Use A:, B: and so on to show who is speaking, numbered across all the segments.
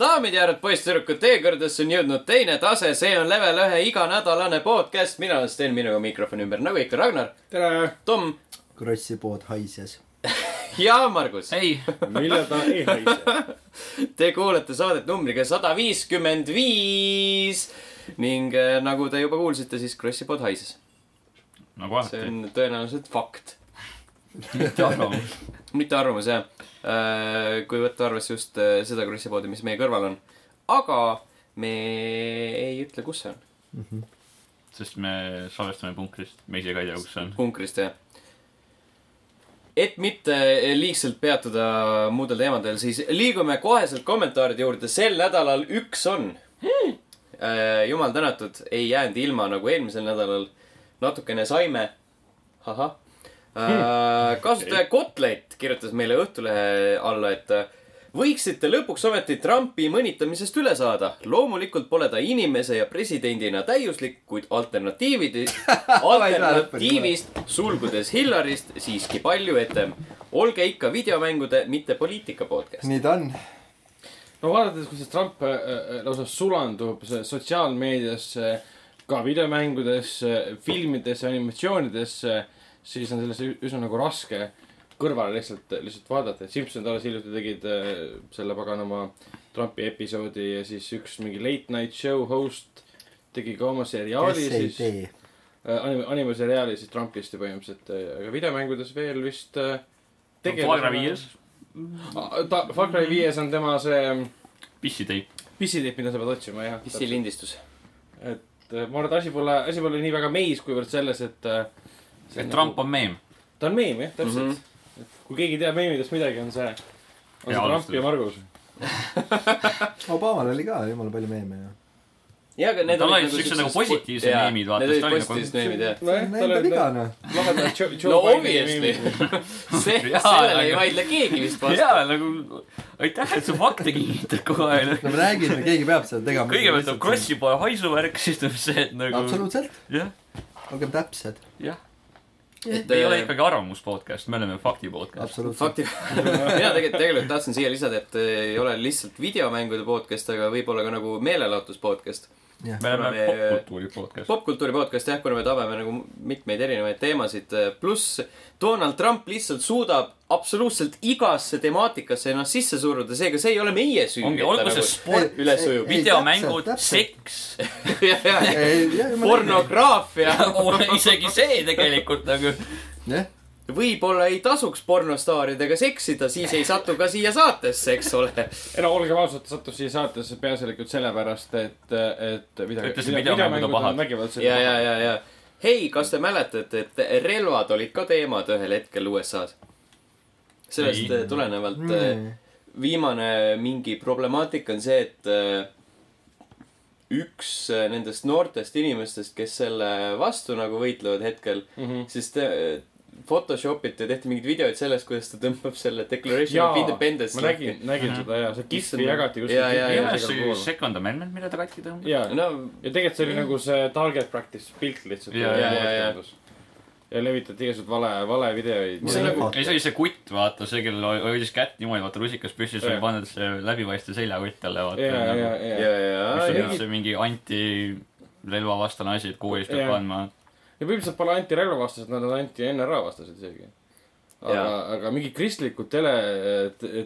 A: daamid ja härrad, poisssüdrukud, teie kõrgedesse on jõudnud teine tase, see on level ühe iganädalane podcast, mina olen Sten, minuga mikrofoni ümber, nagu ikka, Ragnar ,
B: tere ,
A: Tom
C: krossi pood haises .
A: ja Margus .
D: ei ,
B: mille ta ei haise .
A: Te kuulete saadet numbriga sada viiskümmend viis ning äh, nagu te juba kuulsite , siis Krossi pood haises .
D: nagu alati
A: see . on tõenäoliselt fakt ,
D: mitte arvamus .
A: mitte arvamus jah . kui võtta arvesse just äh, seda Krossi poodi , mis meie kõrval on . aga me ei ütle , kus see on ,
D: sest me salvestame punkrist , me ise ka ei tea , kus see on .
A: punkrist jah . et mitte liigselt peatuda muudel teemadel , siis liigume koheselt kommentaaride juurde . sel nädalal üks on . jumal tänatud , ei jäänud ilma nagu eelmisel nädalal . natukene saime . ahah . kasutaja Kotlet kirjutas meile Õhtulehe alla , et äh, võiksite lõpuks ometi Trumpi mõnitamisest üle saada . loomulikult pole ta inimese ja presidendina täiuslik , kuid alternatiivid , alternatiivist , sulgudes Hillarist siiski palju etem . olge ikka videomängude , mitte poliitika podcast .
C: nii ta on .
B: no vaadates , kuidas Trump äh, äh, lausa sulandub see sotsiaalmeediasse , ka videomängudesse , filmidesse , animatsioonidesse , siis on sellesse üsna nagu raske kõrvale lihtsalt , lihtsalt vaadata , et Simson alles hiljuti tegid äh, selle paganama Trumpi episoodi ja siis üks mingi late night show host tegi ka oma seriaali
C: kes ei
B: siis
C: tee .
B: äh, anime , animaseriaali siis Trumpisti põhimõtteliselt , aga videomängudes veel vist äh,
D: Flagra viies ,
B: ta , Far Cry viies on tema see
D: pissiteip .
B: pissiteip , mida sa pead otsima , jah .
A: mis see lindistus ?
B: et äh, ma arvan , et asi pole , asi pole nii väga meis , kuivõrd selles , et äh, see
D: et Trump on meem .
B: nagu, ta on meem , jah , täpselt mm . -hmm. et kui keegi teab meemidest midagi , on see , on see
D: Hea
B: Trump
D: alustus.
B: ja Margus .
C: Obamal oli ka jumala palju meeme ju .
A: jaa , aga need
D: Tal olid siuksed nagu positiivsed
A: jaa,
D: meemid, vaata,
A: Need
D: ta
A: olid
D: oli nagu-
A: positiivsed meemid , jah .
C: see on enda viga noh .
B: äh,
A: no obviously . see ,
D: Jaa,
A: sellele ei
D: aga-
A: vaidle keegi vist vastu .
D: jaa , nagu aitäh , et sa fakte kinnitad kogu aeg
C: no . ma räägin , keegi peab seda tegema .
D: kõigepealt on . Krossi poe haisuvärk , siis tuleb see , et nagu
C: absoluutselt ,
D: jah ,
C: olgem täpsed .
D: jah .
A: et
D: ei ole
A: äh,
D: ikkagi arvamus podcast , me oleme fakti podcast .
C: absoluutselt .
A: fakti , mina tegelikult , tegelikult tahtsin siia lisada , et äh, ei ole lihtsalt videomängude podcast , aga võib-olla ka nagu meelelahutus podcast .
D: me oleme
A: Me-
D: popkultuuri podcast .
A: popkultuuri podcast jah , kuna me tabame nagu mitmeid erinevaid teemasid , pluss Donald Trump lihtsalt suudab absoluutselt igasse temaatikasse ennast sisse suruda , seega see ei ole meie süü . nagu
D: ongi , olgu see sport ,
A: üle sujub.
C: Ei,
D: videomängud ,
C: täpselt,
D: seks ,
A: see .
C: porno .
A: pornograafia
D: isegi see tegelikult nagu
C: jah ,
A: võib-olla ei tasuks pornostaaridega seksida , siis ei satu ka siia saatesse , eks ole .
B: ei no olgem ausad , ta sattus siia saatesse peaasjalikult sellepärast , et , et midagi .
D: Ütles, et videomängud on pahad.
B: vägivaldsed .
A: ja , ja , ja , ja hei , kas te mäletate , et relvad olid ka teemad ühel hetkel USA-s ? sellest eh,
D: Ei.
A: tulenevalt mm.
C: nii .
A: viimane mingi problemaatika on see , et äh, üks äh, nendest noortest inimestest , kes selle vastu nagu võitlevad hetkel ,
B: ja .
A: siis te, Photoshop iti ja tehti mingeid videoid sellest , kuidas ta tõmbab selle Declaration
B: Jaa,
A: of Independence
B: ma nägin , nägin
D: Mhm.
B: seda ja see
A: Issand,
B: kihvi jagati
A: jaa, jaa,
D: ei ole
B: kuskil
D: see ju . second amendment , mille ta katki tõmbab .
B: ja ,
A: no
B: ja tegelikult see oli nagu see target practice pilt lihtsalt .
D: Jaa, jaa,
A: jaa, jaa.
B: ja levitati igasuguseid vale , valevideoid .
A: See on nagu-
D: ei , see oli see kutt , vaata , see , kellel oli- hoidis kätt niimoodi , vaata , rusikas püssis , oli
B: Jah.
D: pannud see läbipaistev seljakott talle , vaata .
B: ja , ja ,
A: ja ,
B: ja ,
A: ja ,
D: mis
A: ja
D: on , see mingi antirelvavastane asi , et koolis
B: Jah.
D: peab kandma .
B: ja põhimõtteliselt pole antirelva vastased , nad on anti-NRA vastased isegi . aga
A: Jaa. ,
B: aga mingid kristlikud tele ,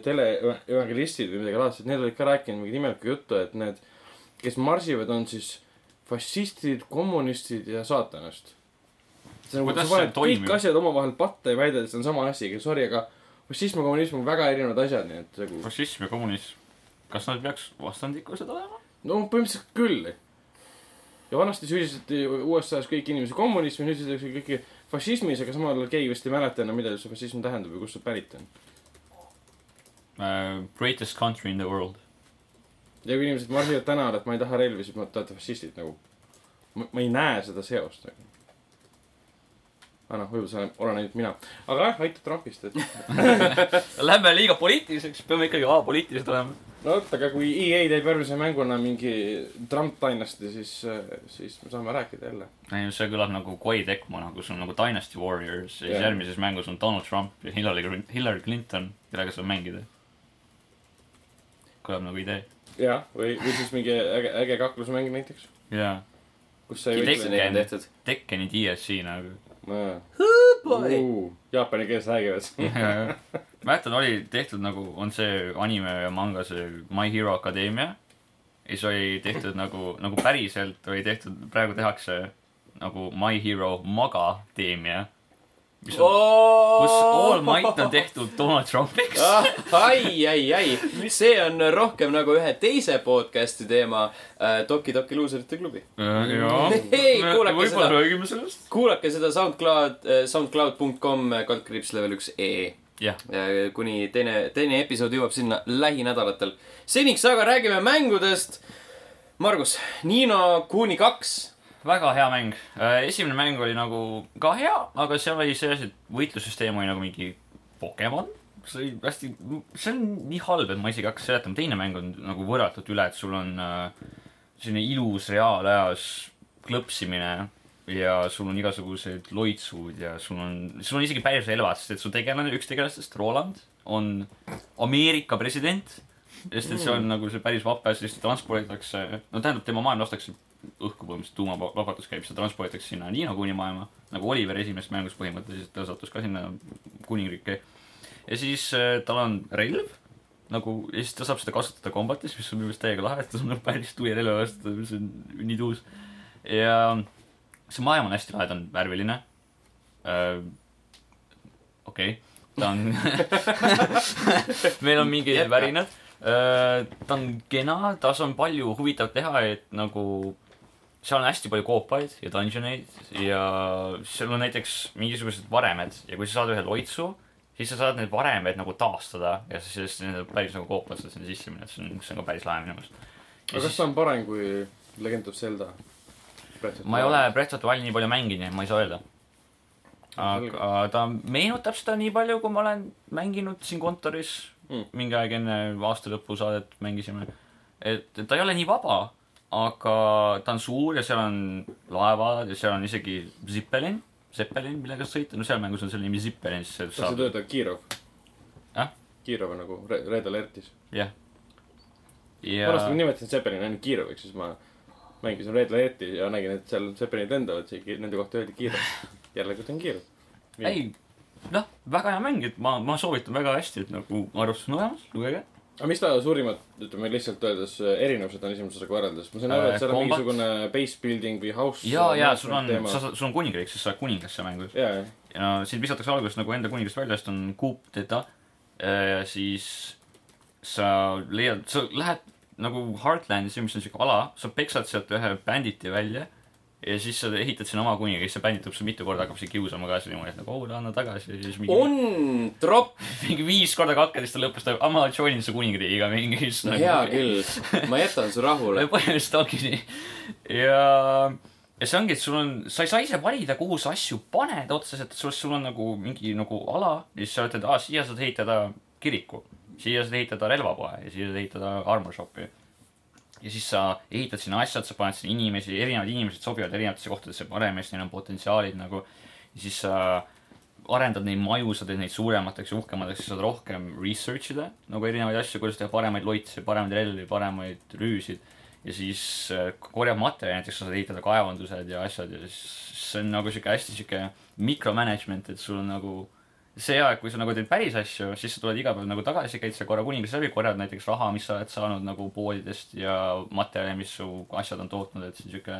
B: teleevangelistid või midagi laadset , need olid ka rääkinud mingit imelikku juttu , et need , kes marsivad , on siis fašistid , kommunistid ja saatanast . see on nagu ,
D: Kuidas
B: sa paned
D: see toimib?
B: kõik asjad omavahel patta ja väidad , et see on sama asi , aga sorry , aga fašism ja kommunism on väga erinevad asjad , nii et nagu ,
D: fašism ja kommunism , kas nad peaks vastandikused olema ?
B: no põhimõtteliselt küll . ja vanasti süüdistati USA-s kõiki inimesi kommunismi , nüüd süüdistatakse kõiki fašismis , aga samal ajal keegi vist ei mäleta enam , mida üldse fašism tähendab ja kust see pärit on .
D: Äh, Greatest country in the world .
B: ja kui inimesed marsivad tänavale , et ma ei taha relvi , siis ma , te olete fašistid nagu . ma ei näe seda seost nagu . aga noh , võib-olla see olen- olen ainult mina . aga jah , aitäh Trumpist , et
D: Lähme liiga poliitiliseks , peame ikkagi apoliitilised olema .
B: no vot , aga kui EA teeb järgmise mänguna mingi Trump Dynasty , siis , siis me saame rääkida jälle .
D: ei , see kõlab nagu Koi Tekmo , nagu sul on nagu Dynasty Warriors ja siis
B: Jah.
D: järgmises mängus on Donald Trump ja Hillary , Hillary Clinton , kellega saab mängida . kõlab nagu idee .
B: jah , või , või siis mingi äge , äge kaklusmäng näiteks ,
D: jaa .
B: kus sa ei
D: Kindlasti
B: võitle .
A: Teksini on tehtud .
D: Tekkeni DLC nagu .
B: Jaapani keeles räägivad .
D: mäletad , oli tehtud nagu , on see anime ja manga , see My Hero Academia . ja siis oli tehtud nagu , nagu päriselt oli tehtud , praegu tehakse nagu My Hero Magadeemia . mis on , kus All Might on tehtud Donald Trumpiks .
A: Oh! ah, . ai , ai , ai , see on rohkem nagu ühe teise podcast'i teema äh, , Doki Doki luuserite klubi .
D: jaa .
A: Hei, kuulake
D: võib-olla
A: seda.
D: räägime sellest .
A: kuulake seda SoundCloud , soundcloud.com kaldkriips level üks ee ,
D: jah ,
A: kuni teine , teine episood jõuab sinna lähinädalatel . seniks aga räägime mängudest . Margus , Nino Kuni kaks ,
D: väga hea mäng . esimene mäng oli nagu ka hea , aga seal oli see asi , et võitlussüsteem oli nagu mingi Pokemon . see oli hästi , see on nii halb , et ma isegi ei hakka seletama . teine mäng on nagu võrratult üle , et sul on äh, selline ilus reaalajas klõpsimine ja sul on igasugused loitsud ja sul on , sul on isegi päris relvad , sest et su tegelane , üks tegelastest , Roland , on Ameerika president . sest et see on nagu see päris vapper , sest transporditakse , no tähendab , tema maailma lastakse õhku põhimõtteliselt , tuumavabadus käib , seda transporditakse sinna Niina kuningmaailma , nagu Oliver esimeses mängus põhimõtteliselt , ta sattus ka sinna kuningriiki . ja siis äh, tal on relv nagu ja siis ta saab seda kasutada kombatis , mis on minu meelest täiega lahe , et ta saab nagu päris tuli relva vastu , mis on nii tuus . ja see maailm on hästi lahe , ta on värviline . okei , ta on meil on mingid
A: Jätka.
D: värinad . ta on kena , tas on palju huvitavat teha , et nagu seal on hästi palju koopaid ja dungeoneid ja seal on näiteks mingisugused varemed ja kui sa saad ühe loitsu , siis sa saad need varemed nagu taastada ja sa siis need päris nagu koopad seda sinna sisse minna , see on , see on ka päris lahe minu meelest .
B: aga kas see on parem kui Legend of Zelda ?
D: ma ei ole Breath of the Wildi nii palju mänginud , nii et ma ei saa öelda . aga ta meenutab seda nii palju , kui ma olen mänginud siin kontoris
B: Mm.
D: mm. mingi aeg enne aasta lõpu saadet mängisime . et et ta ei ole nii vaba , aga ta on suur ja seal on laevad ja seal on isegi Zippelin , Zeppelin , millega sõita , no seal mängus on selle nimi Zippelin , siis
B: kas see
D: saab ,
B: töötab Kirov
D: Jah? ?
B: Kirov on nagu Re- Red Alertis .
D: jah . ja
B: vanasti ma nimetasin Zeppelini ainult Kiroviks , siis ma mängisin Red Alerti ja nägin , et seal Zeppelinid lendavad , nende kohta öeldi Kirov . järelikult on Kirov .
D: ei , noh , väga hea mäng , et ma , ma soovitan väga hästi , et nagu arvestus on olemas , lugege .
B: aga mis ta suurimad , ütleme lihtsalt öeldes , erinevused on esimese osaga võrreldes ? ma sain aru , et seal on
D: Kombat.
B: mingisugune base building või house .
D: ja , ja sul on , sa , sul on kuningriik , siis sa oled kuningas seal mängus .
B: jaa ,
D: ja sind visatakse alguses nagu enda kuningast välja , sest on kuup teda . siis sa leiad , sa lähed nagu Heartlandisse , mis on siuke ala , sa peksad sealt ühe bänditi välja . ja siis sa ehitad sinna oma kuningi , siis see bänd tuleb sulle mitu korda , hakkab sind kiusama ka siis niimoodi , et nagu oo , anna tagasi ja siis mingi ,
A: on tropp ,
D: mingi viis korda katked ja siis ta lõpus ta , ma join su kuningriigiga mingi . nagu-
A: hea küll , ma jätan su rahule .
D: põhimõtteliselt ongi nii . ja , ja see ongi , et sul on , sa ei saa ise valida , kuhu sa asju paned otseselt , sul , sul on nagu mingi nagu ala ja siis sa ütled , aa , siia saad ehitada kiriku , siia saad ehitada relvapoe ja siia saad ehitada armor shop'i . ja siis sa ehitad sinna asjad , sa paned sinna inimesi , erinevad inimesed sobivad erinevatesse kohtadesse paremini , siis neil on potentsiaalid nagu . ja siis sa arendad neid maju , sa teed neid suuremateks ja uhkemateks , sa saad rohkem research ida nagu erinevaid asju , kuidas teha paremaid loitse , paremaid relvi , paremaid rüüsid . ja siis äh, korjab materjali , näiteks sa saad ehitada kaevandused ja asjad ja siis see on nagu sihuke hästi sihuke micromanagement , et sul on nagu see aeg , kui sa nagu teed päris asju , siis sa tuled iga päev nagu tagasi , käid seal korra kuningas läbi , korjad näiteks raha , mis sa oled saanud nagu poodidest ja materjali , mis su asjad on tootnud , et see on sihuke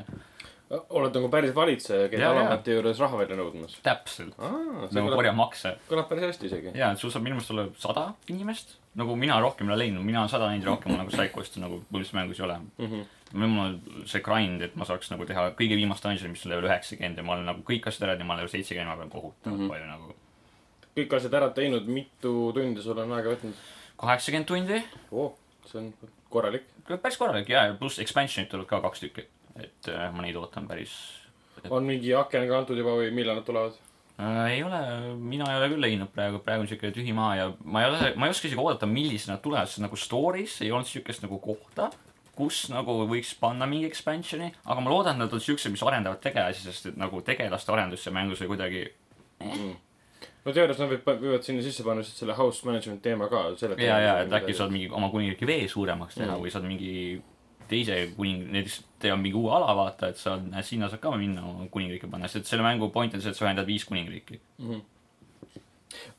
B: oled nagu päris valitseja , käid
D: Jaa, jaa.
B: alamati juures raha välja nõudmas .
D: täpselt
B: aa , see
D: nagu
B: kõlab ,
D: korjab makse
B: kõlab päris hästi isegi .
D: jaa , et sul saab minu meelest olla sada inimest , nagu mina rohkem ei ole leidnud , mina olen sada neid rohkem nagu Psychost nagu põhiliselt mängus ei ole mm .
B: Mhm.
D: -hmm. mul on see grind , et ma saaks nagu teha kõige viimast dungeon'i , mis on level üheksakümmend ja ma olen nagu kõik asjad ära teinud , ma olen level seitsekümmend , ma pean kohutavalt mm -hmm. palju nagu .
B: kõik asjad ära teinud , mitu tundi sul on aega võtnud
D: kaheksakümmend tundi ,
B: oh, ? see on korralik .
D: päris korralik jaa , ja pluss expansion'id tulevad ka kaks tükki , et äh, ma neid ootan päris
B: on mingi aken ka antud juba või millal nad tulevad ?
D: äh, . ei ole , mina ei ole küll leidnud praegu , praegu on siuke tühi maa ja ma ei ole , ma ei oska isegi oodata , millisena nad tulevad , sest nagu story's ei olnud siukest nagu kohta , kus nagu võiks panna mingi expansion'i , aga ma loodan , et nad on siuksed , mis arendavad tegelasi , sest et nagu tegelaste arendus seal mängus oli kuidagi
B: no teoorias nad võivad , võivad sinna sisse panna lihtsalt selle house management teema ka .
D: ja , ja , et äkki saad mingi oma kuningriigi vee suuremaks teha mm. või saad mingi teise kuning , näiteks teha mingi uue ala , vaata , et saad , sinna saad ka minna oma kuningriiki panna , sest selle mängu point on see , et sa ühendad viis kuningriiki .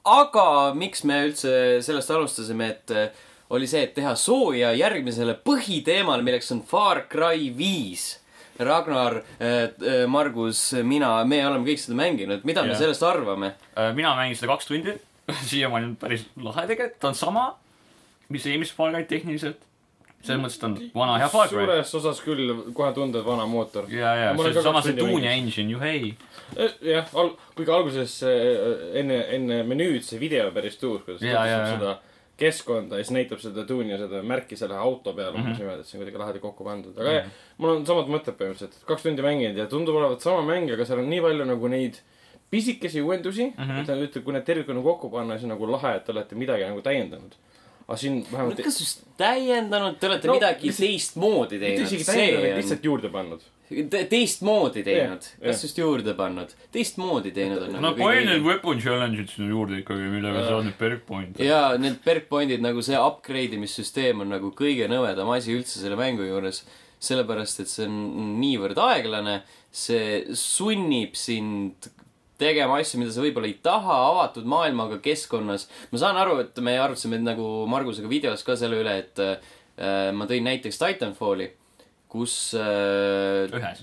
A: aga miks me üldse sellest alustasime , et äh, oli see , et teha sooja järgmisele põhiteemale , milleks on Far Cry viis . Ragnar , Margus , mina , me oleme kõik seda mänginud , mida me
D: Jah.
A: sellest arvame ?
D: Äh, mina mängin seda kaks tundi , siiamaani on päris lahe tegelikult , ta on sama , mis eelmist Far Cryt tehniliselt . selles mõttes , et ta on vana hea Far Cry .
B: suures osas küll kohe tundub vana mootor .
D: ja , ja
B: Ma olen
D: see
B: ka
D: on sama
B: kaks
D: see
B: tundi
D: Dune'i
B: mänginud.
D: engine , juhei .
B: Eh, jah , al- , kuigi alguses äh, enne , enne menüüd see video päris tuus , kuidas
D: Jaa, jaa,
B: tutvustab
D: jaa.
B: seda keskkonda ja siis näitab seda tuuni ja seda märki selle auto peal umbes mm -hmm. niimoodi , et see on kuidagi lahedalt kokku pandud . aga mm -hmm. mul on samad mõtted põhimõtteliselt , et kaks tundi mänginud ja tundub olevat sama mäng , aga seal on nii palju nagu neid pisikesi uuendusi mm ,
D: Mhm.
B: -hmm. et ta ütleb , kui need tervikuna kokku panna , siis on nagu lahe , et te olete midagi nagu täiendanud . aga siin vähemalt
A: kas just täiendanud , te olete
B: No,
A: no, midagi
B: lihtsalt-
A: teistmoodi
B: mitte
A: teinud ,
B: isegi
A: see
B: täiendanud ,
A: on
B: lihtsalt juurde pannud .
A: Te- teistmoodi teinud
B: Jah, , jah.
A: kas just juurde pannud , teistmoodi teinud on
D: no
A: nagu
D: palju
A: kõige
D: neid
A: õigem.
D: weapon challenge'id sinna juurde ikkagi , millega sa saad nüüd perk point'e .
A: ja need perk point'id nagu see upgrade imissüsteem on nagu kõige nõmedam asi üldse selle mängu juures , sellepärast et see on niivõrd aeglane , see sunnib sind tegema asju , mida sa võib-olla ei taha avatud maailmaga keskkonnas . ma saan aru , et me arvasime et nagu Margusega videos ka selle üle , et äh, ma tõin näiteks Titanfalli , kus äh,
D: ühes .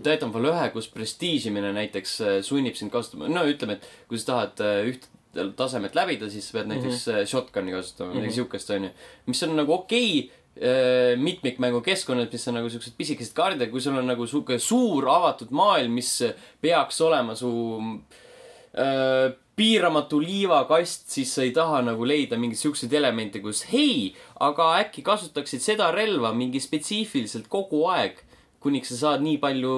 A: Titanfall ühe , kus prestiižimine näiteks äh, sunnib sind kasutama , no ütleme , et kui sa tahad äh, üht tasemet läbida , siis sa pead näiteks mm -hmm. shotgun'i kasutama , midagi mm -hmm. siukest , onju . mis on nagu okei okay, mitmikmängu keskkonnad , mis on nagu siuksed pisikesed kaardid , aga kui sul on nagu siuke suur avatud maailm , mis peaks olema su äh, piiramatu liivakast , siis sa ei taha nagu leida mingeid siukseid elemente , kus hei , aga äkki kasutaksid seda relva mingi spetsiifiliselt kogu aeg , kuniks sa saad nii palju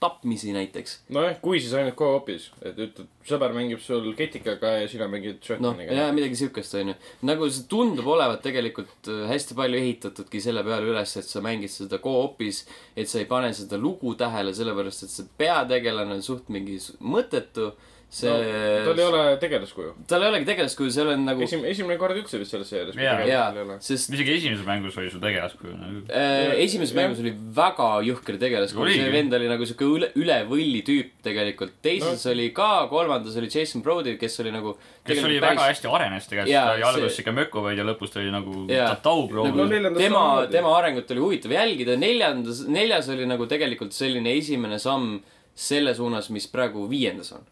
A: tapmisi näiteks .
B: nojah , kui siis ainult co-op'is , et ütled , sõber mängib sul ketikaga ja sina mängid
A: noh ,
B: shotgun'iga
A: jah ,. midagi siukest , onju . nagu see tundub olevat tegelikult äh, hästi palju ehitatudki selle peale üles , et sa mängid seda co-op'is , et sa ei pane seda lugu tähele , sellepärast et see peategelane on suht mingi s- mõttetu . see
B: No, tal ei
A: ole...
B: ole tegelaskuju .
A: tal ei olegi tegelaskuju , seal on nagu ,
B: esimene , esimene kord üldse vist selles seerias .
D: Jaa.
A: jaa , Äh, sest
D: isegi esimeses mängus oli sul tegelaskuju nagu .
A: äh, esimeses
B: Jah.
A: mängus oli väga jõhker tegelaskuju , see
D: Oligi.
A: vend oli nagu siuke üle , üle võlli tüüp tegelikult . teises oli ka , kolmandas oli Jason Brody , kes oli nagu .
D: kes oli väga hästi arenes tegelikult ,
A: Jaa,
D: ta oli alguses
A: see-
D: siuke mökuvaid ja lõpus ta oli nagu
A: Jaa.
D: taubroov
B: No
A: nagu
D: nagu... .
B: neljandas
A: tema
B: samamoodi. ,
A: tema arengut oli huvitav jälgida , neljandas , neljas oli nagu tegelikult selline esimene samm selle suunas , mis praegu viiendas on .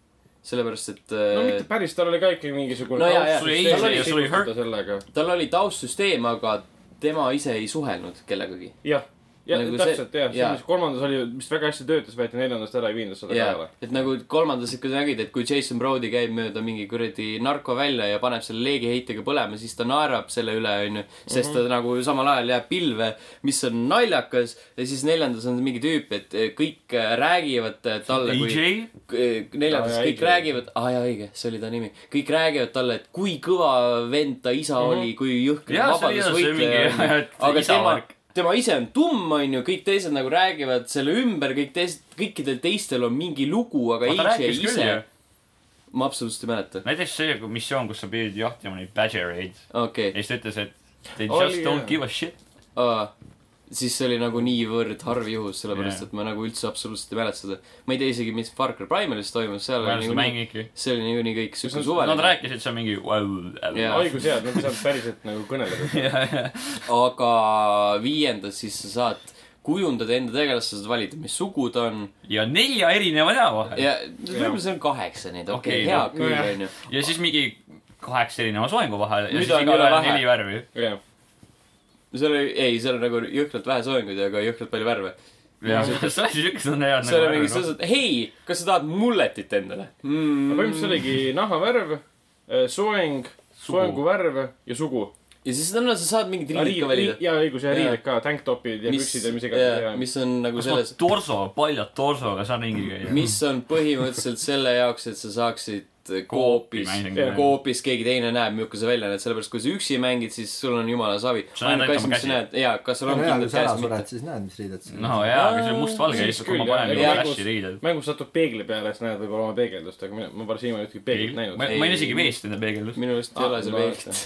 A: sellepärast , et
B: no mitte
A: äh,
B: päris , tal oli ka ikkagi mingisugune .
A: No jaa, jaa.
D: Sul oli easy ja sul oli hurt.
B: sellega .
A: tal oli taustsüsteem , aga tema ise ei suhelnud kellegagi .
B: jah , ja
A: Nagu see-
B: täpselt jah , see
A: jaa.
B: mis kolmandas oli , mis väga hästi töötas , võeti neljandast ära ja viiendast seda
A: jaa
B: peale .,
A: et nagu kolmandas ikka nägid , et kui Jason Brody käib mööda mingi kuradi narko välja ja paneb selle leegiheitega põlema , siis ta naerab selle üle , onju . sest ta nagu samal ajal jääb pilve , mis on naljakas ja siis neljandas on mingi tüüp , et eh, kõik eh, räägivad eh, talle kui
D: AJ ,
A: neljandas
B: Aa, jaa,
A: eh, kõik
B: õige.
A: räägivad , aa jaa õige , see oli ta nimi , kõik räägivad talle , et kui kõva vend ta isa mm -hmm. oli , kui jõhker
D: Mhm. Jaa, see oli jah, see
A: vabadusvõitleja
D: mingi-
A: oli.
D: et
A: aga
D: isa
A: tema
D: värk. ,
A: tema ise on tumm , onju , kõik teised nagu räägivad selle ümber , kõik teised , kõikidel teistel on mingi lugu , aga
D: ta
A: AJ
D: rääkis küll
A: ise
D: ju .,
A: ma absoluutselt ei mäleta ,
D: näiteks see kui missioon , kus sa pidid jahtima neid badgereid
A: okei
D: ja siis ta ütles , et they
B: Oli,
D: just don't
B: jah.
D: give a shit .
A: Aa, siis see oli nagu niivõrd harv juhus , sellepärast yeah.
D: Jaa.
A: et ma nagu üldse absoluutselt ei mäleta seda . ma ei tea isegi , mis Far Cry Primalis toimus , seal
D: ma
A: oli
D: ei ole
A: niikuinii ,
D: seda mänginudki .
A: see oli niikuinii kõik siuke
B: Nad-
A: suvaline .
D: Nad rääkisid seal mingi well,
A: Jaa.
B: haigus jaa , et nad ei saanud päriselt nagu kõneleda .
A: aga viiendas siis sa saad kujundada enda tegelast , sa saad valida , mis sugu ta on
D: ja nelja erineva näo vahel .
A: ja võib-olla see on kaheksa neid , okei okay, ,
D: Okei,
A: hea
D: no,
A: küll ,
B: nojah.
A: onju .
D: ja siis mingi kaheksa erineva soengu vahel ja
A: Nüüd
D: siis
A: on
D: igal
A: üle
D: ajal
A: vähe.
D: neli värvi .
B: jah ,
A: seal oli , ei , seal on nagu jõhkralt vähe soenguid , aga jõhkralt palju värve .
D: ja see asi siukene on hea . nagu noh.
A: seal on mingi , sa saad , hei , kas sa tahad mulletit endale
B: aga
A: mm, ?
B: põhimõtteliselt oligi nahavärv , äh, soeng ,
D: Sugu.
B: soengu värv ja sugu .
A: ja siis täna sa saad mingid riided ka valida .
B: ja õigus ja
A: Jaa.
B: riided ka , tanktopid ja
A: mis
B: püksid ja mis , iganes .
A: mis on nagu
D: kas ma
A: selles ,
D: torso , paljalt torsoga saan ringi käia ?
A: mis on põhimõtteliselt selle jaoks , et sa saaksid koopis ,
B: Jaa.
A: koopis keegi teine näeb , milline sa välja näed , sellepärast kui sa üksi mängid , siis sul on jumala savi .
D: Sa näed
A: ainuke
D: ainult
A: asi , mis sa
D: oma käsi.
A: näed , jaa , kas sul on
C: hea , kui
A: kindlad
C: sa ära
A: käes või mitte .
C: sured , siis näed , mis riided sul
D: no jaa , aga see on mustvalge ,
B: Siis
D: siis kui ma
B: küll,
D: panen
B: jah.
D: mingi
A: Jah.
D: flash'i riided .
B: mängus satub peegli peale , siis näed võib-olla oma peegeldust , aga mina , ma pole siiamaani ühtegi peeglit
D: ma
B: näinud .
D: ma ei ole isegi meest enda peegeldust .
A: minu arust
B: Ah,
A: ei ole seal
B: no
A: veegit .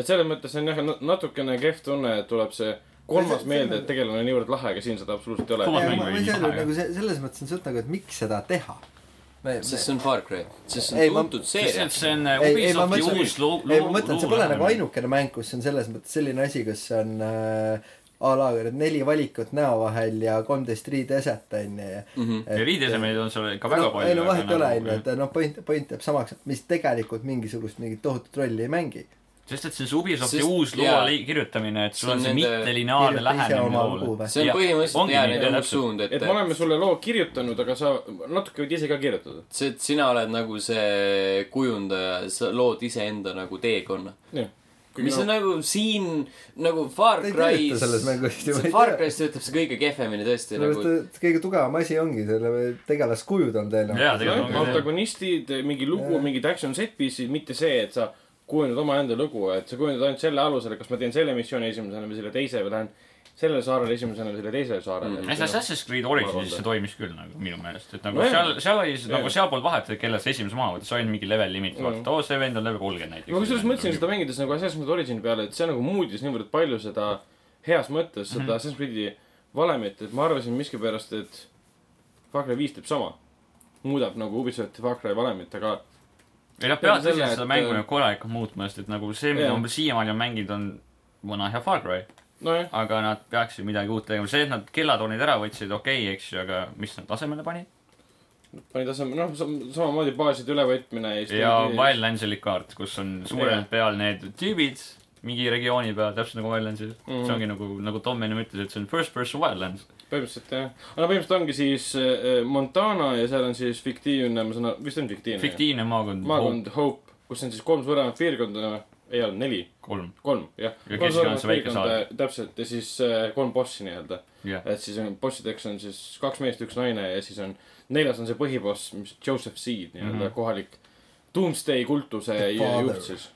B: et selles mõttes on jah , natukene kehv tunne , et tuleb see kolmas meelde , et tegelane on niivõrd lahe , aga siin seda absoluutselt ei ole
D: Kolmas- .
C: ma
D: mängu
C: ma
D: ei
C: ei saa aru
D: taha, ,
C: nagu see , selles mõttes on suht nagu , et miks seda teha . me ,
A: sest see on Far Cry , sest see
C: Ei,
A: on
C: ma-
A: tuntud
D: sest
A: seeria
D: et . see on
C: Ei, ei, ma
D: Ubisofti
C: mõtlesin-
D: uus loo- ,
C: nagu ei , ma mõtlen , see pole nagu ainukene mäng , kus on selles mõttes selline asi , kus on äh, a la need neli valikut näo vahel ja kolmteist riideeset onju ja
D: ja riidesemeid on seal ka Mhm. väga
C: no,
D: palju . nagu
C: ei no vahet ei ole onju , et noh , point , point jääb samaks , mis tegelikult mingisugust mingit tohutut rolli ei mängi .
D: sest et see on see Ubisofti
A: Sest-
D: uus loo
A: jaa.
D: li- kirjutamine , et sul
A: See
D: on
A: on
D: see
A: nende-
D: mittelineaarne
C: kirjuta ise
D: lähenemine
C: oma lugu
D: loole
C: või? .
A: see on põhimõtteliselt jaa , neil on uus suund ,
B: et
A: et
B: me oleme sulle loo kirjutanud , aga sa natuke võid ise ka kirjutada .
A: see , et sina oled nagu see kujundaja , sa lood iseenda nagu teekonna . mis on nagu siin nagu Far
C: Ta ei
A: Cry's
C: tööta selles mängus ju, ma ei
A: Far
C: tea.
A: Cry's töötab see kõige kehvemini tõesti nagu
C: sellepärast , et kõige tugevam asi ongi selle tegelaskujud on
D: jaa ,
C: tõenäoliselt .
D: tegelikult on ka
B: antagonistid , mingi lugu ,
C: Jaa.
B: mingid action set-piece'id , mitte see , et sa kujundad omaenda lugu , et sa kujundad ainult selle alusel , kas ma teen selle missiooni esimesena või selle teise või lähen sellele saarele esimesena või selle teisele saarele
A: Mm.
D: jah ,
B: mm. .
D: Assassin's Creed Originis see toimis küll nagu minu meelest , et nagu
B: Nojah.
D: seal , seal oli see-
B: Jaa.
D: nagu sealpool vahet , et kellel sa esimese maha võtad , see oli mingi level limit , vaatad , oo see vend on level kolmkümmend näiteks .
B: ma kusjuures mõtlesin seda mängides nagu Assassin's Creed Origini peale , et see nagu muutis niivõrd palju seda heas mõttes seda mm -hmm. Assassin's Creed'i valemit , et ma arvasin miskipärast , et Far Cry viis teeb sama . muudab nagu Ubisofti Far Cry valemit , aga
D: ei noh ,
B: peale
D: pead tõsiselt
B: selle,
D: seda
B: et-
D: mängu nagu korralikult muutma , sest et nagu see , mida
B: Jaa.
D: ma umbes siiamaani olen mänginud , on vana hea Far Cry ,
B: nojah ,
D: aga nad peaksid midagi uut tegema , see , et nad kellatoonid ära võtsid , okei okay, , eks ju , aga mis nad asemele panid ?
B: panid asemele , noh , samamoodi baaside ülevõtmine ja
D: ja Wildlandsil kaart , kus on suurelt peal need tüübid mingi regiooni peal , täpselt nagu Wildlandsil mm . -hmm.
B: Mhm.
D: see ongi nagu , nagu Tom enne ütles , et see on first person Wildlands .
B: põhimõtteliselt jah , aga no põhimõtteliselt ongi siis äh, Montana ja seal on siis fiktiivne , ma saan aru , vist on fiktiivne .
D: fiktiivne maakond .
B: maakond Hope , kus on siis kolm suuremat piirkonda , ei olnud neli ,
D: kolm ,
B: kolm jah .
D: Ja keskel on see väike saar. .
B: täpselt ja siis äh, kolm bossi nii-öelda ,
D: jah .
B: et siis on bossideks on siis kaks meest , üks naine ja siis on neljas on see põhiboss , mis Joseph Seed nii-öelda mm
D: Mhm.
B: -hmm. kohalik Doomsday kultuse
C: The
B: ju-
C: father.
B: juht siis .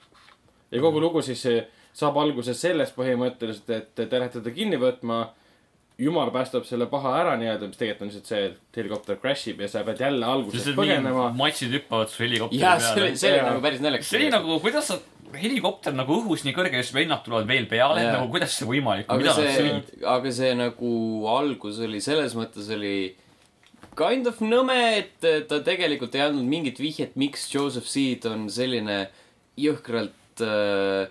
B: ja kogu lugu siis eh, saab alguse sellest põhimõtteliselt , et te lähete teda kinni võtma jumal päästab selle paha ära nii-öelda , mis tegelikult on lihtsalt see , et helikopter crash ib ja sa pead jälle
D: siis
B: algusest
D: need
B: põgenema
D: mingid . matšid hüppavad su helikopteri
A: jaa , see
D: peale
A: oli , see oli
B: Jaa.
A: nagu päris naljakas .
D: see oli nagu , kuidas sa , helikopter nagu õhus nii kõrge ja siis vennad tulevad veel peale ,
A: Jaa.
D: et nagu kuidas see võimalik on ,
A: aga
D: mida nad
A: see
D: sõid ?,
A: aga see nagu algus oli selles mõttes oli kind of nõme , et ta tegelikult ei andnud mingit vihjet , miks Joseph Seed on selline jõhkralt äh,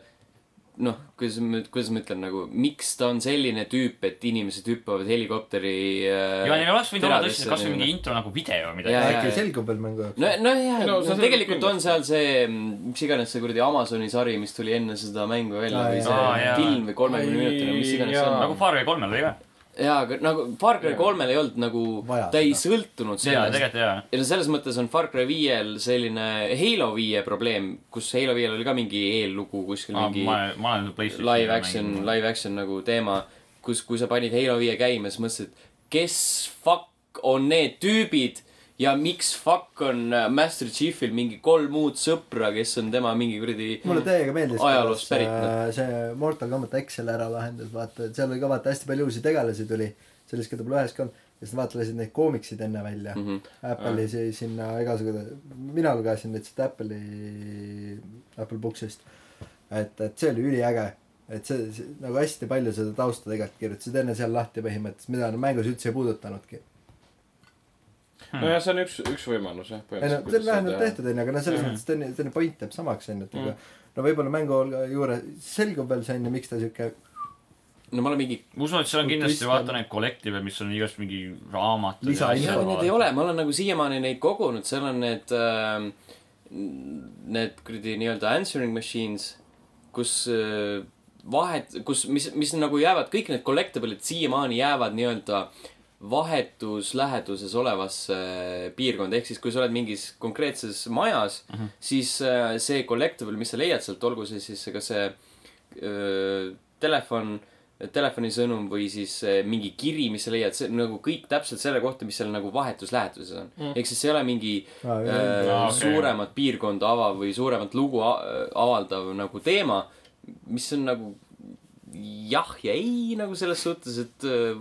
A: noh , kuidas ma , kuidas ma ütlen nagu , miks ta on selline tüüp , et inimesed hüppavad helikopteri äh,
D: ja neil oleks võinud olla
A: teradesse
D: tõesti kasvõi mingi
A: nii-öelda.
D: intro nagu video või midagi
A: Jaa, . jaa.
C: äkki selgub veel mängu jooksul ?
A: no , nojah no,
B: Ei, no , see
A: no,
B: on
A: tegelikult on
B: kindlasti.
A: seal see , mis iganes see kuradi Amazoni sari , mis tuli enne seda mängu välja
C: Aa,
A: või
C: jaa.
A: see
D: Aa, jaa.
A: film või kolmekümne minutine , mis iganes see
B: Jaa.
A: on .
D: nagu Far Cry kolmel oli ka .
A: jaa , aga nagu Far Cry
B: Jaa.
A: kolmel ei olnud nagu
C: Vaja ,
A: ta ei
C: seda.
A: sõltunud
D: jaa ,
A: sellest .
D: tegelikult jaa .
A: ja no selles mõttes on Far Cry viiel selline Halo viie probleem , kus Halo viiel oli ka mingi eellugu kuskil
D: ma ,
A: mingi
D: ma olen PlayStationi
A: live action , live action nagu teema , kus , kui sa panid Halo viie käima , siis mõtlesid , kes fuck on need tüübid ja miks fuck on äh, Master Chiefil mingi kolm uut sõpra , kes on tema mingi kuradi
C: mulle täiega meeldis ,
A: Ajaloost
C: see,
A: pärit.
C: see Mortal Combat X selle ära lahendas , vaata , et seal oli ka vaata hästi palju uusi tegelasi tuli , sellest , keda pole üheski olnud . ja siis vaata , lasid need koomiksid enne välja mm .
A: Mhm.
C: -hmm. Apple'i see sinna igasugune , mina lugesin neid seda Apple'i , Apple Booksist . et , et see oli üliäge , et see, see nagu hästi palju seda tausta tegelikult kirjutasid enne seal lahti põhimõtteliselt , mida nad mängus üldse ei puudutanudki .
D: Mhm.
B: nojah , see on üks , üks võimalus jah .
C: ei no see on vähemalt . tehtud onju , aga no selles mõttes ta on , ta on point jääb samaks onju , et ega no võib-olla mängu hulga- juures selgub veel see onju , miks ta siuke
A: no ma olen mingi
D: ma usun , et seal on kindlasti
C: Twist
D: vaata
C: on-
D: neid kollektiive , mis on igast mingi raamatud .
C: Lisainfo.
A: jaa , need ei ole , ma olen nagu siiamaani neid kogunud , seal on need äh, , need kuradi nii-öelda answering machines , kus äh, vahet , kus , mis , mis nagu jäävad , kõik need collectible'id siiamaani jäävad nii-öelda vahetus läheduses olevasse äh, piirkonda , ehk siis kui sa oled mingis konkreetses majas mm , -hmm. siis äh, see collectible , mis sa leiad sealt , olgu see siis , kas see öö, telefon , telefoni sõnum või siis öö, mingi kiri , mis sa leiad , see on nagu kõik täpselt selle kohta , mis seal nagu vahetus lähetuses on mm. . ehk siis see ei ole mingi äh,
C: Aa,
A: öö,
C: Ah, jah.
D: Aa, okei.
A: suuremat piirkonda avav või suuremat lugu a- avaldav nagu teema , mis on nagu jah ja ei nagu selles suhtes , et öö,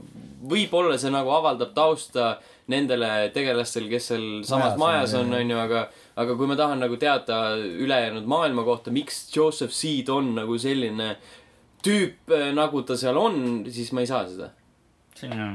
A: võib-olla see nagu avaldab tausta nendele tegelastel , kes seal samas majas
C: Majas on,
A: on ,
C: jah.
A: onju , aga aga kui ma tahan nagu teada ülejäänud maailma kohta , miks Joseph Seed on nagu selline tüüp , nagu ta seal on , siis ma ei saa seda .
D: selline ,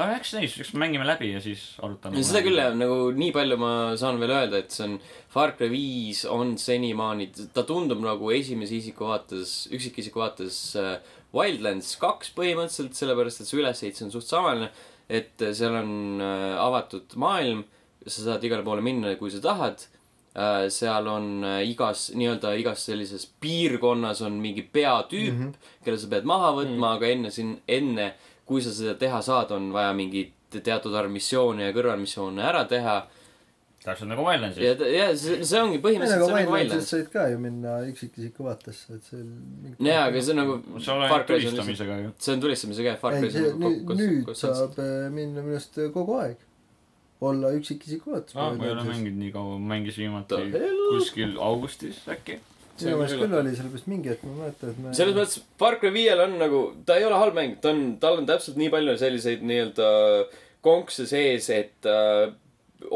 D: no eks näis , eks mängime läbi ja siis arutame .
A: seda küll jah , nagu nii palju ma saan veel öelda , et see on , Far Cry viis on senimaani , ta tundub nagu esimese isiku vaates , üksikisiku vaates äh, Wildlands kaks põhimõtteliselt , sellepärast et see ülesehit , see on suht samaline , et seal on äh, avatud maailm , sa saad igale poole minna , kui sa tahad Äh, seal on äh, igas , nii-öelda igas sellises piirkonnas on mingi peatüüp mm , -hmm. kelle sa pead maha võtma mm , -hmm. aga enne siin , enne kui sa seda teha saad , on vaja mingit teatud arv missioone ja kõrvalmissioone ära teha .
D: täpselt nagu Wildlands
A: ja , ja see , see ongi põhimõtteliselt , see on nagu
C: Wildlandsist
A: Wildlands .
C: said ka ju minna üksikisiku vaatesse , et see oli
A: jaa , aga see on nagu .
D: see on ainult tulistamisega ju .
A: see on tulistamisega jah , Far
C: ei ,
A: Cry's
C: see
A: on
C: nüüd ,
A: nagu
C: nüüd
A: kokku .
C: saab äh, minna minu arust kogu aeg olla üksikisiku vaates .
B: Aa,
D: Ah, ma ei ole mänginud nii kaua , ma mängisin
A: The
D: viimati
A: hell?
D: kuskil augustis äkki .
C: minu meelest küll oli , sellepärast mingi hetk ma mäletan , et me
A: selles mõttes Far Cry viiel on nagu , ta ei ole halb mäng , ta on , tal on täpselt nii palju selliseid nii-öelda konkse sees , et äh,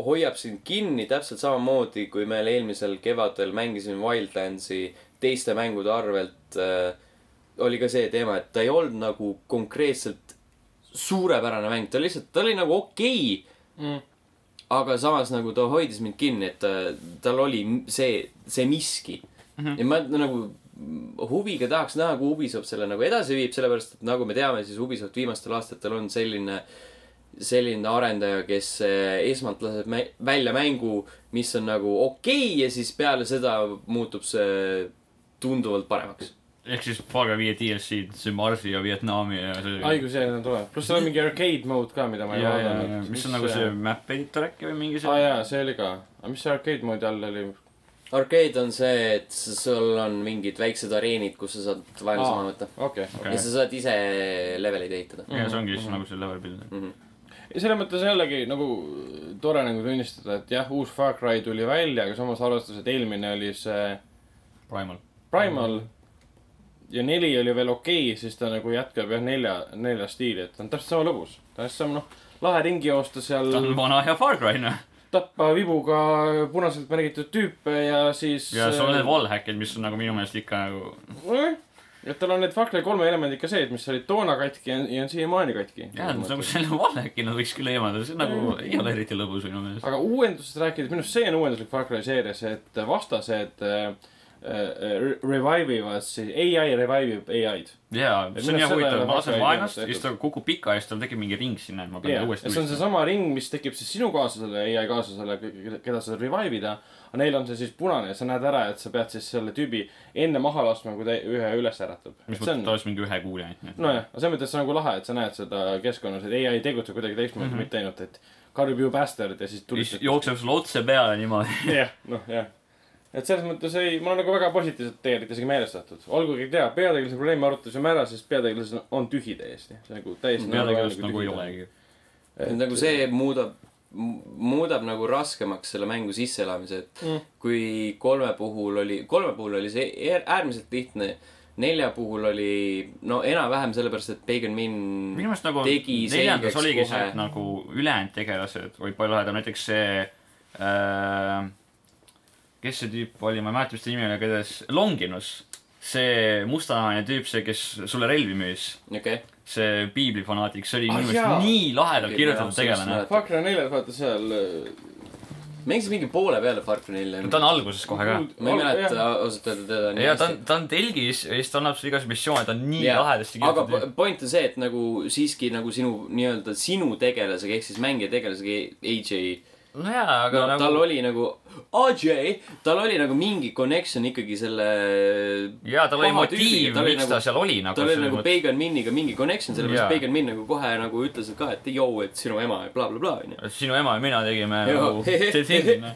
A: hoiab sind kinni täpselt samamoodi , kui me eelmisel kevadel mängisime Wildlandsi teiste mängude arvelt äh, . oli ka see teema , et ta ei olnud nagu konkreetselt suurepärane mäng , ta lihtsalt , ta oli nagu okei okay, ,
B: mm. .
A: aga samas nagu ta hoidis mind kinni , et ta, tal oli m- see , see miski mm . -hmm. ja ma nagu mm, huviga tahaks näha , kuhu Ubisoft selle nagu edasi viib , sellepärast et nagu me teame , siis Ubisoft viimastel aastatel on selline , selline arendaja , kes eh, esmalt laseb mä- välja mängu , mis on nagu okei okay, ja siis peale seda muutub see tunduvalt paremaks .
D: ehk siis Far Cry viie DLC-d , see Marsi ja Vietnami ja
B: ai ,
D: see .
B: kui see enam tuleb , pluss seal on mingi arcade mode ka , mida ma ei
D: ja , ja , ja
B: vaadanud .
D: mis on nagu see map editor äkki või mingi
B: aa
D: see .
B: Ah, jaa , see oli ka , aga mis see arcade mode all oli ?
A: Arcade on see , et s- sul on mingid väiksed areenid , kus sa saad vaenlase maha võtta .
B: okei ,
A: ja sa saad ise leveleid ehitada .
D: ja
B: Mhm,
D: see ongi siis nagu see level builder .
B: ja selles mõttes jällegi nagu tore nagu tunnistada , et jah , uus Far Cry tuli välja , aga samas arvestades , et eelmine oli see
D: Primal .
B: Primal ja neli oli veel okei okay, , siis ta nagu jätkab jah nelja , nelja stiili , et ta on täpselt sama lõbus . täpselt sama , noh , lahe ringi joosta seal
D: ta , on vana hea Far Cry noh .
B: tappa vibuga punaselt märgitud tüüpe ja siis . äh,
D: ja sul on need wallhack'id , mis on nagu minu meelest ikka nagu .
B: vall . et tal on need Far Cry kolme elemendid ka sees , mis olid toona katki ja, ja on siiamaani katki .
D: jah , et nagu selle wallhack'i nad võiks küll eemaldada , see nagu ei ole eriti lõbus minu meelest .
B: aga uuendustest rääkides , minu arust see on uuenduslik Far Cry seerias , et vastased äh, äh, re- revive ivad siis , ai revive ib ai-d .
D: jaa ,
B: Et
D: see on
B: minu
D: jah
B: arust
D: huvitav ,
B: selle
D: ma lasen
B: Far Cry
D: vaenlast ja
B: tehtud.
D: siis ta kukub pika ja siis tal tekib mingi ring sinna , et ma pean
B: ja
D: yeah, uuesti
B: see on seesama ring , mis tekib siis sinu kaaslasele , ai kaaslasele , keda sa saad revive ida . aga neil on see siis punane ja sa näed ära , et sa pead siis selle tüübi enne maha laskma , kui ta ühe üles äratab .
D: mis
B: see
D: mõttes ,
B: on
D: ta , oleks mingi ühe kuuli ainult .
B: nojah , aga selles mõttes see on nagu lahe , et sa näed seda keskkonnas , et ai tegutseb kuidagi teistmoodi
D: Mhm.
B: mm , -hmm. mitte ainult , et karjub you bastard ja siis tulistab .
D: jookseb sulle otse peale niimoodi .
B: jah , noh jah . et selles mõttes ei , mul on nagu väga positiivselt tegelikult isegi meelestatud . olgugi tea , peategelase probleemi arutasime ära , sest peategelased on tühi täiesti . see on nagu täiesti .
D: peategelast nagu ei . olegi .
A: et nagu see muudab , muudab nagu raskemaks selle mängu sisseelamise , et mm. kui kolme puhul oli , kolme puhul oli see eer- äärmiselt lihtne , nelja puhul oli no enam-vähem sellepärast , et Pagan Min
D: minu meelest nagu
A: tegi
D: neljandas
A: selgeks
D: oligi see ,
A: kohe
D: et . nagu ülejäänud tegelased olid palju lahedam , näiteks see äh, kes see tüüp oli , ma ei mäleta , mis ta nimi oli , aga igatahes Longinus . see mustanahaline tüüp , see , kes sulle relvi müüs ,
A: okei ,
D: see piiblifanaatik , see oli
B: Ah,
D: minu
B: jaa.
D: meelest nii lahedalt
A: Piibli-
D: kirjutatud
A: jah, sellest
D: tegelane .
B: Fakra neljas , vaata seal . äh, ma
A: mängisid mingi poole peale Far Cry nelja .
D: ta on alguses kohe ka .
A: ma ei mäleta . ausalt öelda teda nii
D: ja ta on , ta on telgis ja siis ta annab sulle igasuguseid missioone , ta on nii
A: Jaa.
D: lahedasti
A: aga
D: kirjutatud
A: po- . point on see , et nagu siiski nagu sinu nii-öelda sinu tegelasega ehk siis mängija tegelasega AJ
D: no jaa , aga
A: no,
D: no,
A: nagu...
D: nagu
A: tal oli nagu , AJ , tal oli nagu mingi connection ikkagi selle .
D: jaa , tal oli motiiv , miks ta seal oli nagu .
A: tal oli nagu Pagan Miniga mingi connection , sellepärast
D: Jaa.
A: yeah. Pagan Min nagu kohe nagu ütles ka , et joo , et sinu ema ja blablabla onju .
D: sinu ema ja mina tegime
A: Jaa.
D: nagu detendina .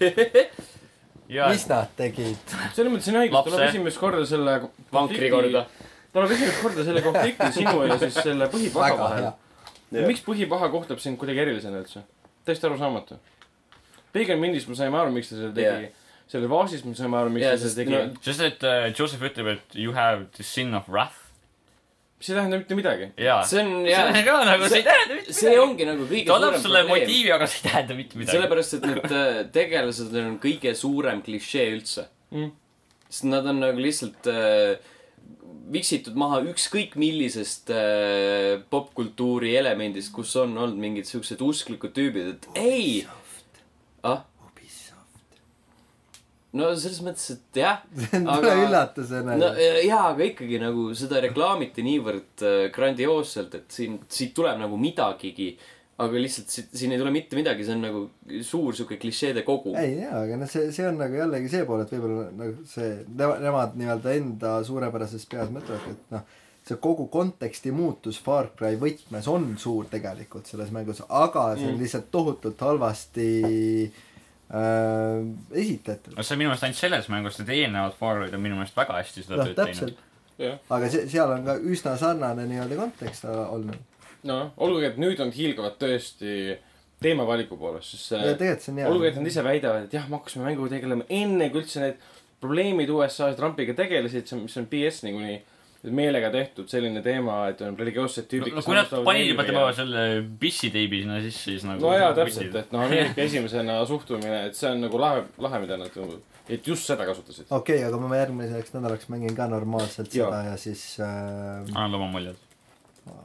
D: ja ,
C: mis nad tegid ?
B: selles mõttes on õige , et
D: Lapse.
B: tuleb esimest korda selle .
A: vankri korda .
B: tal on esimest korda selle konflikti sinu ja siis selle põhipaha
C: väga
B: vahel
C: hea ..
B: miks põhipaha kohtleb sind kuidagi erilisena üldse ? täiesti arusaamatu . Pagan Mindis me saime aru , miks ta seda tegi yeah. . selle Vaasis me saime aru , miks
A: Jaa,
B: yeah, ta
A: sest
B: seda tegi
A: no-
B: no. .
D: sest et äh, Joseph ütleb , et you have the sin of wrath .
B: see ei tähenda mitte midagi .
D: jaa .
A: see
D: see
A: on jah
D: on , ka nagu , see ei tähenda mitte
A: see
D: midagi .
A: ongi nagu kõige
D: ta annab
A: suurem
D: sulle
A: probleem.
D: motiivi , aga see ei tähenda mitte midagi .
A: sellepärast , et need äh, tegelased on kõige suurem klišee üldse
B: Mm.
A: mm. . sest nad on nagu lihtsalt äh, viksitud maha ükskõik millisest äh, popkultuuri elemendist , kus on olnud mingid siuksed usklikud tüübid , et ei . ah , no selles mõttes , et jah ,
C: see on
A: Aga-
C: tore üllatusena
A: no äh, jaa , aga ikkagi nagu seda reklaamiti niivõrd äh, grandioosselt , et siin , siit tuleb nagu midagigi aga lihtsalt siit- siin ei tule mitte midagi , see on nagu suur sihuke klišeede kogum .
C: ei jaa , aga noh , see , see on nagu jällegi see pool , et võib-olla nagu see , nemad nii-öelda enda suurepärases peas mõtlevad , et noh , see kogu konteksti muutus Far Cry võtmes on suur tegelikult selles mängus , aga see on lihtsalt tohutult halvasti äh, esitatud .
D: no see on minu meelest ainult selles mängus , need eelnevad Farroid on minu meelest väga hästi seda
C: noh ,
D: tööd teinud
C: täpselt .,
B: jah ,
C: aga see , seal on ka üsna sarnane nii-öelda kontekst olnud .
B: noh , olgugi , et nüüd nad hiilgavad tõesti teemavaliku poolest , sest
C: ja
B: see ,
C: tegelikult see on hea .
B: Äh, olgugi , et nad ise väidavad , et jah , me hakkasime mänguga tegelema enne , kui üldse need probleemid USA-s Trumpiga tegelesid , see on , mis on BS niikuinii meelega tehtud selline teema , et on religioossed tüübid .
D: no kui nad panid juba tema selle pissiteibi sinna sisse , siis nagu .
B: no jaa , täpselt ,. et noh , Ameerika esimesena suhtumine , et see on nagu lahe , lahe , mida nad , et just seda kasutasid .
C: okei okay, , aga ma järgmiseks nädalaks mängin ka normaalselt
B: Jaa.
C: seda ja siis äh,
D: annan oma muljed .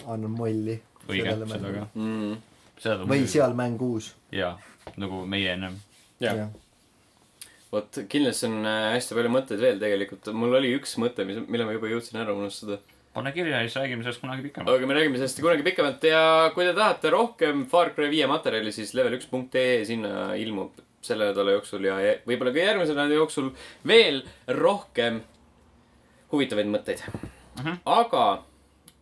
C: annan molli .
D: õige , seda ka .
A: mm. .
D: seda tuleb
C: või
D: muidugi-
C: seal mäng uus .
D: jaa , nagu meie ennem .
B: jah ,
A: vot kindlasti on äh, hästi palju mõtteid veel tegelikult , mul oli üks mõte , mis , mille ma juba jõudsin ära unustada .
D: pane kirja ja siis räägime sellest kunagi pikemalt .
A: aga me räägime sellest kunagi pikemalt ja kui te tahate rohkem Far Cry viie materjali , siis level1.ee sinna ilmub selle nädala jooksul ja ja võib-olla ka järgmise nädala jooksul veel rohkem huvitavaid mõtteid uh .
D: Mhm.
A: -huh. aga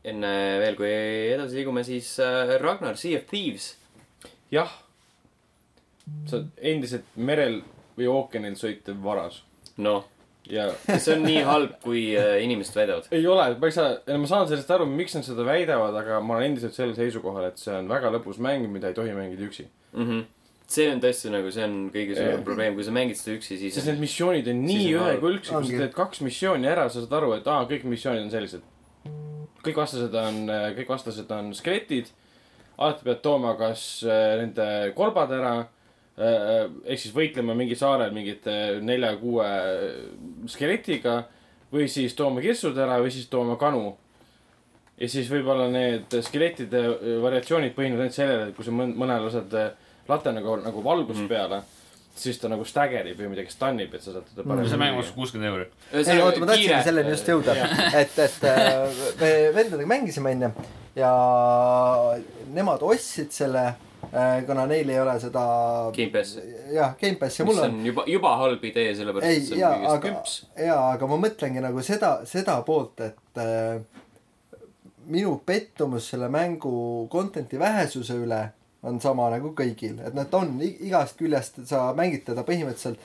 A: enne veel , kui edasi liigume , siis äh, Ragnar , Sea of Thieves .
B: jah . sa oled endiselt merel või ookeanil sõitev varas
A: noh ,
B: ja
A: see on nii halb , kui äh, inimesed väidavad .
B: ei ole , ma ei saa , ma saan sellest aru , miks nad seda väidavad , aga ma olen endiselt sellel seisukohal , et see on väga lõbus mäng , mida ei tohi mängida üksi .
A: mm . -hmm. see on tõesti nagu , see on kõige suurem
B: Jah.
A: probleem , kui sa mängid seda üksi , siis
B: sest need missioonid on nii
A: Siis on halb.
B: ühekülgsed , kui
C: Ongi.
B: sa teed kaks missiooni ära , sa saad aru , et aa , kõik missioonid on sellised . kõik vastased on , kõik vastased on skeletid . alati pead tooma kas äh, nende kolbad ära äh, ehk siis võitlema mingi saarel mingite nelja-kuue skeletiga või siis tooma kirsud ära või siis tooma kanu . ja siis võib-olla need skelettide äh, variatsioonid põhinevad ainult sellele , et kui sa mõn- mõnel lased äh, late nagu , nagu valgust
A: Mm.
D: Mhm.
B: mm. peale , siis ta nagu staggerib või midagi stunnib , et sa saad teda paremini
D: see mäng maksis kuuskümmend euri .
C: ei oota , ma tahtsingi selleni
A: äh,
C: just jõuda , et , et äh, me vendadega mängisime onju ja nemad ostsid selle , kuna neil ei ole seda .
A: Gamepassi ,
C: jah , Gamepassi ,
A: mis
C: mul on
A: on juba , juba halb idee , sellepärast
C: ei
A: et , see
C: jaa
A: on , kõigest
C: aga
A: küps .,
C: jaa , aga ma mõtlengi nagu seda , seda poolt , et äh, minu pettumus selle mängu content'i vähesuse üle on sama nagu kõigil , et noh , ta on i- igast küljest , sa mängid teda põhimõtteliselt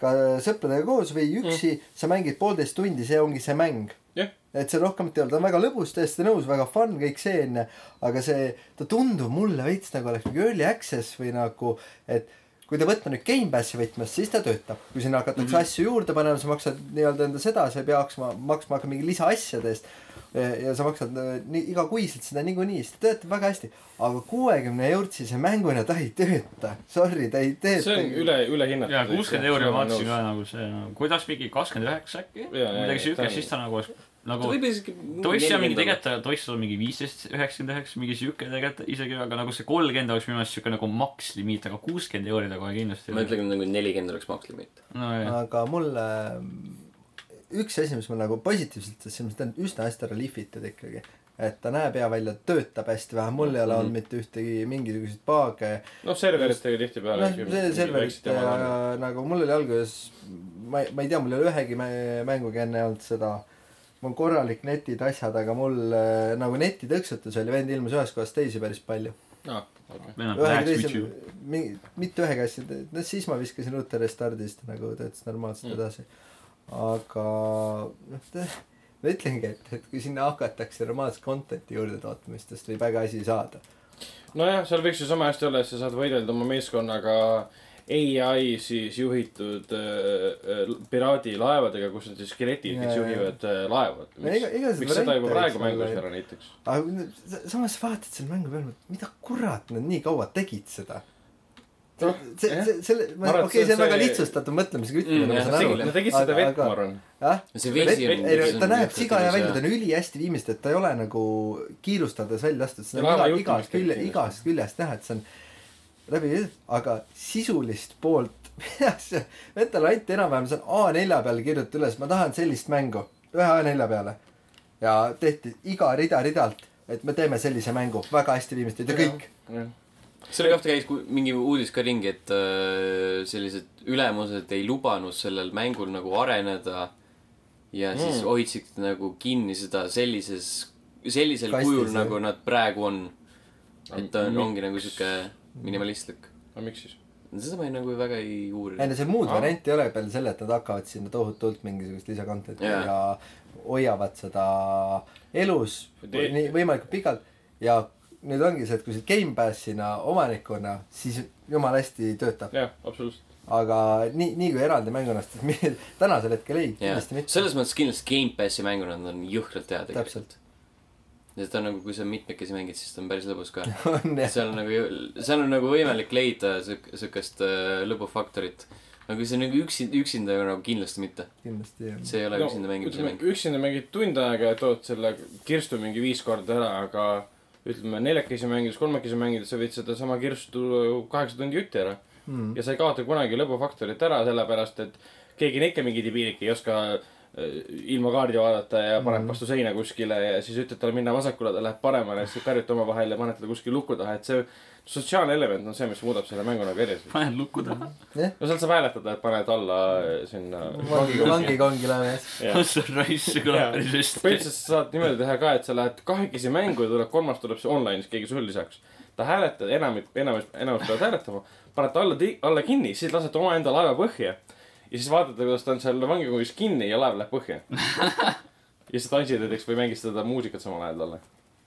C: ka sõpradega koos või üksi mm. , sa mängid poolteist tundi , see ongi see mäng .
B: Jah.
C: et see rohkemat ei ole , ta on väga lõbus , täiesti nõus , väga fun , kõik see onju , aga see , ta tundub mulle veits nagu oleks mingi early access või nagu , et kui te võtta nüüd Gamepassi võtmes , siis ta töötab . kui sinna hakatakse
B: Mhm.
C: mm -hmm. asju juurde panema , sa maksad nii-öelda enda seda , sa ei pea maksma , maksma hakkama mingi lisaasjade eest . ja sa maksad äh, nii igakuiselt seda niikuinii , siis ta töötab väga hästi . aga kuuekümne eurtsise mänguna ta ei tööta . Sorry , ta ei tööta .
B: see on üle , ülehinnatud .
D: jaa , kuuskümmend euri ma vaatasin ka nagu see , kuidas mingi kakskümmend üheksa äkki ,
B: Jaa, jaa,
D: midagi
B: jaa, ta on-
D: siukest , siis ta nagu ,
A: ta
D: nagu
A: võib isegi .
D: ta võiks seal mingi tegelikult , ta võiks olla mingi viisteist , üheksakümmend üheksa , mingi siuke tegelikult isegi , aga nagu see kolmkümmend oleks minu meelest siuke nagu maks limiit , aga kuuskümmend euri ta kohe kindlasti .
A: ma ütlen nagu nelikümmend oleks maks limiit .
D: nojah ,
C: aga mulle mm, üks asi , mis mul nagu positiivselt , sest ta on üsna hästi ära lihvitud ikkagi , et ta näeb hea välja , töötab hästi vähe , mul ei ole olnud mitte ühtegi mingisuguseid paage
B: noh , serveritega tihtipeale .
C: noh , see serverit ja nagu mul oli alguses , ma ei , ma ei tea , mul ei ole ühegi mä- mänguga enne olnud seda . mul korralik netid , asjad , aga mul äh, nagu netitõksutus oli , vend ilmus ühest kohast teise päris palju .
B: Noh,
C: ühega teise , mitte ühegi asja , no siis ma viskasin
B: Mm.
C: ruutu restardist nagu töötas normaalselt edasi . aga noh , ma ütlengi , et , et kui sinna hakatakse normaalset content'i juurde tootma , siis tast võib väga asi saada .
B: nojah , seal võiks ju sama hästi olla , et sa saad võidelda oma meeskonnaga ai siis juhitud äh, äh, piraadilaevadega , kus on siis skeletid , kes
C: Jaa, jaa.
B: juhivad äh, laeva .
C: No ega- ega
B: miks
C: seda
B: miks seda juba
C: variante võiks
B: praegu
C: olla,
B: mängus
C: et-
B: ära näiteks ?
C: aga n- sa- samas sa vaatad selle mängu peale , mida kurat nad nii kaua tegid seda . see
B: Noh, , jah.
C: see , selle ,
B: Ma arvan, et
C: okei , see
B: see-
C: on väga
B: see-
C: lihtsustatud mõtlemisega
A: Mm,
C: ütlemine , ma
A: jah,
C: saan aru
A: selge. .
B: Nad tegid seda vett , ma arvan .
C: jah ,
A: see
C: vett ,
A: vesi on .
C: ei no ta näeb siga hea välja , ta on ülihästi viimist , et ta ei ole nagu kiirustades välja lastud ,
B: Ja
C: seda on
B: laeva
C: iga ,
B: juhtimist
C: igast külje ,
B: kindlasti.
C: igast küljest näha , et see on läbi , aga sisulist poolt , Vetele anti enam-vähem , see on A4 peale kirjutatud üles , ma tahan sellist mängu , ühe A4 peale . ja tehti iga rida ridalt , et me teeme sellise mängu , väga hästi viimist ja kõik .
A: selle kohta käis ku- mingi uudis ka ringi , et äh, sellised ülemused ei lubanud sellel mängul nagu areneda . ja siis
B: Mm.
A: hoidsid nagu kinni seda sellises , sellisel
C: Kastis,
A: kujul ,
C: jah.
A: nagu nad praegu on . et ta on ,
B: Aga
A: ongi nagu sihuke minimalistlik .
B: aga miks siis ?
A: seda ma ei, nagu väga ei
C: ei
A: uuri .
C: no seal muud
B: Aa.
C: varianti ei ole peale selle , et nad hakkavad sinna tohutult mingisugust lisakontenti
A: Jaa.
C: yeah. ja hoiavad seda elus
B: Te-
C: nii võimalikult pikalt ja nüüd ongi see , et kui sa Gamepassina omanikuna , siis jumala hästi töötab ,
B: jah , absoluutselt .
C: aga nii , nii kui eraldi mänguna , siis tänasel hetkel ei ,
A: jah ,
C: kindlasti mitte .
A: selles mõttes kindlasti Gamepassi mänguna nad on jõhkralt head
C: Täpselt. .
A: ja ta on nagu , kui sa mitmekesi mängid , siis ta on päris lõbus ka .
C: on jah ,
A: seal on nagu , seal on nagu võimalik leida siuk- , siukest äh, lõbufaktorit . aga kui see on nagu üksi , üksinda nagu kindlasti mitte .
C: kindlasti jah .
A: see ei ole no, üksinda mängimise mäng .
B: üksinda mängid tund aega ja tood selle kirstu mingi viis korda ära , aga ütleme , neljakesi mängides , kolmekesi mängides sa võid sedasama kirstu kaheksa tundi jutti ära .
C: Mm.
B: ja sa ei kaota kunagi lõbufaktorit ära , sellepärast et keegi on ikka mingi debiilik , ei oska äh, ilma kaardi vaadata ja paneb vastu seina kuskile ja siis ütled talle minna vasakule , ta läheb paremale , siis karjute omavahel ja paned ta kuskile luku taha , et see sotsiaalne element on see , mis muudab selle mängu nagu edasi .
D: panen lukku taha .
B: no sealt saab hääletada , et paned alla äh, sinna .
C: vangi , vangikongi läheme jah .
B: jah ,
D: see on raisk , see kõlab päris hästi .
B: põhimõtteliselt sa saad niimoodi teha ka , et sa lähed kahekesi mängu ja tuleb kolmas tuleb see online'is keegi sul lisaks . ta hääletab , enamik , enamus , enamus peavad hääletama , paned ta alla , alla kinni , siis lased omaenda laeva põhja . ja siis vaatad , kuidas ta on seal vangikongis kinni ja laev läheb põhja . ja siis tantsid näiteks või mängid seda muusikat samal ajal talle .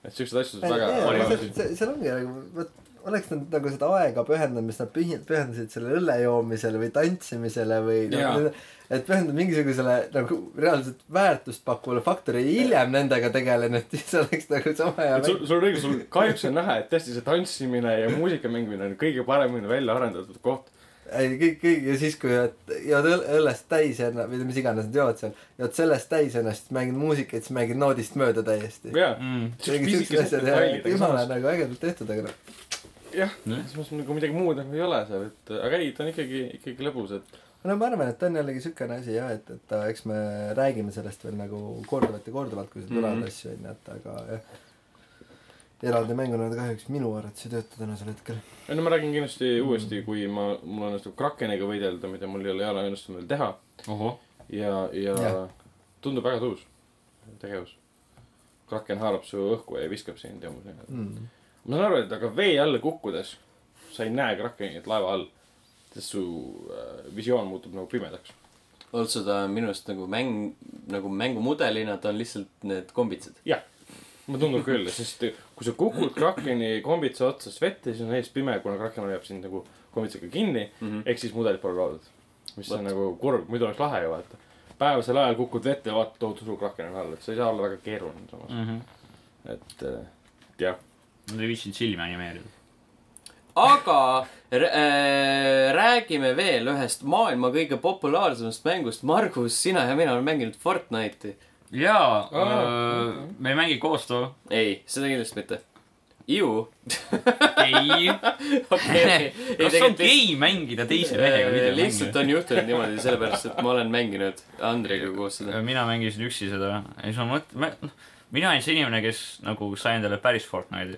B: et siukseid asju saab väga .
C: seal ongi nagu , vot oleks nad nagu seda aega pühendanud , mis nad pühi- , pühendasid sellele õlle joomisele või tantsimisele või nagu
B: Jaa.
C: et pühendada mingisugusele nagu reaalselt väärtust pakkuvale faktorile ja hiljem nendega tegelenud , siis oleks nagu sama hea
B: et sul , sul on õigus , sul kahjuks on näha , et tõesti see tantsimine ja muusika mängimine on kõige paremini välja arendatud koht .
C: ei , kõik , kõik ja siis , kui jõuad , jõuad õl- õllest täis ja või mis iganes nad joovad seal , jõuad sellest täis ennast , siis mängid muusikat , siis mängid noodist mööda täiesti .
B: jaa .
D: Mm.
C: siuksed asjad , jumala nagu ägedalt tehtud , aga noh ,
B: jah ,
D: Nojah.
B: selles mõttes nagu midagi muud nagu ei ole seal , et aga ei , ta on ikkagi , ikkagi lõbus , et
C: no ma arvan , et ta on jällegi siukene asi jah , et , et äh, eks me räägime sellest veel nagu korduvalt ja korduvalt , kui seal tuleb mm -hmm.
B: Mhm.
C: asju onju , et aga jah . eraldi mänguna ta kahjuks minu arvates ei tööta tänasel hetkel .
B: ei no ma räägin kindlasti mm. uuesti , kui ma , mul õnnestub Krakeniga võidelda , mida mul ei ole , ei ole õnnestunud veel teha
D: ohoh ,
B: ja , ja
C: Jah.
B: tundub väga tõus tegevus . Kraken haarab su õhku ja viskab sind ja mul see .
C: Mm.
B: ma saan aru , et aga vee alla kukkudes sa ei näe Krakenit laeva all , sest su äh, visioon muutub nagu pimedaks .
A: üldse ta on minu arust nagu mäng , nagu mängumudelina , ta on lihtsalt need kombitsed .
B: jah , mulle tundub küll , sest kui sa kukud Krakeni kombitsa otsast vette , siis on ees pime , kuna Kraken hoiab sind nagu kombitsaga kinni mm
D: Mhm.
B: -hmm. , ehk siis mudelit pole loodud . mis Võt. on
A: Vot.
B: nagu kurb , muidu oleks lahe ju vaata . päevasel ajal kukud vette ja vaatad , tohutu suur Kraken on all , et see ei saa olla väga keeruline samas ,
D: nad
B: et äh, et jah .
D: ei viitsinud silmi animeerida .
A: aga r- äh, räägime veel ühest maailma kõige populaarsemast mängust . Margus , sina ja mina oleme mänginud Fortnite'i .
D: jaa äh,
B: Aa, ,
D: me ei mängi koos too .
A: ei , seda kindlasti mitte . Ju .
D: ei ,
A: okei .
D: kas on gei mängida teise
B: Äh,
D: mehega
A: lihtsalt
D: videomängu ?
A: on juhtunud niimoodi sellepärast , et ma olen mänginud Andriga koos seda .
D: Äh, mina mängisin üksi seda , ei siis ma mõtlen , noh, mina olin see inimene , kes nagu sai endale päris Fortnite'i .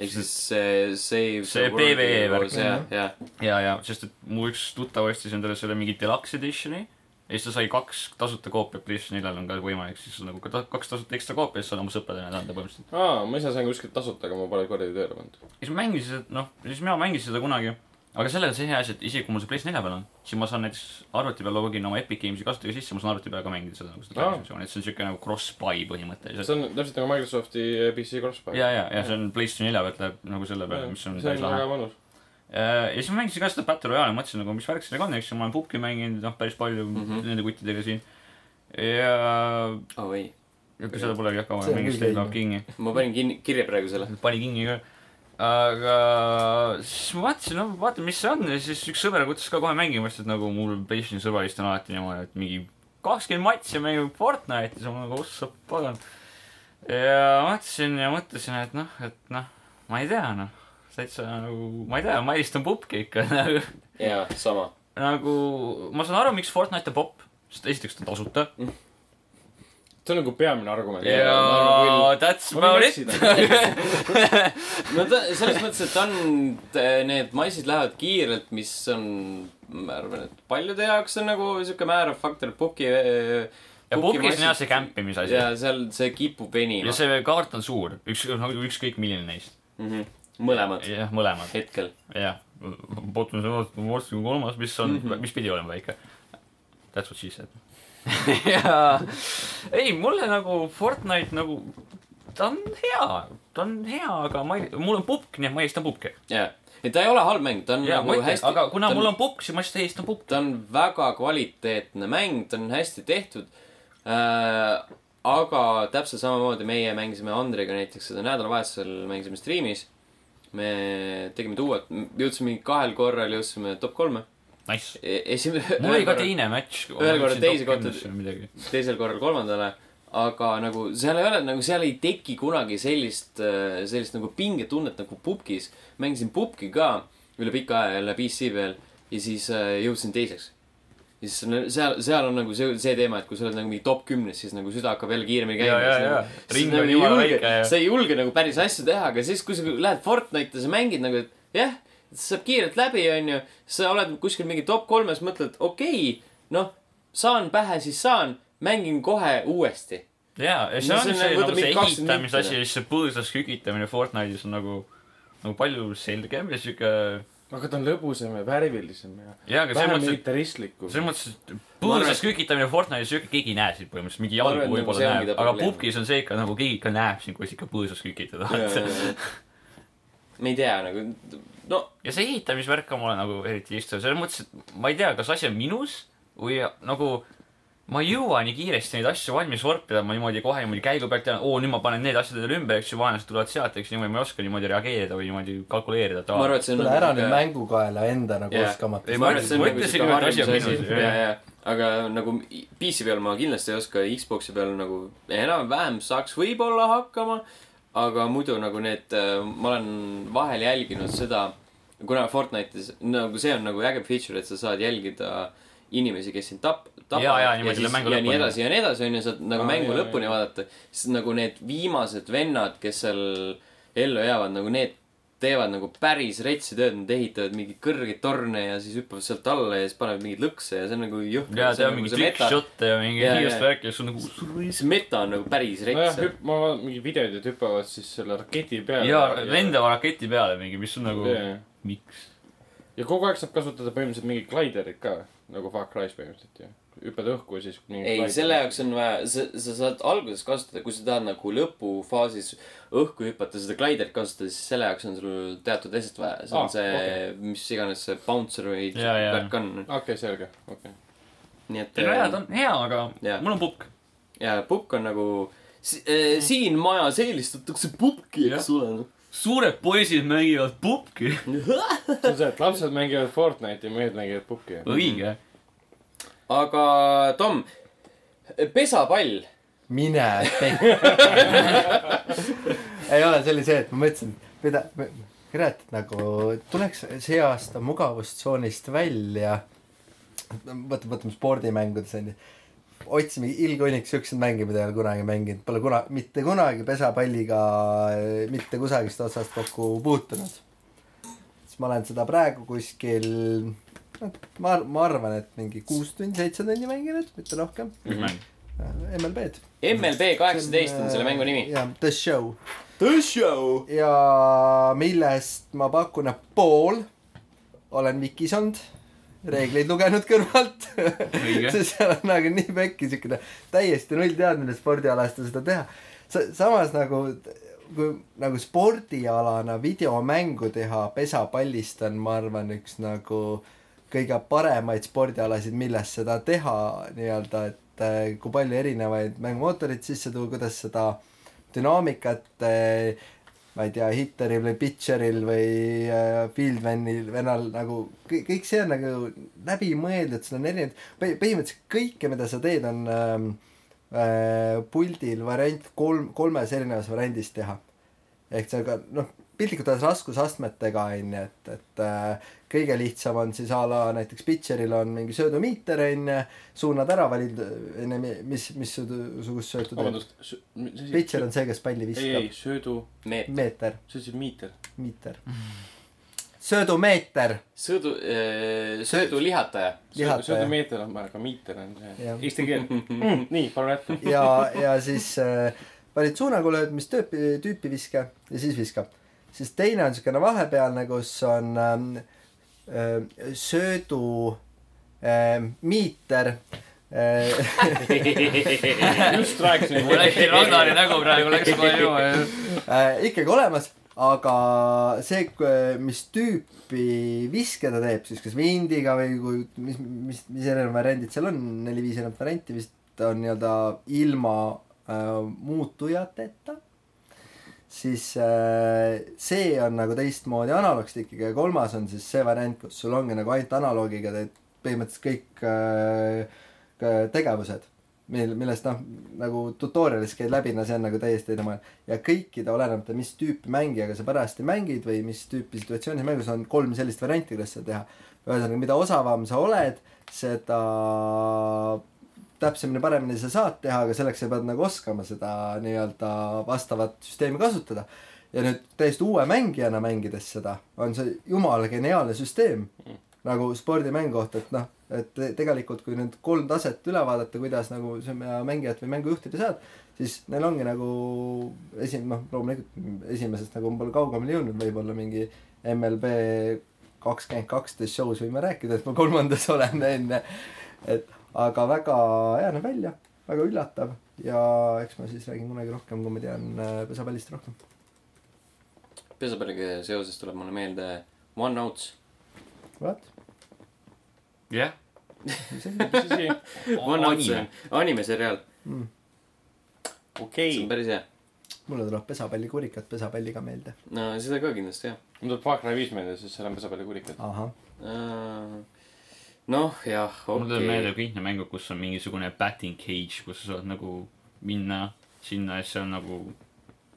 A: ehk siis see , see .
D: See PvE värk.
A: jah , jah .
D: ja , ja , sest et mu üks tuttav ostis endale selle mingi deluxe edition'i ja siis ta sai kaks tasuta koopiat , PlayStation 4-l on ka võimalik siis nagu ka ta- kaks tasuta ekstra koopiat , siis saad oma sõpradele anda põhimõtteliselt .
B: aa , ma ise sain kuskilt tasuta , aga ma pole kordi tööle pannud .
D: ja siis ma mängisin , noh , siis mina mängisin seda kunagi aga sellega on see hea asi , et isegi kui mul see PlayStation nelja peal on , siis ma saan näiteks arvuti peal login oma Epic Games'i kasutaja sisse , ma saan arvuti peal ka mängida seda nagu seda
B: Aa.
D: klaviatuuri , et see on siuke nagu cross-buy põhimõtteliselt .
B: see on täpselt nagu Microsofti PC crossbar .
D: ja , ja , ja see on PlayStation nelja pealt läheb nagu selle peale , mis on
B: see
D: päris
B: on nagu-
D: lahe Äh,
B: väga . mõnus .
D: ja siis ma mängisin ka seda Battle Royale'i , mõtlesin nagu , mis värk sellega on , eks ju , ma olen pubki mänginud , noh , päris palju mm
A: Mhm.
D: -hmm. nende kuttidega siin . ja ,
A: oh ei ,
D: ja seda polegi jah kaua
C: See on
D: mängis
C: küll
D: State
C: game.
D: of King'i ,
A: ma panin kinni , kirja praegu selle .
D: pani kingi ka . aga siis ma vaatasin , no vaatan , mis see on ja siis üks sõber kutsus ka kohe mängima , sest et nagu mul PlayStationi sõbralist on alati niimoodi , et mingi kakskümmend matši mängib Fortnite'i , siis ma nagu ossa pagan . ja vaatasin ja mõtlesin , et noh , et noh , ma ei tea noh , täitsa nagu , ma ei tea , ma eelistan pubki ikka nagu
A: jaa , sama .
D: nagu , ma saan aru , miks Fortnite on popp , sest esiteks ta on tasuta .
B: Mhm. see on nagu peamine argument .
D: ja that's
B: Ma nagu-
D: about
B: võin
D: it .
B: eksida.
A: no ta , selles mõttes , et on , need massid lähevad kiirelt , mis on , ma arvan , et paljude jaoks on nagu sihuke määrav faktor puki .
D: ja pubgis on jah see . kämpimise asi .
A: eh, ja seal see kipub venima
D: ja . see kaart on suur , üks , nagu ükskõik milline neist .
A: Mhm. mõlemad
D: jah , mõlemad ,
A: hetkel .
D: jah . Botman Watson kolmas , mis on , mis pidi olema väike . That's what she said . ja , ei , mulle nagu Fortnite nagu , ta on hea , ta on hea , aga ma ei , mul on pubk , nii et ma eelistan pubki .
A: jaa , et ta ei ole halb mäng , ta on
D: ja , ma
A: nagu
D: ütlen ,
A: hästi .
D: aga kuna mul on pubk , siis ma lihtsalt eelistan pubki .
A: ta on väga kvaliteetne mäng , ta on hästi tehtud äh, . aga täpselt samamoodi meie mängisime Andriga näiteks seda nädalavahetusel mängisime striimis . me tegime duot , jõudsime mingi kahel korral jõudsime top kolme .
D: Nice .
A: esimene .
D: mul oli ka teine matš .
A: ühel korral teise kohta-
D: midagi .
A: teisel korral kolmandale , aga nagu seal ei ole nagu seal ei teki kunagi sellist , sellist nagu pingetunnet nagu pubgis . mängisin pubgi ka üle pika aja jälle PC peal ja siis äh, jõudsin teiseks . ja siis on- seal , seal on nagu see , see teema , et kui sa oled nagu mingi top kümnes , siis nagu süda hakkab jälle kiiremini
D: ja , ja ,
A: käima nagu-
D: ja . ring on jumala väike ja .
A: sa ei julge nagu päris asju teha , aga siis , kui sa lähed Fortnite'i , sa mängid nagu , et jah , saab kiirelt läbi , onju . sa oled kuskil mingi top kolmes , mõtled , okei okay, , noh , saan pähe , siis saan , mängin kohe uuesti .
D: ja , ja see
A: No
D: on
A: see
D: see
A: võtab
D: nagu see
A: mingi kakskümmend
D: ehitamise
A: minutit.
D: asi , see põõsas kükitamine Fortnite'is on nagu , nagu palju selgem ja sihuke .
B: aga ta on lõbusam ja värvilisem ja
D: jaa , aga selles
B: vähem
D: mõttes ,
B: militaristlikum
D: et , selles mõttes , et
A: Ma arvan,
D: põõsas
A: et-
D: kükitamine Fortnite'is sihuke , keegi ei näe sind põhimõtteliselt , mingi
A: Ma
D: jalgu
A: arvan, et nagu see
D: võib-olla
A: ongi
D: näeb ,
A: ta
D: aga
A: probleem.
D: pubgis on see ikka nagu keegi ikka näeb sind , kui sa ikka põõsas kükitad
A: me ei tea nagu , no
D: ja see ehitamisvärk on mulle nagu eriti istuv , selles mõttes , et ma ei tea , kas asi on minus või nagu ma ei jõua nii kiiresti neid asju valmis vorpida , ma niimoodi kohe niimoodi käigu pealt tean , oo nüüd ma panen need asjad jälle ümber , eks ju , vaenlased tulevad sealt , eks ju, niimoodi ma ei oska niimoodi reageerida või niimoodi kalkuleerida .
A: ma arvan , et see on nagu
C: kuule , ära nüüd
A: sihuke-
C: mängukaela enda nagu
A: Jaa.
C: oskamatu
D: Ei,
A: ma arvan , et see on
D: Ma
A: nagu
D: ütlesin
A: sihuke
D: ju, et asi on
A: harjumusasi
D: minus, , jah.
A: ja , ja , aga nagu i- PC peal ma kindlasti ei oska , Xbox'i peal nagu enam-vähem saaks võib-olla hakkama , aga muidu nagu need , ma olen vahel jälginud seda , kuna Fortnite'is nagu see on nagu äge feature , et sa saad jälgida inimesi , kes sind tap- , tapavad
D: Jaa, jaa, niimoodi
A: siis-
D: selle mängu
A: ja nii
D: lõpuni.
A: edasi ja nii edasi , onju , saad nagu
B: Aa,
A: mängu
B: jaa,
A: lõpuni
B: jaa.
A: vaadata , siis nagu need viimased vennad , kes seal ellu jäävad , nagu need teevad nagu päris retsi tööd , nad ehitavad mingeid kõrgeid torne ja siis hüppavad sealt alla ja siis panevad mingeid lõkse ja see on nagu jõhker .
D: ja teha mingi trick-shot'e ja mingi
A: Jaa, jaa.
D: kiirust värki , see on nagu
A: see meta on nagu päris
B: nojah
A: rets ,.
B: hüpp- , ma vaatan mingeid videoid , et hüppavad siis selle raketi peale .
D: ja lendava raketi peale mingi , mis on nagu , miks ?
B: ja kogu aeg saab kasutada põhimõtteliselt mingeid glaidereid ka , nagu Far Cry's põhimõtteliselt ju . hüppad õhku ja siis .
A: ei , selle . jaoks on vaja , sa , sa saad alguses kasutada , kui sa tahad nagu lõpufaasis õhku hüpata , seda gliderit kasutada , siis selle jaoks on sul teatud asjad vaja . see on
B: Ah,
A: ah, see
B: okei.
A: okay. , mis iganes see bouncer või
D: Jaa, jaa.
A: värk on .
B: okei okay, , selge , okei okay. .
A: nii et . äh,
D: ei no jaa , ta on hea , aga
A: Jaa.
D: mul on pukk .
A: ja pukk on nagu , siin majas eelistatakse pukki , eks ole . noh.
D: suured poisid mängivad pukki .
A: Mm-hmm.
B: see on see , et lapsed mängivad Fortnite'i , mehed mängivad pukki .
D: õige .
A: aga Tom , pesapall .
C: mine pekki ei ole , see oli see , et ma mõtlesin , mida , kurat , nagu tuleks see aasta mugavustsoonist välja . vaata , võtame spordimängudes onju . otsime ilgõnniks siukseid mänge , mida ei ole kunagi mänginud , pole kuna- , mitte kunagi pesapalliga eh, mitte kusagilt otsast kokku puutunud . siis ma olen seda praegu kuskil , ma , ma arvan , et mingi kuus tundi , seitse tundi mänginud , mitte rohkem .
D: mis
A: Mm-hmm.
D: mäng ?
C: MLB-d .
A: MLB kaheksateist on selle mängu nimi .
C: jah , uh, The Show .
A: The show .
C: ja millest ma pakun , et pool olen Vikis olnud , reegleid lugenud kõrvalt .
D: õige .
C: see seal on nagu nii pekki siukene täiesti null teadmine spordialast ja seda teha . samas nagu , kui nagu spordialana videomängu teha pesapallist on , ma arvan , üks nagu kõige paremaid spordialasid , milles seda teha nii-öelda , et äh, kui palju erinevaid mängumootoreid sisse tuua , kuidas seda dünaamikat äh, ma ei tea , hitteril või pitcheril või äh, fieldmanil , vennal nagu kõik , kõik see on nagu läbimõeldud , seal on erinevad , põhimõtteliselt kõike , mida sa teed , on ähm, äh, puldil variant kolm , kolmes erinevas variandis teha . ehk see on ka noh , piltlikult öeldes raskusastmetega on ju , et , et äh, kõige lihtsam on siis a la näiteks pitcheril on mingi söödumiiter on ju , suunad ära , valid äh, enne , mis , missugust söötu teed .
B: vabandust , mis asi ?
C: pitcher on see , kes palli
B: ei , ei
C: viskab .
B: söödu ,
A: meet- ,
C: meeter .
B: sa ütlesid miiter .
C: miiter . söödumeeter .
A: sõdu , äh, sõõdulihataja .
C: lihataja
B: söödumeeter on vaja , aga miiter on see
C: Jah.
B: eesti keel . nii , palun jätka .
C: äh, ja , ja siis äh, valid suuna , kui lööd , mis tüüpi , tüüpi viska ja siis viskab . siis teine on niisugune vahepealne , kus on ähm, äh, söödu ähm, miiter äh, .
B: just rääkisin .
D: mul läks Ragnari nägu praegu läks kohe juba ja
C: äh, ikkagi olemas , aga see , mis tüüpi viske ta teeb siis , kas vindiga või kui , mis , mis , mis erinevad variandid seal on , neli-viis erinevat varianti vist on nii-öelda ilma äh, muutujateta . siis äh, see on nagu teistmoodi analoogstikiga ja kolmas on siis see variant , kus sul ongi nagu ainult analoogiga teed põhimõtteliselt kõik äh, ka- tegevused , mil , millest noh , nagu tutorial'is käid läbi , no see on nagu täiesti teine maailm . ja kõikide , olenemata mis tüüpi mängijaga sa parajasti mängid või mis tüüpi situatsioonis mängus on kolm sellist varianti , kuidas seda teha . ühesõnaga , mida osavam sa oled , seda täpsemini , paremini sa saad teha , aga selleks sa pead nagu oskama seda nii-öelda vastavat süsteemi kasutada . ja nüüd täiesti uue mängijana mängides seda , on see jumala geniaalne süsteem mm. nagu spordimängu kohta , et noh , et te- tegelikult kui nüüd kolm taset üle vaadata , kuidas nagu sa oma mängijat või mängujuhtida saad , siis neil ongi nagu esi- , noh , loomulikult esimesest nagu pole kaugemale jõudnud , võib-olla mingi MLB kakskümmend kaksteist show's võime rääkida , et ma kolmandas olen enne . et aga väga hea näeb välja , väga üllatav ja eks ma siis räägin kunagi rohkem , kui ma tean äh, pesapallist rohkem .
A: pesapalliga seoses tuleb mulle meelde One Outs .
C: vot ,
D: jah ,
C: mis asi .
B: mis asi ?
A: One Outs
D: anime.
A: on animeseriaal ,
B: okei
A: see on . päris hea .
C: mulle tuleb pesapallikurikat pesapalliga meelde .
A: no seda ka kindlasti jah .
B: mul tuleb Far Cry viis meelde , sest seal on pesapallikulikad .
C: ahah ,
A: Äh, noh , jah ,
D: mul tuleb meelde
A: okei .
D: kõik need mängud , kus on mingisugune batting cage , kus sa saad nagu minna sinna ja siis see on nagu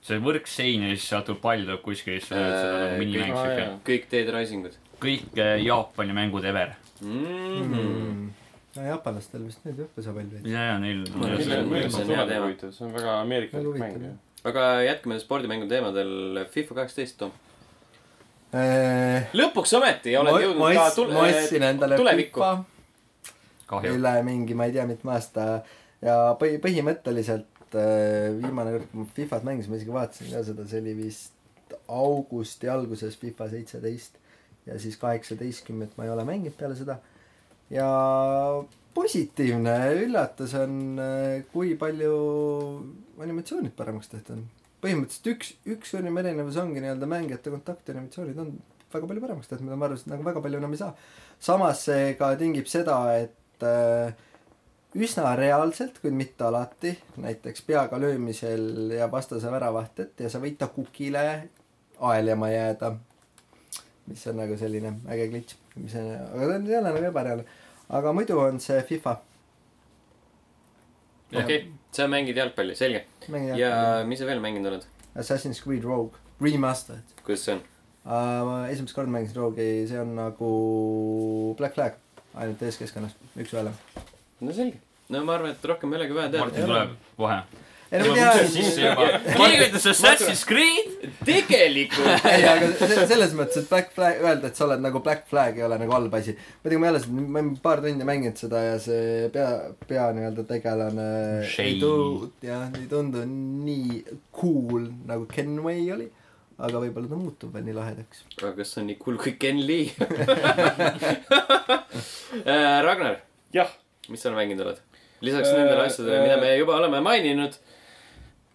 D: see võrk sein ja siis sealt tuleb pall tuleb kuskile ja siis sa lööd seda
A: Äh,
D: nagu minimäng
B: kõik-
D: siuke
B: aa, .
A: kõik Dead Risingud
D: kõik eh, Jaapani mängud ever .
A: mm .
D: Mhm.
A: -hmm.
C: mm. . no jaapanlastel vist nüüd jah pesapall veidi .
D: ja , ja neil .
A: Ma arvan, see on- see on hea teema.
B: see on väga ameerikalik
C: Väga
B: mäng
C: huvitav.
B: ju .
A: aga jätkame spordimängu teemadel , FIFA kaheksateist , Tom .
C: ma
A: lõpuks ometi oled ma, jõudnud
C: ma
A: ka
C: ots-
A: tul-
C: ma ostsin endale
A: tulevikku .
C: pipa
D: kahju .
C: üle mingi , ma ei tea , mitme aasta ja põhi , põhimõtteliselt äh, viimane kord , kui ma Fifat mängisin , ma isegi vaatasin ka seda , see oli vist augusti alguses Fifa seitseteist ja siis kaheksateistkümmet ma ei ole mänginud peale seda . ja positiivne üllatus on , kui palju animatsioonid paremaks tehtud on . põhimõtteliselt üks , üks suurim erinevus ongi nii-öelda mängijate kontaktanimatsioonid on väga palju paremaks tehtud , mida ma arvasin , et nagu väga palju enam ei saa . samas see ka tingib seda , et et äh, üsna reaalselt , kuid mitte alati , näiteks peaga löömisel jääb vastase väravaht ette ja sa võid ta kukile aelema jääda . mis on nagu selline äge klits , mis on , aga ta ei ole nagu ebareaalne . aga muidu on see FIFA .
A: okei , sa mängid jalgpalli , selge . ja mis sa veel mänginud oled ?
C: Assassin's Creed Rogue Remastered
A: kuidas see on ?
C: uh, . ma esimest korda mängisin Rogue'i , see on nagu Black Flag , ainult eeskeskkonnas , üks-ühele .
A: no selge . no ma arvan , et rohkem ei olegi vaja
D: Martin
A: teada .
D: tuleb kohe .
C: ei no ma
D: tuleb
C: tean ,
D: sisse juba . keegi ütles Assassin's Creed .
A: tegelikult
C: ei , aga se- selles mõttes , et Black Flag , öelda , et sa oled nagu Black Flag ei ole nagu halb asi . muidugi ma ei ole seda , ma olen paar tundi mänginud seda ja see pea , pea nii-öelda tegelane ei
D: Shane.
C: tu- , jah , ei tundu nii cool nagu Kenway oli . aga võib-olla ta muutub veel nii lahedaks .
A: aga kas see on nii cool kui Ken Lee ? Ragnar ,
B: jah ,
A: mis sa mänginud oled ? lisaks
B: Äh,
A: nendele asjadele ,
B: äh,
A: mida me juba oleme maininud .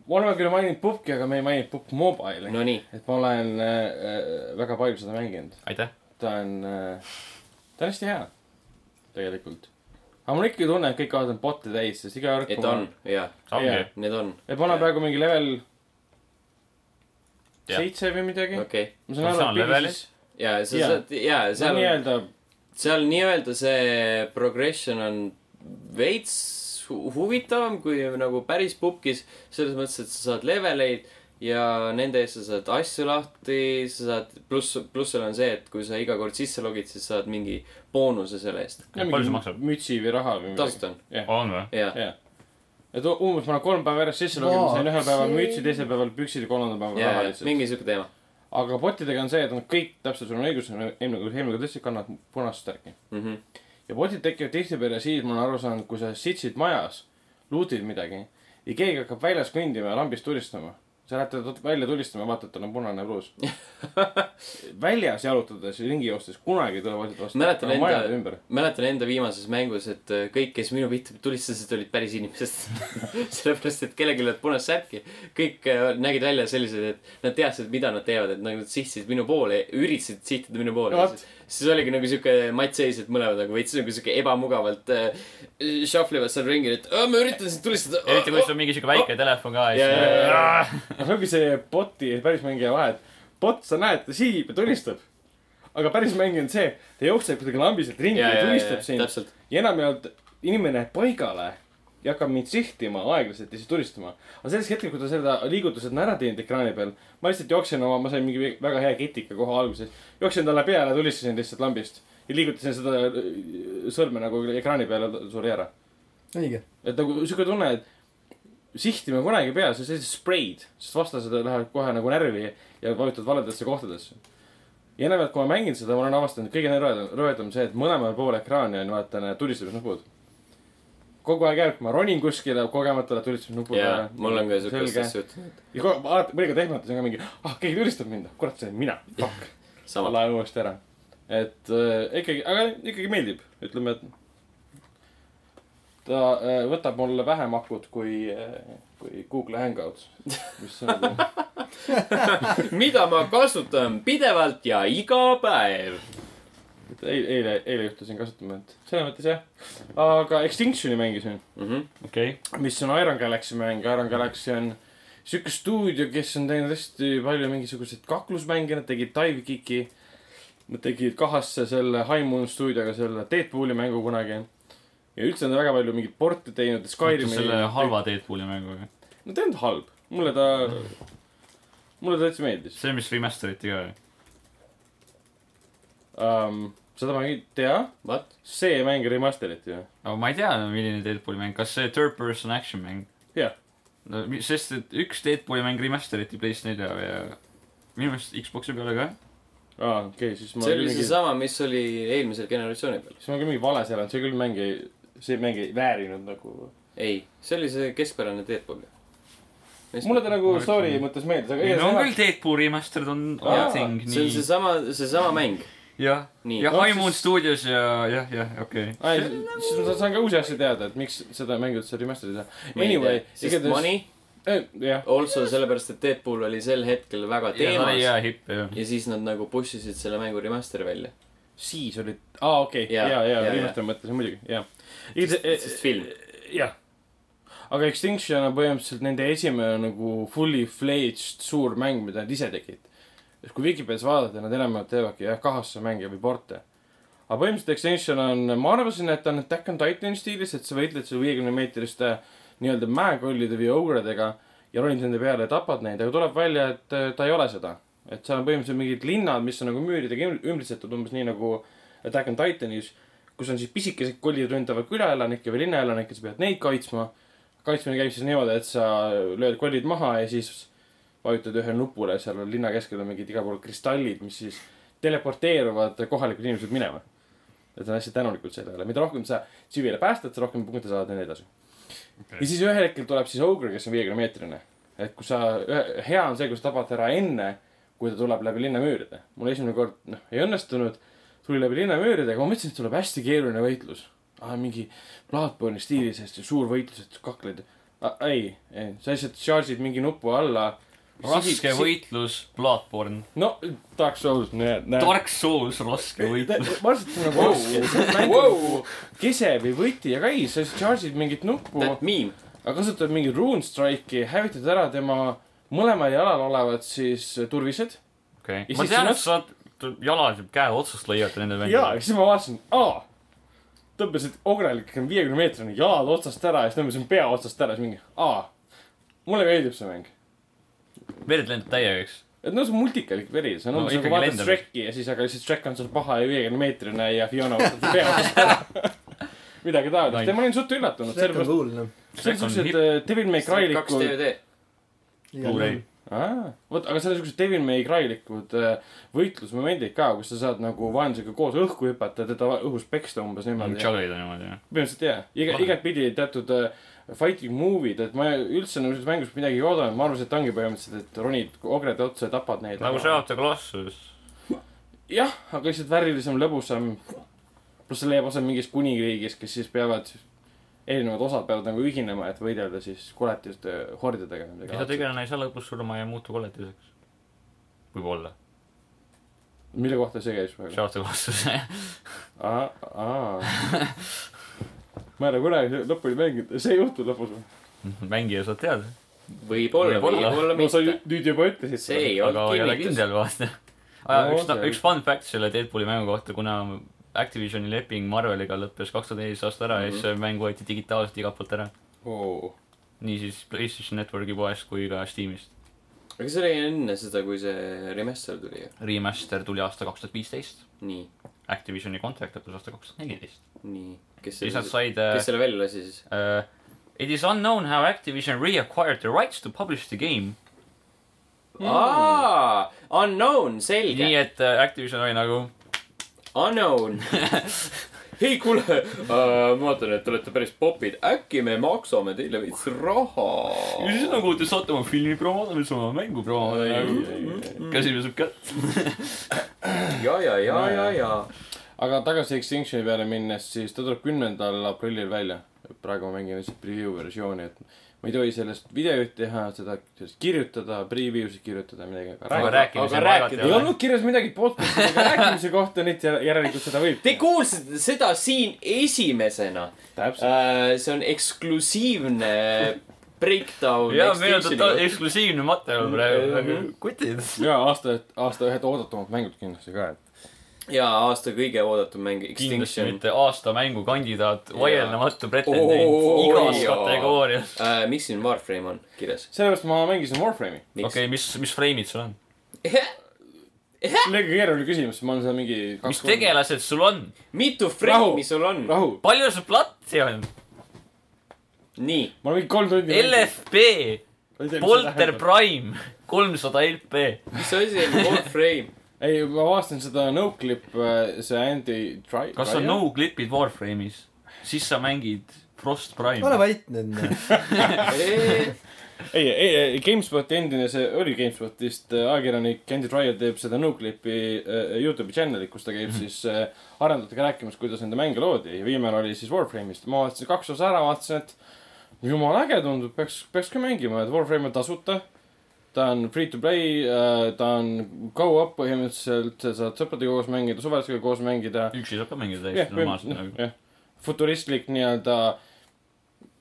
B: me oleme küll maininud pubki , aga me ei maininud pubki mobile'i no. .
A: Nonii ,
B: et ma olen äh, äh, väga palju seda mänginud .
D: aitäh .
B: ta on äh, , ta on hästi hea tegelikult . aga mul ikka tunne , et kõik kohad on bot'e täis , sest iga kord .
A: et on , jaa ,
D: ongi
B: Jaa. ,
A: need on ,
B: et ma olen praegu mingi level
D: Jah.
B: seitse või midagi
A: okei
B: okay. .
A: okay. .
B: ma saan
D: Professionaal
B: aru , et
D: levelis.
B: pigis ,
A: jaa , sa
B: Jaa.
A: saad , jaa ,
B: see
A: seal
B: on
A: on ,
B: nii-öelda
A: seal nii-öelda see progression on veits hu- huvitavam kui nagu päris pubkis . selles mõttes , et sa saad leveleid ja nende eest sa saad asju lahti , sa saad , pluss , pluss seal on see , et kui sa iga kord sisse logid , siis saad mingi boonuse selle eest .
B: ja
D: palju see
B: mingi
D: maksab?
B: mütsi või raha või midagi .
A: tasuta on ,
D: on või ?
A: jaa .
B: jah . et u- umbes ma olen kolm päeva järjest sisse lugenud , sain ühel päeval
C: Vaatsin.
B: mütsi , teisel päeval püksid ja kolmandal päeval
A: jaa
B: raha , lihtsalt .
A: mingi siuke teema
B: aga botidega on see , et nad kõik , täpselt sul on õigus , eelmine kord , eelmine kord tõesti kannavad punast värki .
A: mm . -hmm.
B: ja botid tekivad tihtipeale siis , ma olen aru saanud , kui sa sitsid majas , luutid midagi ja keegi hakkab väljas kõndima ja lambist tulistama . sa lähed teda tut- välja tulistama ja vaatad , tal on punane pluus . väljas jalutades ja ringi joostes kunagi ei tule botid vastu .
A: Mäletan enda-
B: majade ümber .
A: mäletan enda viimases mängus , et äh, kõik , kes minu pihta tulistasid , olid päris inimesed . sellepärast , et kellelgi ei olnud punast särki . kõik äh, nägid välja sellised , et nad teadsid , mida nad teevad , et nagu nad sihtisid minu poole , üritasid sihtida minu poole
B: No
A: no,
B: vot. .
A: siis oligi nagu siuke mattseis , et mõlemad nagu veits nagu siuke ebamugavalt äh, shuffle ivad seal ringi , et "Aa, ma üritan sind tulistada .
D: eriti kui sul on mingi siuke väike telefon ka ja
A: Oh. Jaa, jaa, jaa.
D: siis .
B: aga see ongi see bot'i ja päris mängija vahe , et bot , sa näed , ta sihib ja tulistab . aga päris mängija on see , ta jookseb kuidagi lambiselt ringi ja, ja tulistab sind .
A: täpselt ,
B: ja enamjaolt inimene jääb paigale ja hakkab mind sihtima aeglaselt ja siis tulistama . aga selleks hetkel , kui ta seda liigutused on ära teinud ekraani peal , ma lihtsalt jooksen oma , ma sain mingi väga hea ketika kohe alguses . jooksen talle peale , tulistasin lihtsalt lambist ja liigutasin seda äh, sõrme nagu ekraani peale , suri ära .
C: õige .
B: et nagu siuke tunne , et sihtima kunagi ei pea , sa sellised spreid , sest vastased lähevad kohe nagu närvi ja vajutavad valedesse kohtadesse . ja enamjaolt , kui ma mängin seda , ma olen avastanud , kõige rõvedam , rõvedam on see , et mõlemal pool ekraani on vaata need tulistamisnupud . kogu aeg jääb , kui ma ronin kuskile , kogemata läheb tulistamisnupud
A: jaa , mul on ka siukest asja juhtunud .
B: ja kohe vaata , mõnikord ehmates on ka mingi , ah keegi tulistab mind , kurat , see olen mina , fuck ,
A: sama ,
B: laen uuesti ära . et äh, ikkagi , aga ikkagi meeldib , ütleme , et ta äh, võtab mulle vähem akut kui äh, , kui Google Hangouts , mis on nagu ,
A: mida ma kasutan pidevalt ja iga päev .
B: et eile , eile , eile juhtusin kasutama , et selles mõttes jah . aga Extinctioni mängisin ,
D: okei ,
B: mis on Iron Galaxy mäng , Iron Galaxy on sihuke stuudio , kes on teinud hästi palju mingisuguseid kaklusmänge , nad tegid Dive Kicki . Nad tegid kahasse selle High Moon stuudioga selle Deadpooli mängu kunagi . ja üldse on ta väga palju mingeid porte teinud , Skyrimi .
D: selle halva Deadpooli mänguga .
B: no ta ei olnud halb , mulle ta , mulle ta täitsa meeldis
D: see , mis remaster iti ka .
B: um, . seda ma ei tea ,
A: What ?
B: see mäng remasteriti ju .
D: aga ma ei tea , milline Deadpooli mäng , kas see third person action mäng ?
B: Jah. .
D: no mi- sest , et üks Deadpooli mäng remaster iti PlayStation 4 ja minu meelest Xbox'i peale ka .
B: aa , Ah, okei okay, , siis ma .
A: see oli seesama , mis oli eelmisel generatsioonil .
B: siis ma küll mingi vale seal on , see küll mäng ei , see mäng ei väärinud nagu
A: ei , see oli see keskpärane Deadpool .
B: mulle ta nagu story mõttes meeldis , aga
D: ei no on
B: igatahes
D: küll Deadpool remastered on , on
B: Jaa,
D: thing ,
A: see on
D: nii .
A: seesama , seesama mäng .
D: jah ,
A: Nii.
D: ja
B: No
D: High Moon
B: siis-
D: stuudios ja , jah , jah , okei okay. .
B: aa , siis ma saan ka uusi asju teada , et miks seda mängu üldse remaster'i teha . Anyway ,
A: sest money , Oh,
B: Eh, jah ,
A: also sellepärast , et Deadpool oli sel hetkel väga
D: ja ta oli
A: teemas
D: hea hipp , jah .
A: ja siis nad nagu push isid selle mängu remaster'i välja ,
B: siis oli , aa okei , ja
A: Jaa, ,
B: ja
A: jaa,
B: remaster'i mõttes muidugi , jah .
A: sest film .
B: jah . aga Extinction on põhimõtteliselt nende esimene nagu fully fledged suur mäng , mida nad ise tegid . et kui Vikipeedias vaadata , nad enamjaolt teevadki jah , kahasse mänge või porte . aga põhimõtteliselt Extinction on , ma arvasin , et ta on Attack on Titan stiilis , et sa võitled seal viiekümne meetriste nii-öelda mäekollide või ogredega ja ronid nende peale ja tapad neid , aga tuleb välja , et äh, ta ei ole seda . et seal on põhimõtteliselt mingid linnad , mis on nagu müüridega üm- ümbritsetud , umbes nii nagu Attack on Titanis , kus on siis pisikesed kollid ründavad külaelanikke või linnaelanikke , sa pead neid kaitsma . kaitsmine käib siis niimoodi , et sa lööd kollid maha ja siis vajutad ühele nupule , seal on linna keskel on mingid igal pool kristallid , mis siis teleporteeruvad kohalikud inimesed minema . et on hästi tänulikud selle üle , mida rohkem sa tsivile päästad , seda rohkem punkte saad ja nii edasi . ja siis ühel hetkel tuleb siis Ogre , kes on viiekümne meetrine . et kui sa , hea on see , kui sa tabad ära enne , kui ta tuleb läbi linnamüüride . mul esimene kord , noh , ei õnnestunud , tuli läbi linnamüüridega , ma mõtlesin , et tuleb hästi keeruline võitlus . mingi Bloodborne'i stiilis hästi suur võitlus , et kakled . ei , ei , sa lihtsalt charge'id mingi nupu alla .
D: raske . võitlus , Bloodborne ,
B: no , Dark Souls , näed , näed .
D: Dark Souls , raske
B: Ta-
D: võitlus .
B: ma arvasin , et see on nagu raske , see on mängu kese või võti ja kai , sa siis charge'id mingit nuppu ,
A: That meme .
B: aga kasutad mingit rune strike'i , hävitad ära tema mõlemal jalal olevad siis äh, turvised .
D: okei
B: Ja
D: okay. , ma
B: siis
D: tean ,
B: sinna-
D: et sa saad jalad ja käe otsast lõigata nende
B: ja
D: mängudega .
B: siis ma vaatasin , aa , tõmbasid ogrelik viiekümne meetrine jalad otsast ära ja siis tõmbasin pea otsast ära , siis mingi , aa , mulle meeldib see mäng .
D: verd lendab täiega , eks .
B: et no see on multikalik veri , see on
D: No
B: umbes no,
D: ikkagi
B: nagu vaatad
D: lendab.
B: Shrek'i ja siis , aga lihtsalt Shrek on seal paha ja viiekümne meetrine ja Fiona võtab ta pea otsast ära midagi taolist
D: Nice.
B: ja ma olin suht üllatunud ,
C: Shrek on
B: sellepärast
C: cool , noh .
B: see on siuksed äh, Devil May
A: kaks
B: Crylikud ,
A: DVD .
D: Blu-ray.
B: vot , aga seal on siuksed Devil May Crylikud äh, võitlusmomendid ka , kus sa saad nagu vaenlasega koos õhku hüpata , teda va- õhus peksta umbes niimoodi .
D: Juggle'id on niimoodi , jah .
B: põhimõtteliselt jaa , iga ,
D: Lahe.
B: igatpidi teatud äh, fighting move'id , et ma üldse nagu selles mängus midagi ei oodanud , ma arvasin , et ongi põhimõtteliselt , et ronid ogrede otsa ja tapad neid .
D: nagu Shadow of the Colossus .
B: jah , aga lihtsalt värvilisem , lõbusam . pluss see leiab aset mingis kuningriigis , kes siis peavad , erinevad osad peavad nagu ühinema , et võidelda siis koletiste hordidega .
D: iga tegelane ei saa lõpus surma ja ei muutu koletiseks . võib-olla .
B: mille kohta see käis praegu ?
D: Shadow of the Colossus , jah .
B: aa , aa ma ei ole kunagi lõpuni mänginud , see ei juhtu lõpus või ?
D: mängija saab teada .
A: võib-olla ,
D: Võib-olla.
A: võib-olla
B: no sa ju-
A: mitte .
B: nüüd juba ütlesid
A: see ei
D: aga ei ole
A: olnud kinnitus .
D: kindel , vaata . aa ,
B: No
D: üks ,
B: see-
D: üks fun fact selle Deadpooli mängu kohta , kuna Activisioni leping Marveliga lõppes kaks tuhat neliteist aasta ära mm -hmm. ja siis see mäng võeti digitaalselt igalt poolt ära .
B: oh. .
D: niisiis PlayStation Networki poest kui ka Steamist .
A: aga see oli enne seda , kui see remaster tuli ju .
D: Remaster tuli aasta kaks tuhat viisteist ,
A: nii ,
D: Activisioni kontrakt lõppes aasta kaks tuhat neliteist .
A: nii . kes
D: siis nad
A: selle ,
D: said
A: kes
D: äh,
A: selle välja lasi siis ?
D: äh, It is unknown how Activision reacquired the rights to publish the game .
B: Mm.
A: aa , Unknown ,
D: nii
A: selge .
D: et äh, Activision oli nagu
A: Unknown . ei , kuule uh, , ma vaatan , et te olete päris popid . äkki me maksame teile veits raha ?
D: nagu te saate oma filmi promoda , me saame mängu promoda . kas inimesed ka
A: ja , ja , ja , ja , ja .
B: aga tagasi Extinctioni peale minnes , siis ta tuleb kümnendal aprillil välja . praegu ma mängin lihtsalt preview versiooni , et ma ei tohi sellest videoid teha , seda , sellest kirjutada , preview'sid kirjutada , midagi .
D: aga
A: räägi-
D: rääkimise
A: aga
D: vaevalt
A: rääkida-
D: ei
B: ei
D: ole .
B: olnud kirjas midagi podcast'i ega rääkimise kohta , nii et jär- järelikult seda võib .
A: Te kuulsite seda siin esimesena .
B: täpselt .
A: see on eksklusiivne breakdown .
D: jaa , meil on totaal eksklusiivne materjal praegu , nagu kutid .
B: ja aasta , aasta ühed oodatumad mängud kindlasti ka , et .
A: ja aasta kõige oodatum mäng
D: kindlasti
A: Extinction .
D: mitte aasta mängukandidaat , vaieldamatu pretendent
A: Oo,
D: igas
A: jaa.
D: kategoorias .
A: Äh, miks siin Warframe on kirjas ?
B: sellepärast ma mängisin Warframe'i .
A: miks
D: okei , mis , mis freimid sul on ?
A: okay. ?
B: liiga keeruline küsimus , ma olen seal mingi .
D: mis ? tegelased sul on ?
A: mitu
B: Rahu.
A: frame'i sul on ?
B: rahu ,
D: palju sul platsi on ?
A: nii ,
B: ma olen mingi kolm tundi .
D: LFP , Polter . Prime , kolmsada LP .
A: mis asi on Warframe ?
B: ei , ma vaatasin seda no-clip , see Andy Dry- .
D: kas on no-clip'id Warframe'is ? siis sa mängid Frost
C: ole
D: Prime .
C: vait nüüd , noh .
B: ei , ei , ei , GameSpoti endine , see oli GameSpotist äh, ajakirjanik Andy Dryer teeb seda no-clip'i äh, Youtube'i channel'i , kus ta käib siis äh, arendajatega rääkimas , kuidas nende mänge loodi ja viimane oli siis Warframe'ist . ma vaatasin kaks osa ära , vaatasin , et jumala äge tundub , peaks , peaks ka mängima , et Warframe on tasuta . ta on free to play , ta on go-up põhimõtteliselt , sa saad sõpradega koos mängida , suvalistega koos mängida .
D: üksi saab ka mängida
B: jah ,
D: täiesti normaalselt nagu .
B: jah , futuristlik nii-öelda ,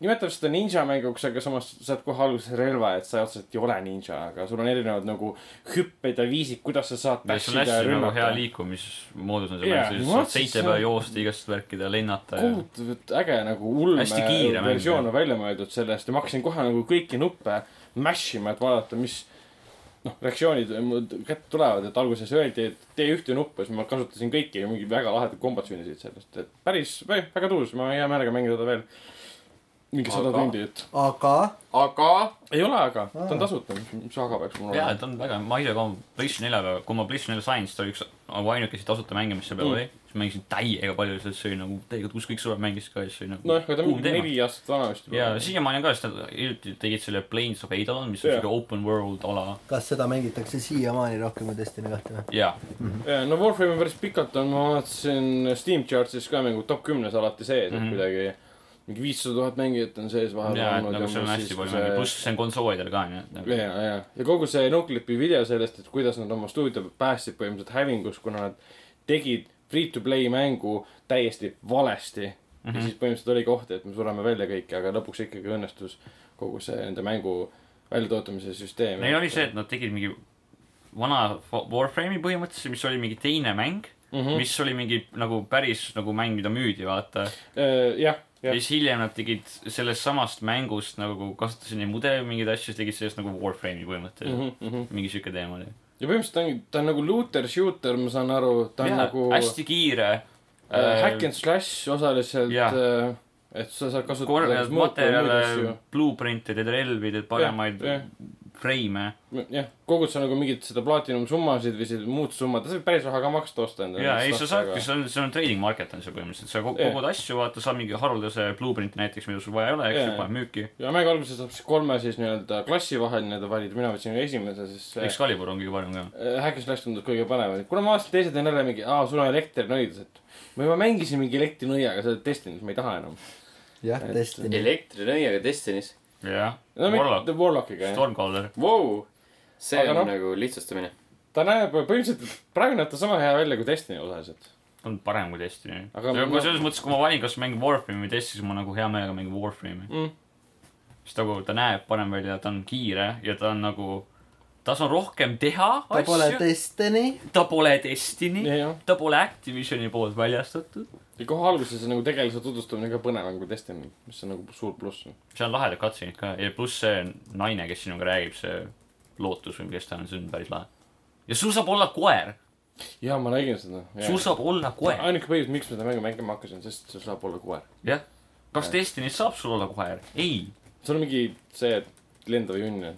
B: nimetab seda ninja mänguks , aga samas saad kohe alguses relva , et sa otseselt ei ole ninja , aga sul on erinevad nagu hüpped ja viisid , kuidas sa saad
D: ja sul on
B: ja
D: hästi nagu hea
B: rünnata.
D: liikumismoodus on see
B: Jaa,
D: yeah, , sa
B: ma
D: saad
B: mõtlesin,
D: seitse
B: see
D: päeva
B: on-
D: joosta igast värkida , lennata ja
B: kohutavalt äge nagu ulme
D: Hästi kiire mäng,
B: versioon
D: jah.
B: on välja mõeldud sellest ja ma hakkasin kohe nagu kõiki nuppe mash ima , et vaadata , mis noh , reaktsioonid mul kätte tulevad , et alguses öeldi , et tee ühte nuppu , siis ma kasutasin kõiki ja mingi väga lahedad kombad sündisid sellest , et päris , väga tõus , ma hea meelega mängin seda veel . mingi sada
A: Aga-
B: tundi , et
C: aga
A: aga
B: ei ole , aga ta
C: Aa.
B: on tasuta , mis , mis aga peaks mul
D: jaa ,
B: olema .
D: ta on väga , ma ise ka PlayStation neljaga , kui ma PlayStation nelja sain , siis ta oli üks nagu ainukesi tasuta mänge , mis seal peal
B: Mm.
D: oli . siis mängisin täiega palju , sest see oli nagu tegelikult ükskõik sõber mängis ka , siis see oli nagu
B: nojah , Noh, aga ta on
D: kuum
B: mingi
D: teema.
B: neli aastat vana vist
D: ja . siiamaani on ka , sest nad hiljuti tegid selle Planes of Adalon , mis on
B: Jaa.
D: siuke open world ala .
C: kas seda mängitakse siiamaani rohkem kui Destiny kahte või ?
D: jaa ,
B: Äh, no Warframe on päris pikalt olnud , ma vaatasin Steam Charts'is ka nagu top kümnes alati sees , et
D: Mhm.
B: kuidagi mingi viissada tuhat mängijat on sees vahel
D: jaa , et nagu seal on hästi palju mänge , pluss see on konsoolidel ka nagu- onju .
B: ja , ja , äh, ja kogu see Noclipi video sellest , et kuidas nad oma stuudio päästsid põhimõtteliselt hävingus , kuna nad tegid free-to-play mängu täiesti valesti mm .
D: Mhm.
B: -hmm. ja siis põhimõtteliselt oligi oht , et me sureme välja kõik , aga lõpuks ikkagi õnnestus kogu see nende mängu väljatootamise süsteem .
D: Äh, Neil oli see , et nad tegid mingi vana Fa- Warframe'i põhimõtteliselt , mis oli mingi teine mäng ,
B: mm . -hmm.
D: mis oli mingi nagu päris nagu mäng , mida müüdi , vaata
B: Äh, jah ,
D: ja
B: jah ,
D: siis hiljem nad tegid sellest samast mängust nagu kasutasid neid mudeleid mingeid asju , siis tegid sellest nagu Warframe'i põhimõtteliselt mm .
B: ja
D: -hmm. mingi siuke teema oli .
B: põhimõtteliselt ta on , ta on nagu looter-shooter , ma saan aru , ta on
D: jaa
B: nagu
D: nagu... , hästi kiire
B: äh, hack and slash osaliselt
D: jah.
B: äh, et sa saad kasutada
D: korrad äh, materjale
B: asju. ,
D: blueprint'e , teed relvi , teed paremaid
B: jah.
D: freime .
B: jah , kogud sa nagu mingit seda platinum summasid või seda muud summad , sa võid päris raha ka maksta osta endale .
D: jaa , ei sa saadki , see on , see on trading market on see põhimõtteliselt , sa ko-
B: Jah.
D: kogud asju , vaata , saad mingi haruldase blueprint'i näiteks , mida sul vaja ei ole , eks
B: Jah.
D: ju , paned müüki .
B: ja mängu alguses saab siis kolme siis nii-öelda klassi vahel nii-öelda valida , mina võtsin esimese , siis see
D: Excalibur on kõige parem ka .
B: äh, Hack and Slash tundus kõige parem , kuna ma vaatasin , teised on jälle mingi , aa , sul on elektrinõidus , et ma juba mängisin mingi elektrinõiaga seda Destiny't , ma ei taha enam .
C: jah ,
B: Et-
C: Destiny .
A: elektrinõiaga Destiny's .
D: jah ,
B: no
D: Warlock ,
B: mitte Warlockiga jah ,
D: Stormcaller .
A: Vau , see
B: Aga
A: on
B: noh.
A: nagu lihtsustamine .
B: ta näeb põhimõtteliselt , praegu näeb ta sama hea välja kui Destiny osaliselt .
D: on parem kui Destiny .
B: Aga
D: aga
B: ma-
D: ma... selles mõttes , kui ma valin , kas mängin Warframe'i või Destiny , siis ma nagu hea meelega mängin Warframe'i
B: Mm.
D: mm. . sest nagu ta näeb parem välja , ta on kiire ja ta on nagu , tas on rohkem teha
C: ta
D: asju ,
C: pole Destiny ,
D: ta pole Destiny yeah. ,
B: jah ,
D: ta pole Activisioni poolt väljastatud .
B: ja kohe alguses see nagu tegelase tutvustamine ka põnevam kui Destiny , mis on nagu suur pluss .
D: seal on lahedad katseid ka ja pluss see naine , kes sinuga räägib , see Lootus või kes ta on , see on päris lahe . ja sul saab olla koer ,
B: jaa , ma nägin seda .
D: sul saab olla koer ,
B: ainuke põhjus , miks ma seda mängu mängima hakkasin , sest see saab olla koer .
D: jah . kas Destiny's saab sul olla koer ? ei ,
B: sul on mingi see , et lendav junn on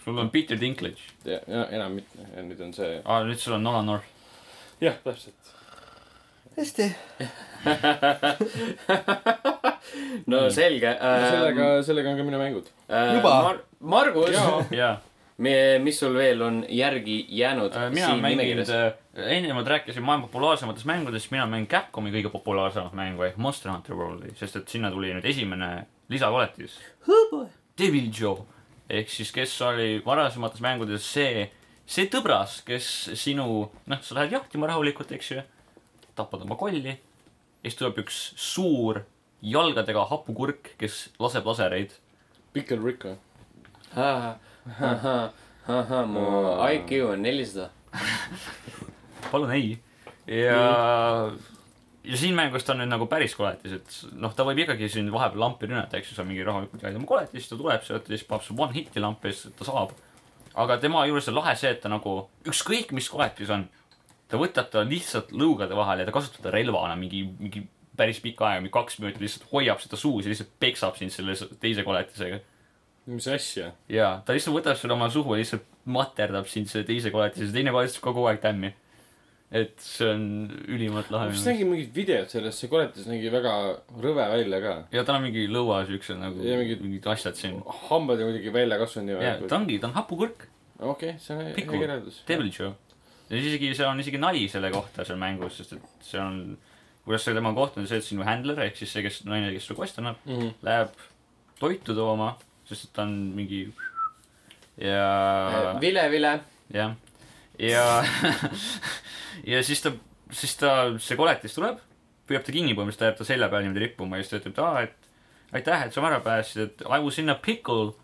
D: sul on Peter Dinklage .
B: ja, ja enam mitte ja nüüd on see .
D: aa , nüüd sul on Nolan North .
B: jah , täpselt .
C: hästi .
A: no selge
D: Ähm.
A: Ähm,
B: sellega , sellega on ka minu mängud .
C: Juba?
A: Mar . Margus ,
D: jaa
A: mis sul veel on järgi jäänud
D: Äh, mina olen mänginud , eelnevalt rääkisin maailma populaarsematest mängudest , mina mängin Capcomi kõige populaarsemat mängu ehk Monster Hunter Worldi , sest et sinna tuli nüüd esimene lisakvaliteedis . Devil Joe ehk siis , kes oli varasemates mängudes see , see tõbras , kes sinu , noh , sa lähed jahtima rahulikult , eks ju , tapad oma kolli ja siis tuleb üks suur jalgadega hapukurk , kes laseb lasereid .
B: Pickle Rick või ?
A: ahah , mu
D: Äh.
A: IQ on nelisada .
D: palun ei . ja , ja siin mängus ta on nüüd nagu päris koletis , et noh , ta võib ikkagi siin vahepeal lampi rünnata , eks ju , sa mingi rahulikult jälgid oma koletist , ta tuleb sealt ja siis paneb sulle one hit'i lampi ja siis ta saab . aga tema juures on lahe see , et ta nagu ükskõik , mis koletis on , ta võtab ta lihtsalt lõugade vahele ja ta kasutab ta relvana mingi , mingi päris pikka aega , mingi kaks minutit lihtsalt hoiab seda suus ja lihtsalt peksab sind selle s- teise koletisega .
B: mis asja ?
D: jaa , ta lihtsalt võtab sulle oma suhu ja lihtsalt materdab sind selle teise koletise , teine koletis kogu aeg tämmi . et see on ülimalt
B: ma
D: lahe minu
B: vist
D: meelest .
B: nägin mingit videot sellest , see koletis nägi väga rõve välja ka .
D: ja tal on mingi lõua siuksed nagu
B: Ja Oh, mingid-
D: mingid... mingid asjad siin .
B: hambad on kuidagi välja kasvanud nii
D: jaa ,
B: väga .
D: ta ongi , ta on hapukurk ,
B: okei , see on hea
D: Pickle.
B: kirjeldus .
D: devil show . ja siis isegi , seal on isegi nali selle kohta seal mängus , sest et see on , kuidas see tema koht on see , et sinu handler ehk siis see , kes naine , kes sulle kosti annab , läheb toitu tooma , sest et ta on mingi ja
A: Äh, Vile , Vile
D: jah , ja , ja siis ta , siis ta , see koletis tuleb , püüab ta kinni põhimõtteliselt , ta jääb ta selja peal niimoodi rippuma ja siis ta ütleb , et aa , et aitäh , et sa ära päästsid , et I was in a pickle .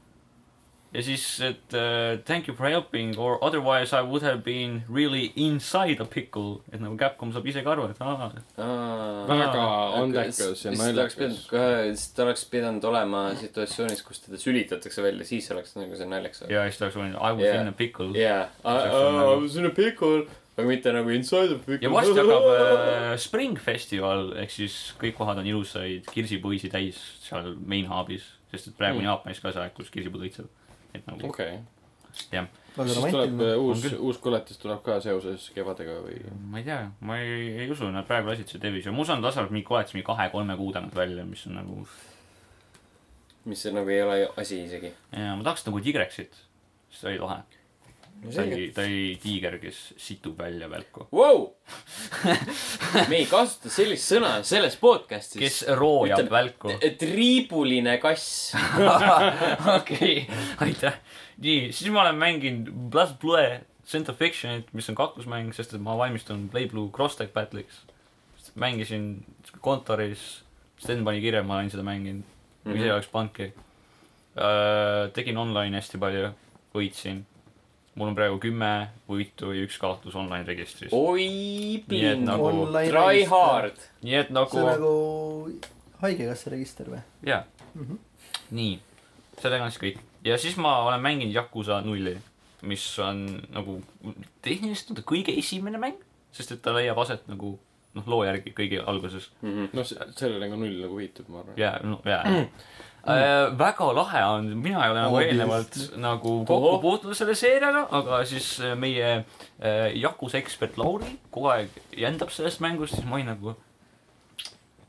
D: ja siis , et uh, thank you for helping or otherwise I would have been really inside a pickle , et nagu Capcom saab ise ka aru , et aa ,
A: Aa.
B: väga
A: Äh, Aga
B: andekas
A: s-
B: ja
A: siis ta oleks
B: naljakas
A: pidanud . kohe , siis ta oleks pidanud olema situatsioonis , kus teda sülitatakse välja , siis oleks nagu see naljakas olnud .
D: ja siis ta oleks olnud I was
A: Jaa.
D: in a pickle .
A: jaa , I
D: oleks olnud
A: I was in a pickle , aga mitte nagu Inside of Wicked .
D: ja varsti hakkab äh, Spring Festival ehk siis kõik kohad on ilusaid kirsipuisi täis seal main hub'is , sest et praegu on
B: Mm. Oh.
D: Jaapanis ka see aeg , kus kirsipuud õitsevad . et nagu
B: okei .
D: jah ,
C: väga
B: siis tuleb
C: romantiline .
B: äh, uus
D: On , küll.
B: uus koletis tuleb ka seoses kevadega või ?
D: ma ei tea , ma ei, ei usu , nad praegu lasid selle devis ja ma usun , et lasevad mingi koledasi mingi kahe-kolme kuu tagant välja , mis on nagu ,
A: mis see nagu ei ole asi isegi .
D: ma tahaks nagu Tigrexit , sest ta oli lahe . ta oli , ta oli tiiger , kes situb välja välku .
A: Wow! me ei kasuta sellist sõna selles podcastis .
D: kes roojab
A: Ütleme-
D: välku .
A: triibuline kass .
D: okei , aitäh . nii , siis ma olen mänginud Blood Blue Center Fictionit , mis on kaklusmäng , sest et ma valmistun PlayBlue Crosstech Battle'iks . mängisin kontoris , Sten pani kirja , ma olen seda mänginud mm , -hmm. ise ei oleks pannudki . tegin online hästi palju , võitsin . mul on praegu kümme võitu ja üks kaotus online registris .
A: Oh. oi ,
D: Nii et
A: pind
D: nagu-
C: Online
A: try
C: register.
A: hard .
D: nii et
C: see
D: nagu
C: on , nagu haigekassa register või ?
D: jaa . nii , sellega on siis kõik . ja siis ma olen mänginud Yakuza nulli , mis on nagu tehniliselt on ta kõige esimene mäng , sest et ta leiab aset nagu noh , loo järgi kõige alguses .
B: noh , sellele nagu null nagu viitab , ma arvan .
D: ja , no ja mm. . Äh, väga lahe on , mina ei ole nagu
C: Obvious.
D: eelnevalt nagu kokku puutunud selle seeriaga , aga siis äh, meie äh, Yakuza ekspert Lauri kogu aeg jändab sellest mängust , siis ma olin nagu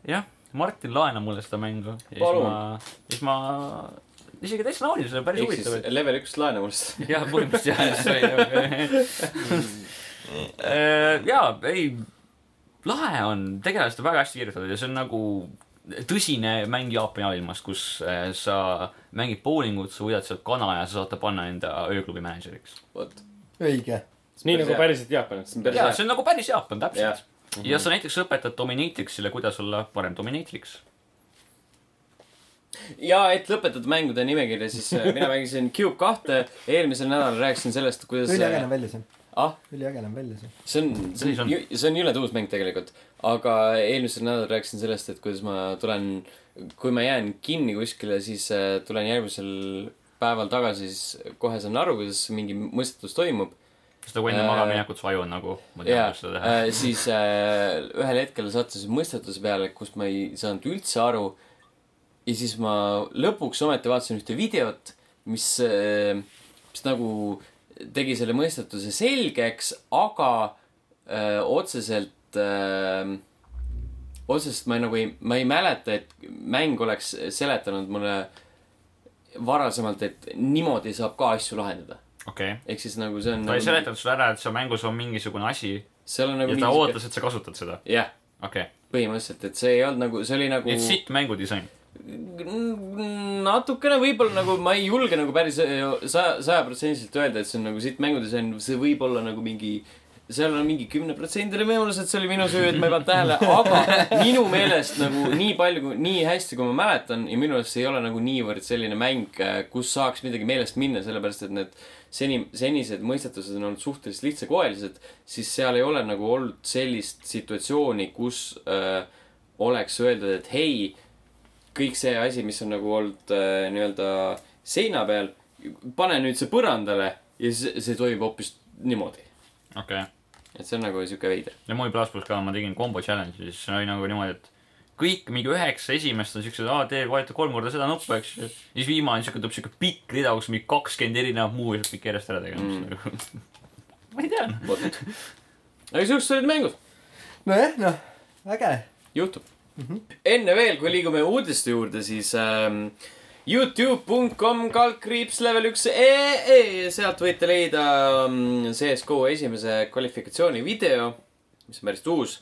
D: jah , Martin , laena mulle seda mängu . ja siis
A: Palun.
D: ma , siis ma isegi täitsa naudin seda , päris
A: ehk siis
D: huvitav .
A: level üks laenamust .
D: jah , põhimõtteliselt jah , see oli . jaa , ei , lahe on , tegelased on väga hästi kirjutatud ja see on nagu tõsine mäng Jaapani maailmas , kus äh, sa mängid bowlingut , sa võidad sealt kana ja sa saad ta panna enda ööklubi mänedžeriks .
A: vot .
C: õige .
B: nii nagu . päriselt Jaapanis
A: see . on päris
D: jaa ,
A: hea .
D: see on nagu päris Jaapan ,
A: Jah.
D: täpselt . ja sa näiteks õpetad Dominatrixile , kuidas olla parem Dominatrix .
A: ja et lõpetada mängude nimekirja , siis äh, mina mängisin Cube kahte , eelmisel nädalal rääkisin sellest , kuidas . äh,
C: üliäge näeb välja see .
A: ah ,
C: üliäge näeb välja see .
A: see on , see
D: Nii see
A: on
D: on. ,
A: see on jõle tuus mäng tegelikult . aga eelmisel nädalal rääkisin sellest , et kuidas ma tulen , kui ma jään kinni kuskile , siis äh, tulen järgmisel päeval tagasi , siis kohe saan aru , kuidas mingi mõistatus toimub .
D: seda kui
A: Äh,
D: enne magamaminekut su aju on nagu , ma ei tea ,
A: ja
D: kuidas seda teha .
A: äh, siis äh, ühel hetkel sattusin mõistatuse peale , kus ma ei saanud üldse aru . ja siis ma lõpuks ometi vaatasin ühte videot , mis äh, , mis nagu tegi selle mõistatuse selgeks , aga äh, otseselt äh, , otseselt ma ei, nagu ei , ma ei mäleta , et mäng oleks seletanud mulle varasemalt , et niimoodi saab ka asju lahendada .
D: okei .
A: ehk siis nagu see on .
D: ta ei seletanud sulle ära , et seal mängus on mingisugune asi
A: seal on nagu
D: ja ta . ootas , et sa kasutad seda .
A: jah
D: okei okay. ,
A: põhimõtteliselt , et see ei olnud nagu , see oli nagu
D: nii et sitt mängudisain .
A: N- natukene võib-olla nagu ma ei julge nagu päris äh, saja , sajaprotsendiliselt öelda , et see on nagu siit mängudisain , see võib olla nagu mingi seal on mingi kümneprotsendiline võimalus , et see oli minu süü , et ma ei pannud tähele , aga minu meelest nagu nii palju , nii hästi , kui ma mäletan ja minu arust see ei ole nagu niivõrd selline mäng , kus saaks midagi meelest minna , sellepärast et need seni , senised mõistatused on olnud suhteliselt lihtsakoelised , siis seal ei ole nagu olnud sellist situatsiooni , kus äh, oleks öeldud , et hei kõik see asi , mis on nagu olnud äh, nii-öelda seina peal , pane nüüd see põrandale ja see , see toimub hoopis niimoodi .
D: okei okay. ,
A: et see on nagu sihuke veider .
D: ja mul Plasmus ka , ma tegin kombo challenge'i , siis see oli nagu niimoodi , et kõik mingi üheksa esimest on siuksed , aa , tee , vajuta kolm korda seda nuppu , eks ju . siis viimane siuke tuleb siuke pikk rida , kus mingi kakskümmend erinevat muu asja kõik järjest ära tegema mm. . ma ei tea . noh.
A: vot . aga siuksed olid mängud ,
C: nojah , noh , äge .
A: juhtub mm . -hmm. enne veel , kui liigume uudiste juurde , siis ähm, Youtube.com kaldkriips level üks E ee , sealt võite leida mm, CSGO esimese kvalifikatsiooni video , mis on päris uus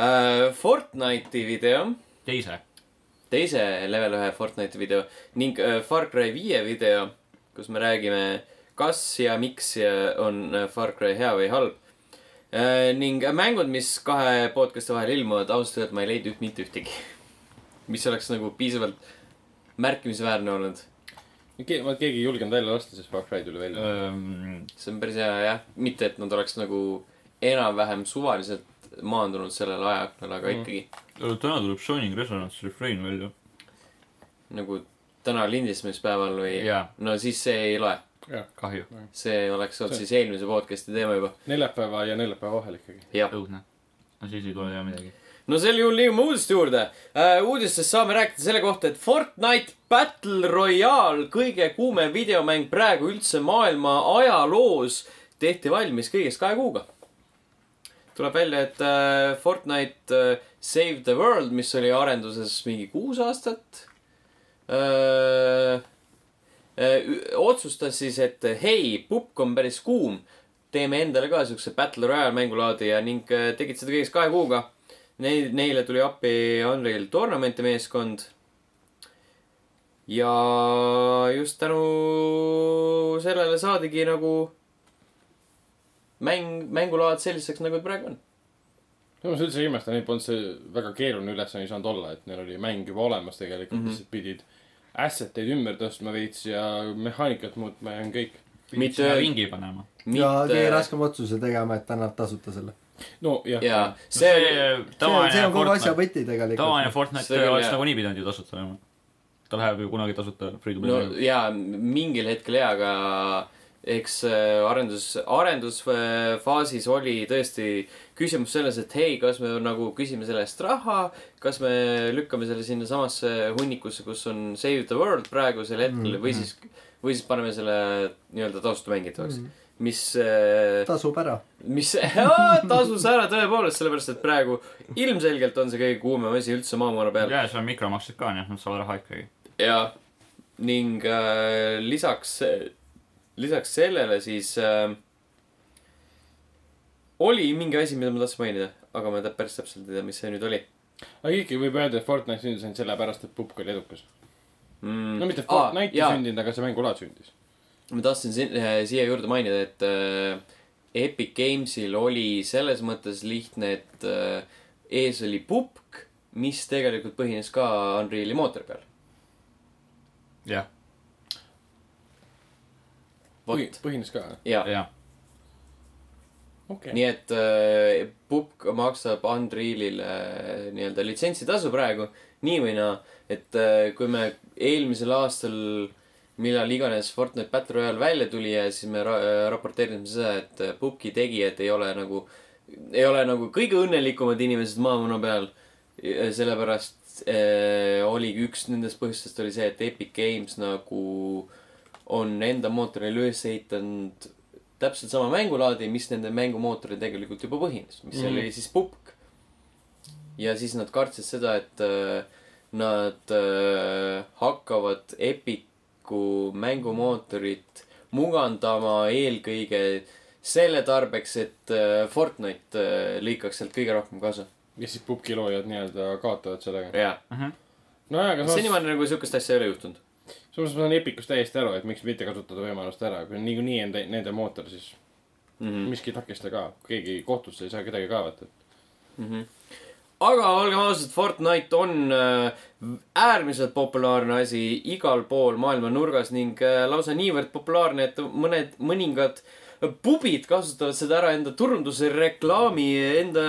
A: äh, . Fortnite'i video
D: teise .
A: teise level ühe Fortnite'i video ning äh, Far Cry viie video , kus me räägime , kas ja miks ja on äh, Far Cry hea või halb . ning mängud , mis kahe podcast'i vahel ilmuvad , ausalt öeldes ma ei leidnud mitte ühtegi . mis oleks nagu piisavalt märkimisväärne olnud .
B: ma , keegi ei julgenud välja lasta , siis Far Cry tuli välja .
D: Ehm,
A: see on päris hea jah , mitte et nad oleks nagu enam-vähem suvaliselt maandunud sellel ajaaknal , aga
B: Mm.
A: ikkagi
D: täna tuleb Shining Resonance refrain välja .
A: nagu täna lindistamispäeval või
D: jaa ,
A: no siis see ei loe .
D: kahju ,
A: see oleks olnud siis eelmise podcast'i teema juba .
B: neljapäeva ja neljapäeva vahel ikkagi .
A: jah .
D: õudne . no siis ei tule enam midagi .
A: no sel juhul liigume uudiste juurde uh, . uudistest saame rääkida selle kohta , et Fortnite Battle Royale , kõige kuumem videomäng praegu üldse maailma ajaloos , tehti valmis kõigest kahe kuuga . tuleb välja , et uh, Fortnite uh, Save the World , mis oli arenduses mingi kuus aastat uh, , Ö, Äh, otsustas siis , et äh, hei , pupk on päris kuum , teeme endale ka siukse Battle Royale mängulaadi ja ning ö, tegid seda kõigest kahe kuuga . Neil , neile tuli appi Unreal Tournament'i meeskond . ja just tänu sellele saadigi nagu mäng , mängulaad selliseks , nagu ta praegu on .
B: no ma üldse ei imesta , neil polnud see väga keeruline ülesanne ei saanud olla , et neil oli mäng juba olemas tegelikult mm ,
A: Mhm.
B: -hmm. lihtsalt pidid asset eid ümber tõstma veits ja mehaanikat muutma ja on kõik .
A: Mitte-
D: ringi noh. panema .
C: ja kõige raskem otsuse tegema , et ta annab tasuta selle .
B: nojah
A: jaa ,
D: see
A: see ,
C: see see
D: tavaline
C: on kogu asja
D: Fortnite ,
C: võti tegelikult .
D: tavaline Fortnite
A: See küll,
D: oleks
A: jah.
D: nagunii pidanud ju tasuta olema . ta läheb ju kunagi tasuta free to
A: no
D: play . nagu.
A: jaa , mingil hetkel jaa , aga eks äh, arendus , arendusfaasis oli tõesti küsimus selles , et hei , kas me nagu küsime selle eest raha , kas me lükkame selle sinnasamasse hunnikusse , kus on Save the World praegusel hetkel või siis , või siis paneme selle nii-öelda taustamängitavaks mm , -hmm. mis äh,
C: tasub ära .
A: mis tasus ära tõepoolest , sellepärast et praegu ilmselgelt on see kõige kuumem asi üldse maamuna peal .
D: ja seal on mikromaksed ka , nii et nad saavad raha ikkagi .
A: jah , ning äh, lisaks , lisaks sellele siis äh, oli mingi asi , mida ma tahtsin mainida , aga ma tä- päris täpselt ei tea , mis see nüüd oli
B: aga ikkagi võib öelda , et Fortnite sündis ainult sellepärast , et pupk oli edukas .
A: mm.
B: no mitte Fortnite ei
A: jaa.
B: sündinud , aga see mängulaad sündis .
A: ma tahtsin siin, äh, siia juurde mainida , et äh, Epic Gamesil oli selles mõttes lihtne , et äh, ees oli pupk , mis tegelikult põhines ka Unreali mootori peal .
D: jah ,
A: vot ,
B: põhines ka .
A: jaa .
D: jah .
B: okei .
A: nii et äh, Pupk maksab Unrealile äh, nii-öelda litsentsitasu praegu nii või naa , et äh, kui me eelmisel aastal , millal iganes Fortnite Battle Royale välja tuli ja siis me ra äh, raporteerisime seda , et äh, Pupki tegijad ei ole nagu , ei ole nagu kõige õnnelikumad inimesed maamuna peal . sellepärast äh, oli üks nendest põhjustest oli see , et Epic Games nagu on enda mootorile üles ehitanud täpselt sama mängulaadi , mis nende mängumootoril tegelikult juba põhines , mis mm.
B: Mhm.
A: oli siis pupk . ja siis nad kartsid seda , et äh, nad äh, hakkavad Epiku mängumootorit mugandama eelkõige selle tarbeks , et äh, Fortnite äh, lõikaks sealt kõige rohkem kasu .
B: ja siis pupki loojad nii-öelda kaotavad sellega .
A: jaa ,
D: Mhm.
B: nojah , aga samas ,
A: senimaani nagu siukest asja ei ole juhtunud .
B: samas ma saan Epicust täiesti aru , et miks mitte kasutada võimalust ära , kui on niikuinii enda , nende mootor , siis
A: Mhm.
B: miski ei takista ka , keegi kohtusse ei saa kedagi kaevata .
A: aga olgem ausad , Fortnite on äh, äärmiselt populaarne asi igal pool maailma nurgas ning äh, lausa niivõrd populaarne , et mõned , mõningad pubid kasutavad seda ära enda turunduse reklaami enda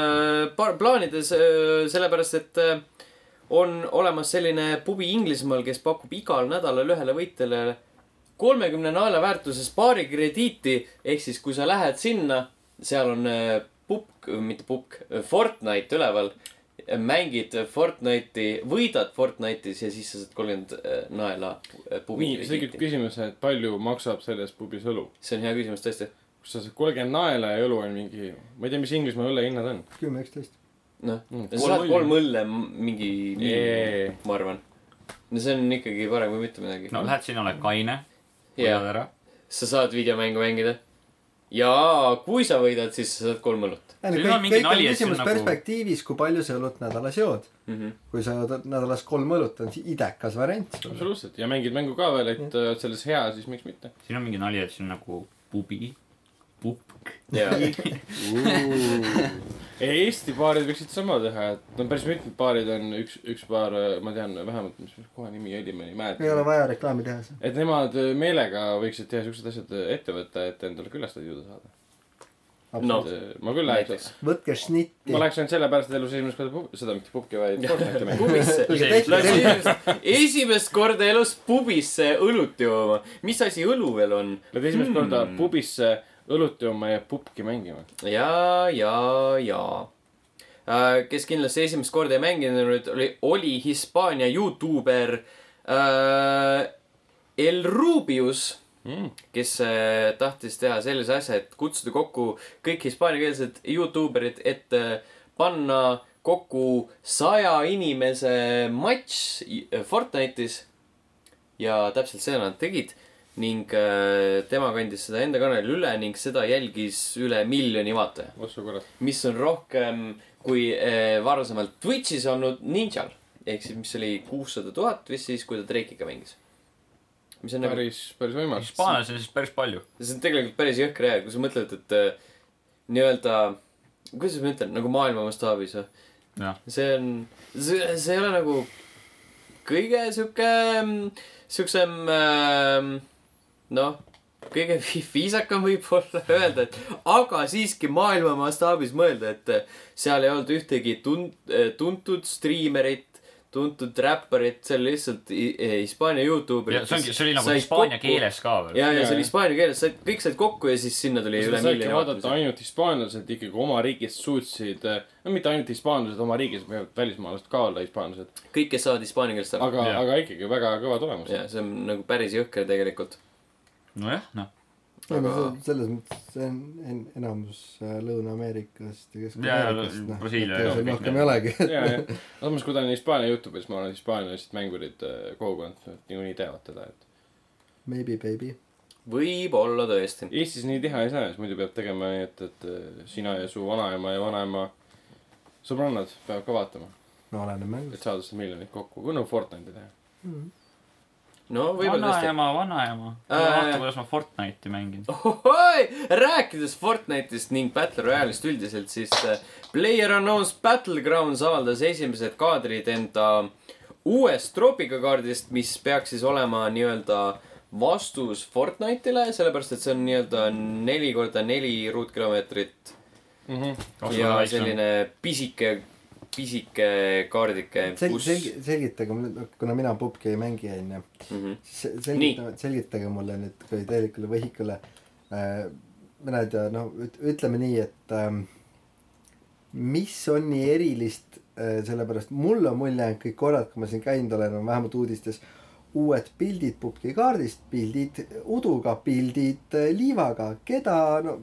A: par- plaanides , sellepärast et äh, on olemas selline pubi Inglismaal , kes pakub igal nädalal ühele võitjale kolmekümne naela väärtuses paari krediiti , ehk siis kui sa lähed sinna , seal on äh, pupk , mitte pupk , Fortnite üleval , mängid Fortnite'i , võidad Fortnite'is ja siis sa saad kolmkümmend äh, naela äh, pubi
B: nii , see tekib
A: krediiti .
B: küsimus , et palju maksab selles pubis õlu ?
A: see on hea küsimus tõesti .
B: kus sa saad kolmkümmend naela ja õlu on mingi , ma ei tea , mis Inglismaa õllehinnad on .
C: kümme , üksteist .
A: noh ,
B: Mm,
A: sa
B: kolm
A: saad
B: õlli.
A: kolm õlle m- mingi
B: Jee.
A: miinimum , ma arvan . no see on ikkagi parem kui mitte midagi .
D: no lähed sinna , oled kaine ,
A: jaa
D: hoiad , ära .
A: sa saad videomängu mängida . ja kui sa võidad , siis sa saad kolm õlut
D: on
C: kõik ,
D: mingi
C: kõik on
D: nali, et see on
C: küsimus
D: nagu-
C: perspektiivis , kui palju sa õlut nädalas jood .
A: mm .
D: Mhm.
A: -hmm.
C: kui sa jood nädalas kolm õlut , on see idekas variant .
B: absoluutselt , ja mängid mängu ka veel , et äh, oled selles hea , siis miks mitte .
D: siin on mingi nali , et see on nagu pubi , pupk .
A: ja ,
B: Eesti baarid võiksid sama teha , et no päris mitmed baarid on üks , üks baar , ma tean vähemalt , mis kohe nimi oli , ma ei
C: ei ole
B: mäleta .
C: vaja reklaami teha seal .
B: et nemad äh, meelega võiksid teha siuksed asjad äh, ette võtta , et endale külastajaid juurde saada .
A: No.
B: ma küll läheks .
A: näiteks .
C: võtke šnitti
B: ma . läheks ainult sellepärast , et elus esimest korda pub- , seda mitte pubki , vaid Fortnite'i mängu .
A: pubisse .
C: Tulge
D: See-
C: tehke
A: Läksin
C: selge .
A: esimest- esimest korda elus pubisse õlut jooma . mis asi õlu veel on ?
B: Lähed esimest korda pubisse õlut jooma ja pubki mängima .
A: ja , ja , ja . kes kindlasti esimest korda ei mänginud , oli , oli Hispaania Youtuber äh, El Rubius
B: Mm.
A: kes äh, tahtis teha sellise asja , et kutsuda kokku kõik hispaaniakeelsed Youtuberid , et äh, panna kokku saja inimese matš i- Fortnite'is . ja täpselt seda nad tegid ning äh, tema kandis seda enda kanalile üle ning seda jälgis üle miljoni vaataja ,
B: otsu korras .
A: mis on rohkem kui äh, varasemalt Twitch'is olnud Ninjal ehk siis , mis oli kuussada tuhat vist siis , kui ta Drake'iga mängis . mis on nagu
B: päris , päris võimas .
D: Hispaanias on siis päris palju .
A: see on tegelikult päris jõhker hea , kui sa mõtled , et äh, nii-öelda , kuidas ma ütlen , nagu maailma mastaabis või ?
D: jah ,
A: see on , see , see ei ole nagu kõige sihuke , siuksem ähm, noh , kõige vi- viisakam võib-olla öelda , et aga siiski maailma mastaabis mõelda , et äh, seal ei olnud ühtegi tun- , tuntud striimerit , tuntud räpparit , see oli lihtsalt hi- Hispaania Youtube'i .
D: see ongi , see oli nagu hispaania keeles ka veel .
A: ja , ja
B: Jaa,
A: see
B: jah.
A: oli hispaania keeles , said , kõik said kokku ja siis sinna tuli
B: seda
A: üle
B: saidki
A: miljoni
B: vaadata
A: vaatamise .
B: ainult hispaanlased ikkagi oma riigist suutsid , no mitte ainult hispaanlased oma riigis , võivad välismaalased ka olla hispaanlased ,
A: kõik , kes saavad hispaania keelest aru .
B: aga ,
D: Jaa.
B: aga ikkagi väga kõva tulemus .
A: ja see on nagu päris jõhker tegelikult .
D: nojah , noh ,
A: Aga-
C: selles mõttes , see on en- enamus äh, Lõuna-Ameerikast ja noh,
D: Jaa,
C: Kesk-Ameerikast .
D: Brasiilia ja kõik
C: äh, rohkem
D: need.
C: ei olegi .
B: ja , ja , samas kui ta on Hispaania Youtube'is , ma arvan , et hispaanlased mängurid eh, kogukond nad niikuinii teavad teda , et
C: Maybe baby .
A: võib-olla tõesti .
B: Eestis nii teha ei saa , siis muidu peab tegema nii , et , et eh, sina ja su vanaema ja vanaema sõbrannad peavad ka vaatama ,
C: no oleneb
B: et
C: mängust .
B: saada seda miljonit kokku , kui nagu Fortnite'i teha .
A: no võib-olla tõesti .
D: vanaema , vanaema .
A: Äh.
D: vaata , kuidas ma Fortnite'i mängin .
A: Oh, ohoi , rääkides Fortnite'ist ning Battle Royale'ist üldiselt , siis äh, PlayerUnknown's Battlegrounds avaldas esimesed kaadrid enda uuest troopikakaardist , mis peaks siis olema nii-öelda vastus Fortnite'ile , sellepärast et see on nii-öelda neli korda neli ruutkilomeetrit Mhm.
D: Oh,
A: ja selline pisike , pisike kaardike ,
C: selge ,
A: kus
C: selge , selgitage mulle , kuna mina pubki ei mängi , onju .
A: Mhm.
C: siis selgitage , selgitage mulle nüüd kui täielikule võhikule äh, . mina ei tea , no üt- ütleme nii , et ähm, mis on nii erilist äh, , sellepärast mul on mulje jäänud kõik korrad , kui ma siin käinud olen , on vähemalt uudistes uued pildid pubki kaardist , pildid uduga , pildid äh, liivaga , keda , no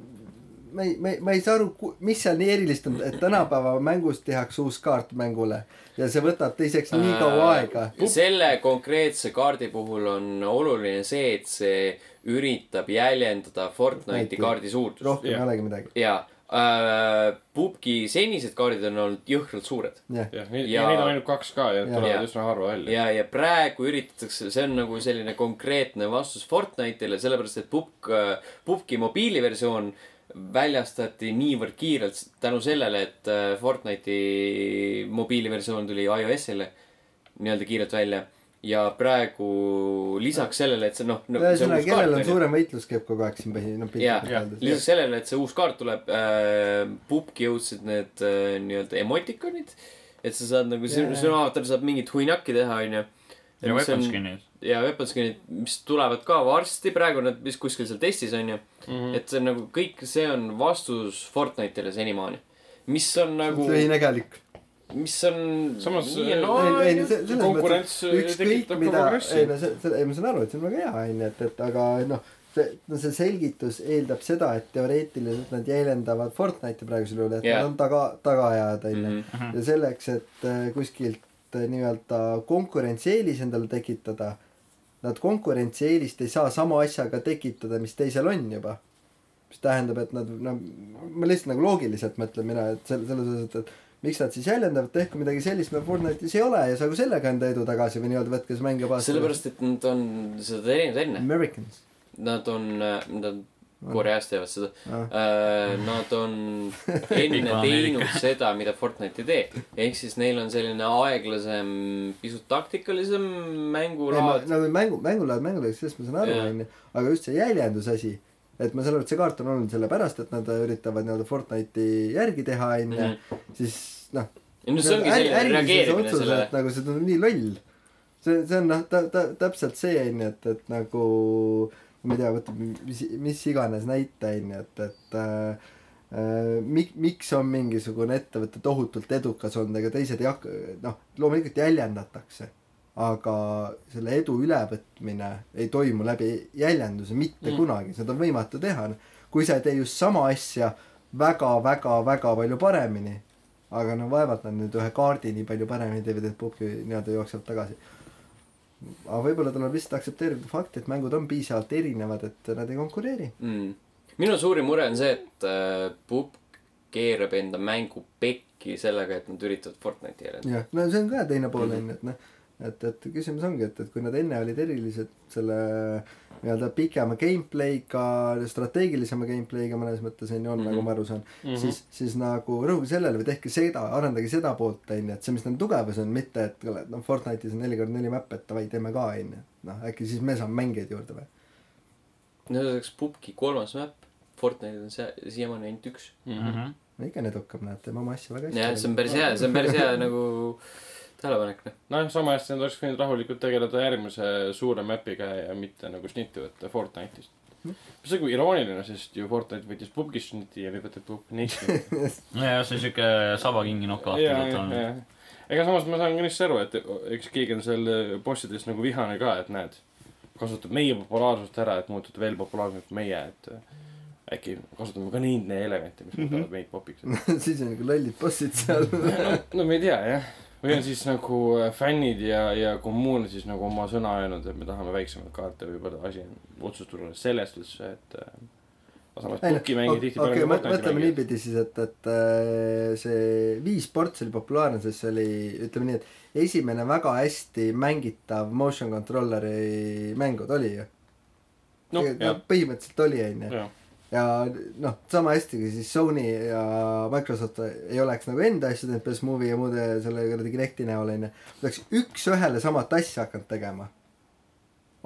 C: ma ei , ma ei , ma ei saa aru , mis seal nii erilist on , et tänapäeva mängus tehakse uus kaart mängule ja see võtab teiseks nii
A: Äh,
C: kaua aega .
A: selle konkreetse kaardi puhul on oluline see , et see üritab jäljendada Fortnite'i
C: Fortnite'i.
A: kaardi suurust .
C: rohkem ei
B: Jah.
C: olegi midagi .
A: jaa äh, , Pupki senised kaardid on olnud jõhkralt suured .
C: jah ,
B: jah , neid ,
A: Ja-
B: neid on ainult kaks ka ja
C: Ja.
A: Ja.
B: tulevad üsna harva välja .
A: ja , ja praegu üritatakse , see on nagu selline konkreetne vastus Fortnite'ile , sellepärast et Pupk , Pupki mobiiliversioon väljastati niivõrd kiirelt tänu sellele , et äh, Fortnite'i mobiiliversioon tuli iOS-ile nii-öelda kiirelt välja ja praegu lisaks sellele , et see noh no, .
C: ühesõnaga , kellel on suurem võitlus , käib kogu aeg siin põhi , noh
A: jaa
C: piltlikult , öeldes .
A: lisaks sellele , et see uus kaart tuleb äh, , pupki jõudsid need äh, nii-öelda emotikonid . et sa saad nagu sinu ,
C: Jaa.
A: sinu avatar saab mingit huinaki teha , onju .
D: ja weaponskin'id .
A: ja weaponskin'id , mis tulevad ka varsti , praegu nad vist kuskil seal testis onju mm . -hmm. et see on nagu kõik , see on vastus Fortnite'ile senimaani . mis on nagu ,
C: lühinägelik .
A: mis on .
B: Samas,
C: ei , ei ,
A: no,
C: selles mõttes ,
B: konkurents,
C: et
B: äh,
C: ükskõik
B: tekitab ka
C: mida ,
B: progressi.
C: ei no see , see , ei ma saan aru , et see on väga hea , onju , et , et aga noh , see , no see selgitus eeldab seda , et teoreetiliselt nad jäljendavad Fortnite'i praegusel juhul , et
A: Jah.
C: nad on taga , tagaajad , onju .
A: Mhm.
C: ja selleks , et äh, kuskilt äh, nii-öelda konkurentsieelis endale tekitada , nad konkurentsieelist ei saa sama asjaga tekitada , mis teisel on juba . mis tähendab , et nad , no ma lihtsalt nagu loogiliselt mõtlen mina , et sel- , selles osas , et miks nad siis jäljendavad , tehku midagi sellist , mida Fortnite'is ei ole ja saagu sellega enda edu tagasi või nii-öelda võtke see mäng ja vaata .
A: sellepärast , et nad on seda teinud enne .
C: Americans .
A: Nad on , nad Koreas teevad seda
C: Ah.
A: äh, . Nad on enne
D: Ameerika.
A: teinud seda , mida Fortnite ei tee . ehk siis neil on selline aeglasem , pisut taktikalisem
C: ei , ma
A: mängulaad .
C: nagu mängu , mängulaad mängulaad , sellest ma saan aru ,
A: Jaa.
C: onju , aga just see jäljendusasi , et ma saan aru , et see kaart on olnud sellepärast , et nad üritavad nii-öelda Fortnite'i järgi teha , onju , siis noh .
A: Mhm. ja no see ongi selline reageerimine sellele .
C: nagu see tundub nii loll . see , see on noh , ta , ta , täpselt see onju , et , et nagu ma ei tea , võtame mis , mis iganes näite onju , et , et äh, äh, mi- , miks on mingisugune ettevõte tohutult edukas olnud , ega teised ei hakka , noh , loomulikult jäljendatakse , aga selle edu ülevõtmine ei toimu läbi jäljenduse mitte
A: Mm.
C: mm. kunagi , seda on võimatu teha . kui sa ei tee just sama asja väga-väga-väga palju paremini , aga no vaevalt nad nüüd ühe kaardi nii palju paremini teevad , et pubki nii-öelda jookseb tagasi . aga võib-olla tuleb lihtsalt aktsepteerida fakti , et mängud on piisavalt erinevad , et nad ei konkureeri .
A: mm. . minu suurim mure on see , et äh, Pupk keerab enda mängu pekki sellega , et nad üritavad Fortnite'i järele .
C: jah , no see on ka teine pool onju , et noh , et , et küsimus ongi , et , et kui nad enne olid erilised selle nii-öelda pikema gameplay'ga , strateegilisema gameplay'ga mõnes mõttes onju on mm , -hmm.
A: Mhm.
C: nagu ma aru saan mm , -hmm. siis , siis nagu rõhuge sellele või tehke seda , arendage seda poolt onju , et see , mis neil tugevus on , mitte et kuule , noh Fortnite'is on neli korda neli map'i , et davai , teeme ka onju . noh , äkki siis me saame mängijaid juurde või ?
A: no see oleks Pupki kolmas map , Fortnite'il on see siiamaani ainult üks .
D: mhmh .
C: no ikka need hakkab , näed , teeme oma asja väga hästi .
A: jah , see on päris hea , see on päris hea nagu tähelepanek , noh .
B: nojah , samas nad oleks võinud rahulikult tegeleda järgmise suure map'iga ja mitte nagu snitti võtta Fortnite'ist .
A: Mhm.
B: mis on nagu irooniline , sest ju Fortnite võttis pubgist snitti ja nüüd võtab pub neisti .
D: nojah , see on siuke sabakingi nokaat olnud .
B: ega samas ma saan küll aru , et eks keegi on seal bossidest nagu vihane ka , et näed , kasutab meie populaarsust ära , et muutuda veel populaarsemaks kui meie , et äh, äkki kasutame ka neid elemente , mis
C: Mhm.
B: muudavad meid popiks .
C: siis on nagu lollid bossid seal .
B: no me ei tea jah , või on siis nagu äh, fännid ja , ja kommuun siis nagu oma sõna öelnud , et me tahame väiksemaid kaarte , võib-olla asi on otsustatud alles sellest üldse , et äh, aga samas
C: Ei, no,
B: pukki mängib
C: ok-
B: tihti parem
C: okei,
B: kui
C: mõt-
B: Fortnite'i
C: mõtleme
B: mängib .
C: niipidi siis , et , et äh, see Wii-sports oli populaarne , sest see oli , ütleme nii , et esimene väga hästi mängitav motion controller'i mängud oli ju .
B: noh , jah ,
C: põhimõtteliselt oli , onju .
B: jah ,
C: ja noh , sama hästi kui siis Sony ja Microsoft ei oleks nagu enda asju teinud , PS Movie ja muude selle kuradi Kinecti näol onju . oleks üks-ühele samat asja hakanud tegema .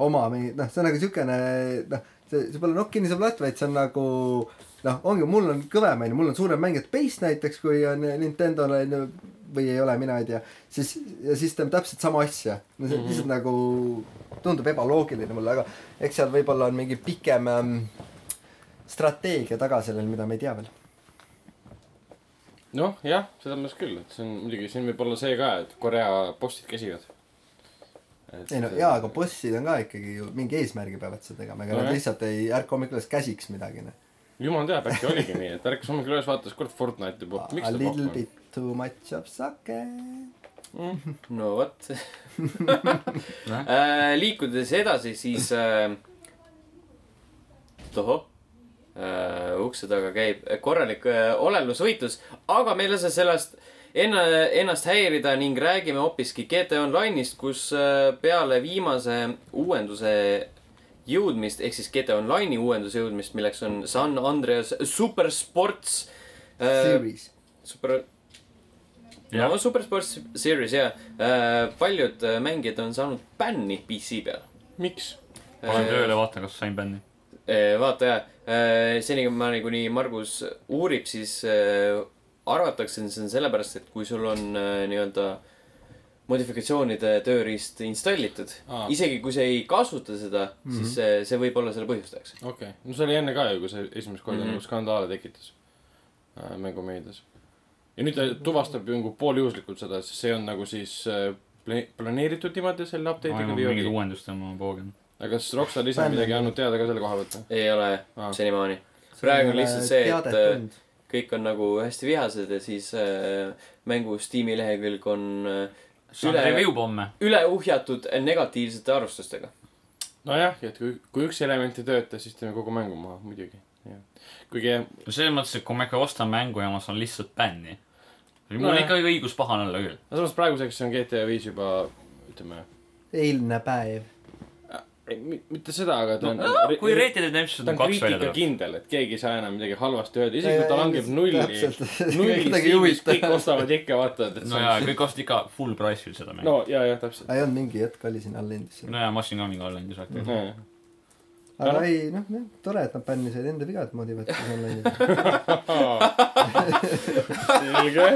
C: oma mingi , noh , see on nagu siukene , noh , see , see pole nokk kinnise platt , vaid see on nagu noh , ongi , mul on kõvem onju , mul on suurem mängijate base näiteks , kui on Nintendo'l onju või ei ole , mina ei tea , siis ja siis teeme täpselt sama asja . no see on lihtsalt nagu tundub ebaloogiline mulle , aga eks seal võib-olla on mingi pikem ähm, strateegia taga sellel , mida me ei tea veel .
B: noh , jah , selles mõttes küll , et see on muidugi , siin võib olla see ka , et Korea bossid käsivad .
C: ei no jaa , aga bossid on ka ikkagi ju mingi eesmärgi peavad seda tegema , ega nad
B: Nojah.
C: lihtsalt ei ärka hommikul üles käsiks midagi . noh.
B: jumal teab , äkki oligi nii , et ärkas hommikul üles , vaatas kord Fortnite'i pop ,
C: A
B: miks ta
C: little
B: pop on ?
C: bit too much of sake .
A: no vot . liikudes edasi , siis äh, . tohoh . ukse taga käib korralik äh, olelusvõitlus , aga me ei lase sellest enna , ennast häirida ning räägime hoopiski GT Online'ist , kus äh, peale viimase uuenduse jõudmist ehk siis GT Online'i uuenduse jõudmist , milleks on San Andreas Super Sports äh, .
C: Series .
A: super ,
D: Jah.
A: no Super Sports Series jah äh, , paljud äh, mängijad on saanud bänni PC peal
B: miks ?
D: panen
A: äh, .
D: tööle , vaatan , kas sain bändi .
A: vaata jah äh, , senikaua kuni Margus uurib , siis äh, arvatakse , et see on sellepärast , et kui sul on äh, nii-öelda modifikatsioonide tööriist installitud
B: Aa. Mhm.
A: ah. , isegi kui sa ei kasuta seda mm , -hmm. siis see , see võib olla selle põhjustajaks .
B: okei okay. , no see oli enne ka ju , kui see esimest korda mm
A: Mhm.
B: -hmm. nagu skandaale tekitas äh, mängumeedias . ja nüüd ta tuvastab ju nagu pooljuhuslikult seda , sest see on nagu siis äh, pla- planeeritud niimoodi selle update'iga või
D: mingid
B: oli ?
D: uuendused on oma poogen .
B: aga kas Rockstar ise
C: Bändi-
B: midagi andnud teada ka selle koha pealt või ?
A: ei ole
B: Aa.
A: ah. senimaani . praegu on lihtsalt see , et äh,
C: teadet on .
A: kõik on nagu hästi vihased ja siis äh, mängu Steam'i lehekülg on äh,
D: saan
A: Üle-
D: review pomme .
A: üle uhjatud negatiivsete arvustustega .
B: nojah , et kui , kui üks element ei tööta , siis teeme kogu mängu maha , muidugi . kuigi jah ,
D: selles mõttes , et kui ma ikka ostan mängu ja ma saan lihtsalt bändi . mul on
B: Nojah.
D: ikka õigus pahane olla küll .
B: aga samas praeguseks on GTA viis juba ütleme
C: eilne päev .
B: ei, mi- mitte seda , aga ta on
D: kui Red Dead Redemption
B: ta on
D: kaks välja tuleb .
B: kriitikakindel , et keegi ei saa enam midagi halvasti öelda , isegi
C: Ei,
B: kui ta
C: ei,
B: langeb
C: just-
B: nulli
C: täpselt. ,
B: nulli
C: Kedagi ei
B: stiilis
C: huvita.
B: kõik ostavad ikka , vaata , et
D: no jaa , kõik ostsid ikka full price'il seda mängu .
B: no ja , jah , täpselt .
C: ei olnud mingi hetk oli siin all endiselt .
D: no jaa , ma ostsin ka mingi alla endise aktiivse .
B: jah ,
C: aga
B: Jah.
C: ei noh , jah , tore , et nad bännisid enda viga , et moodi võttis online'i .
B: selge .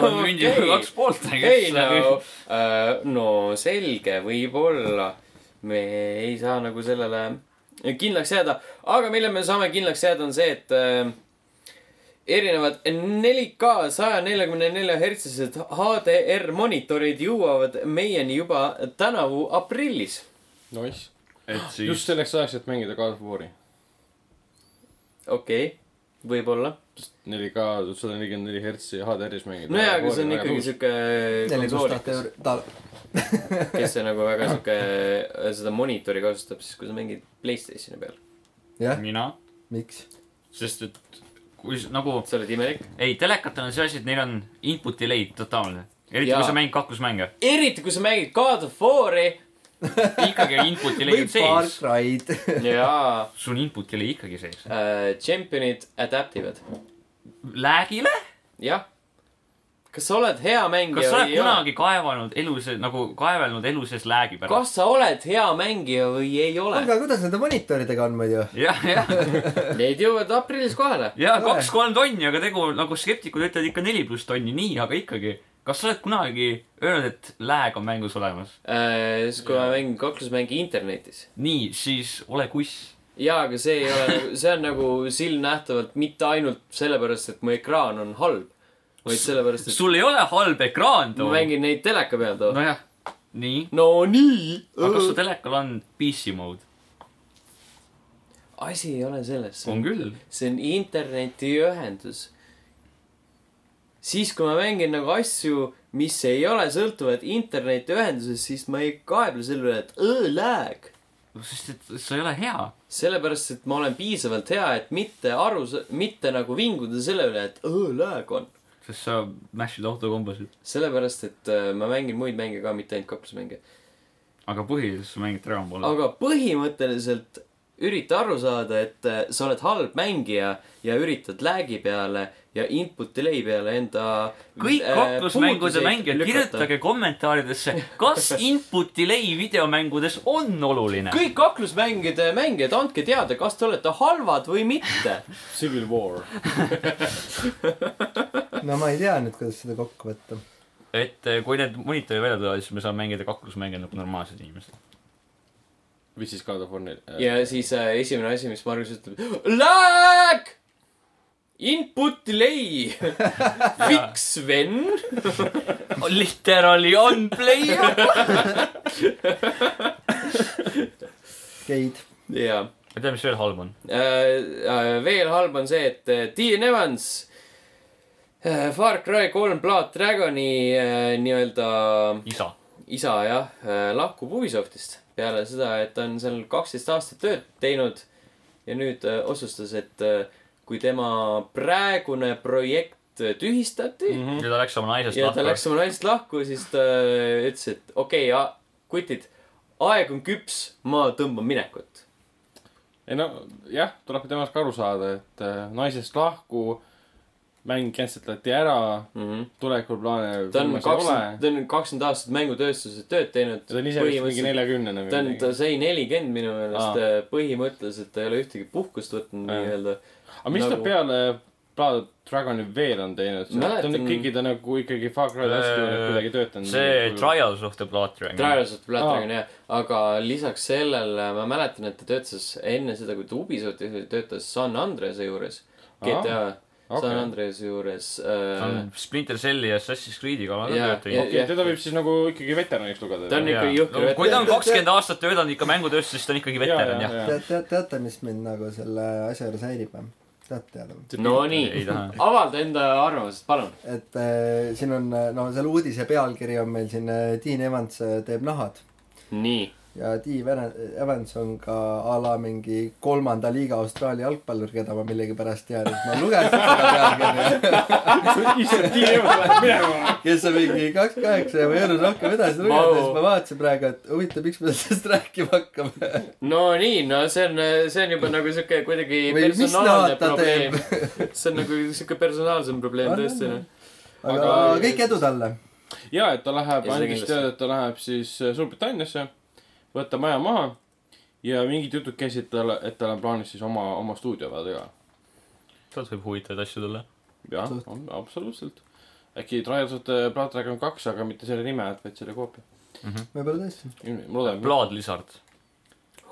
D: on mündi
A: Okei.
D: kaks poolt ,
A: ei
D: äh,
A: no , no selge , võib-olla me ei saa nagu sellele kindlaks jääda , aga mille me saame kindlaks jääda , on see , et äh, erinevad 4K saja neljakümne nelja hertsised HDR monitorid jõuavad meieni juba tänavu aprillis .
B: Nice .
D: et siis
B: just selleks ajaks , et mängida God of War'i .
A: okei okay, , võib-olla .
B: 4K sada nelikümmend neli hertsi HDR-is mängida .
A: nojah , aga see on ikkagi sihuke
C: neli pluss tuhat
A: konsoolikas ,
C: eurot , ta ,
A: kes see nagu väga sihuke , seda monitori kasutab siis , kui sa mängid Playstationi peal .
C: jah ,
D: mina ,
C: miks ?
D: sest et kui s- nagu ,
A: sa oled imelik .
D: ei telekatel on see asi , et neil on input delay totaalne . eriti
A: Jaa.
D: kui sa mängid kaklusmänge ,
A: eriti kui sa mängid God of War'i .
D: ikkagi on input delay
C: või
D: on
C: Far
D: sees ,
C: Cry'd .
A: jaa
D: sul on input delay ikkagi sees .
A: äh, , champion'id adaptivad ,
D: Lag'ile ?
A: jah . kas sa oled hea mängija
D: kas sa oled
A: või ei ole ?
D: kunagi kaevanud elu sees , nagu kaevelnud elu sees lag'i pärast ?
A: kas sa oled hea mängija või ei ole ?
C: aga kuidas nende monitoridega on muidu ?
D: jah , jah ,
A: Neid jõuavad aprillis kohale .
D: ja kaks-kolm tonni , aga tegu nagu skeptikud ütlevad ikka neli pluss tonni , nii , aga ikkagi . kas sa oled kunagi öelnud , et lag on mängus olemas ?
A: Äh, siis kui ma mängin kaklusmängi internetis .
D: nii , siis ole kuss .
A: jaa , aga see ei ole nagu , see on nagu silmnähtavalt mitte ainult sellepärast , et mu ekraan on halb , vaid sellepärast , et
D: sul ei ole halb ekraan
A: ma
D: too .
A: mängin neid teleka peal too .
D: nojah , nii .
A: no nii
D: aga kas su . telekal on PC mode ?
A: Äh, asi ei ole selles .
D: on küll .
A: see on internetiühendus . siis , kui ma mängin nagu asju , mis ei ole sõltuvad internetiühendusest , siis ma ei kaeble selle üle , et õõ lag .
D: sest , et sa ei ole hea .
A: sellepärast , et ma olen piisavalt hea , et mitte aru , mitte nagu vinguda selle üle , et õõ lag on .
D: sest sa mash'id autokombasid .
A: sellepärast , et äh, ma mängin muid mänge ka , mitte ainult kaklusmänge .
D: aga põhiliselt sa mängid Dragon Balli .
A: aga põhimõtteliselt ürita aru saada , et äh, sa oled halb mängija ja üritad lag'i peale ja input delay peale enda
D: kõik
A: äh,
D: kaklusmängude
A: puuduseid
D: mängijad ,
A: lükata.
D: kirjutage kommentaaridesse , kas input delay videomängudes on oluline .
A: kõik kaklusmängide mängijad , andke teada , kas te olete halvad või mitte .
B: Civil War .
C: no ma ei tea nüüd , kuidas seda kokku võtta .
D: et eh, kui need monitorid välja tulevad , siis me saame mängida kaklusmänge nagu normaalsed inimesed .
B: või siis God of War neli .
A: ja siis äh, esimene asi , mis Margus ütleb , lag , input delay , fix when ,
D: Literally on player .
C: Geid .
A: ja
D: ma ei tea , mis veel halb on .
A: äh, veel halb on see , et äh, Dean Evans äh, Far Cry kolm Blood Dragoni äh, nii-öelda
D: isa .
A: isa jah äh, , lahkub Ubisoftist peale seda , et ta on seal kaksteist aastat tööd teinud ja nüüd äh, otsustas , et äh, kui tema praegune projekt äh, tühistati mm
D: ja ta läks oma naisest
A: ja ta läks
D: lahku .
A: oma naisest lahku , siis ta äh, ütles , et okei okay, , kutid , aeg on küps , ma tõmban minekut .
B: ei no jah , tuleb temast ka aru saada , et äh, naisest lahku , mäng cancel dati ära ,
A: Mm -hmm.
B: tulekul plaane
A: ta on
B: filmas ei ole .
A: kakskümmend , ta on kakskümmend aastat mängutööstuses tööd teinud .
B: ta on ise vist mingi neljakümnene
A: ta on ,
B: või
A: ta
B: midagi .
A: sai nelikümmend minu meelest
B: Aa.
A: äh, põhimõtteliselt ta ei ole ühtegi puhkust võtnud
B: Aa.
A: nii-öelda .
B: aga mis ta
A: nagu-
B: peale Blood Dragoni veel on teinud ? ta on
A: Mäletan-
B: ikkagi , ta nagu ikkagi Far Cry vastu
D: Äh,
B: kuidagi töötanud .
D: see . Trials of the Blood Dragon .
A: nagu- Trials of the Blood
B: Aa.
A: Dragon jah , aga lisaks sellele ma mäletan , et ta töötas enne seda , kui ta Ubisoftis töötas San Andrease juures . GTA
B: okei.
A: San Andrease juures
D: ta
A: äh,
D: on . Splinter Celli ja Assassin's Creed'i kallal
A: Jaa,
D: ka töötanud .
B: okei , teda võib siis nagu ikkagi veteraniks lugeda .
A: Ta on ikka jõhker veteran.
D: kui ta on kakskümmend aastat töötanud ikka mängutööstuses , siis ta on ikkagi veteran , jah .
B: jah .
C: teate , teate , mis mind nagu selle asja juures häirib või ? tahate teada või ?
A: Nonii
D: Ei taha. ,
A: avalda enda arvamust , palun .
C: et äh, siin on , no selle uudise pealkiri on meil siin äh, Dean Evans äh, teeb nahad
A: nii .
C: ja Dean Vene- Evans on ka a la mingi kolmanda liiga Austraalia jalgpallur , keda ma millegipärast tean , et ma lugesin seda pealkirja .
B: ise tiirjõud läheb minema .
C: kes on mingi kaks kaheksa ja ma ei jõudnud rohkem edasi lugeda
A: Vau.
C: ja siis ma vaatasin praegu , et huvitav , miks me sellest rääkima hakkame .
A: Nonii , no see on , see on juba nagu siuke kuidagi
C: Või mis
A: personaalne
C: näod ta
A: probleem . see on nagu siuke personaalsem probleem
C: On,
A: tõesti noh .
C: aga
B: Aga-
C: kõik edu talle .
B: ja , et ta läheb ,
A: Ei, seda
B: andis
A: kindlasti.
B: teada , et ta läheb siis äh, Suurbritanniasse , võtta maja maha ja mingid jutud käisid tal , et tal on plaanis siis oma , oma stuudio avada ka .
D: sealt võib huvitavaid asju tulla .
B: jah
C: Absoluutselt. ,
B: absoluutselt . äkki Trials of the Blood Dragon kaks , aga mitte selle nime , vaid selle koopia .
C: võib-olla tõesti .
B: ma loodan .
D: Blood Lizard .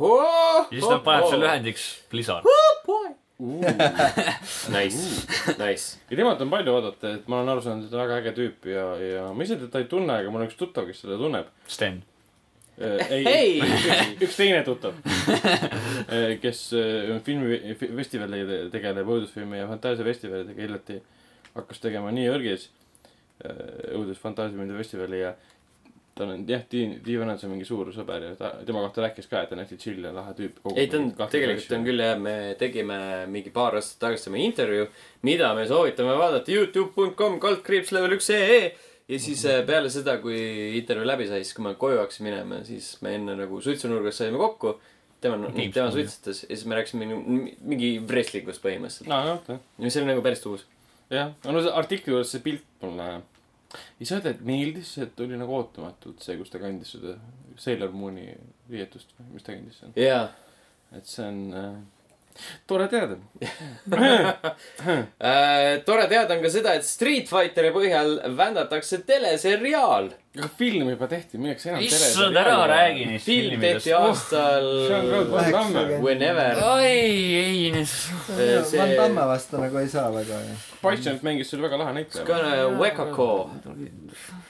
A: ja
D: ja siis ta paneb selle . lühendiks Blizzard .
A: noh. Nice , nice .
B: ja temalt on palju oodata , et ma olen aru saanud , et ta on väga äge tüüp ja , ja ma ise teda ei tunne , aga mul on üks tuttav , kes teda tunneb .
D: Sten .
B: Äh, ei ,
A: Hei!
B: üks, üks teine tuttav , kes eh, filmi , festivali tegeleb , õudusfilmi ja fantaasiafestivalidega hiljuti hakkas tegema New Yorgis eh, õudusfantaasiumide festivali ja tal on jah , Dean , Dean Vanance on mingi suur sõber ja ta , tema kohta rääkis ka , et ta on hästi chill ja lahe tüüp .
A: ei , ta on , tegelikult on . küll jah , me tegime mingi paar aastat tagasi oma intervjuu , mida me soovitame vaadata Youtube.com kaldkriips level üks ee ja siis äh, peale seda , kui intervjuu läbi sai , siis kui me koju hakkasime minema , siis me enne nagu suitsunurgas saime kokku . tema ,
D: Teams-
A: tema suitsetas ja siis me rääkisime mingi, mingi wrestlingust põhimõtteliselt ,
B: aa , jah ,
A: mis oli nagu päris uus .
B: jah , no see artikli juures see pilt mulle ei saa öelda , et meeldis , see tuli nagu ootamatult , see , kus ta kandis seda Sailor Mooni riietust või mis ta kandis seal .
A: jaa
B: et see on äh, tore teada .
A: Äh, tore teada on ka seda , et Street Fighteri põhjal vändatakse teleseriaal .
B: aga film juba tehti , milleks enam
D: issand , ära räägi . neist
A: film
D: filmidest Uh.
A: tehti . aastal
B: Oh, see on
A: oh,
B: ka
C: Van
B: programm
C: Damme. .
A: Whenever .
D: ai , ei ,
A: Äh, see-
C: Van Damme vastu nagu ei saa väga .
B: Patsient mängis seal väga lahe näitleja .
A: Gonna Wekako ,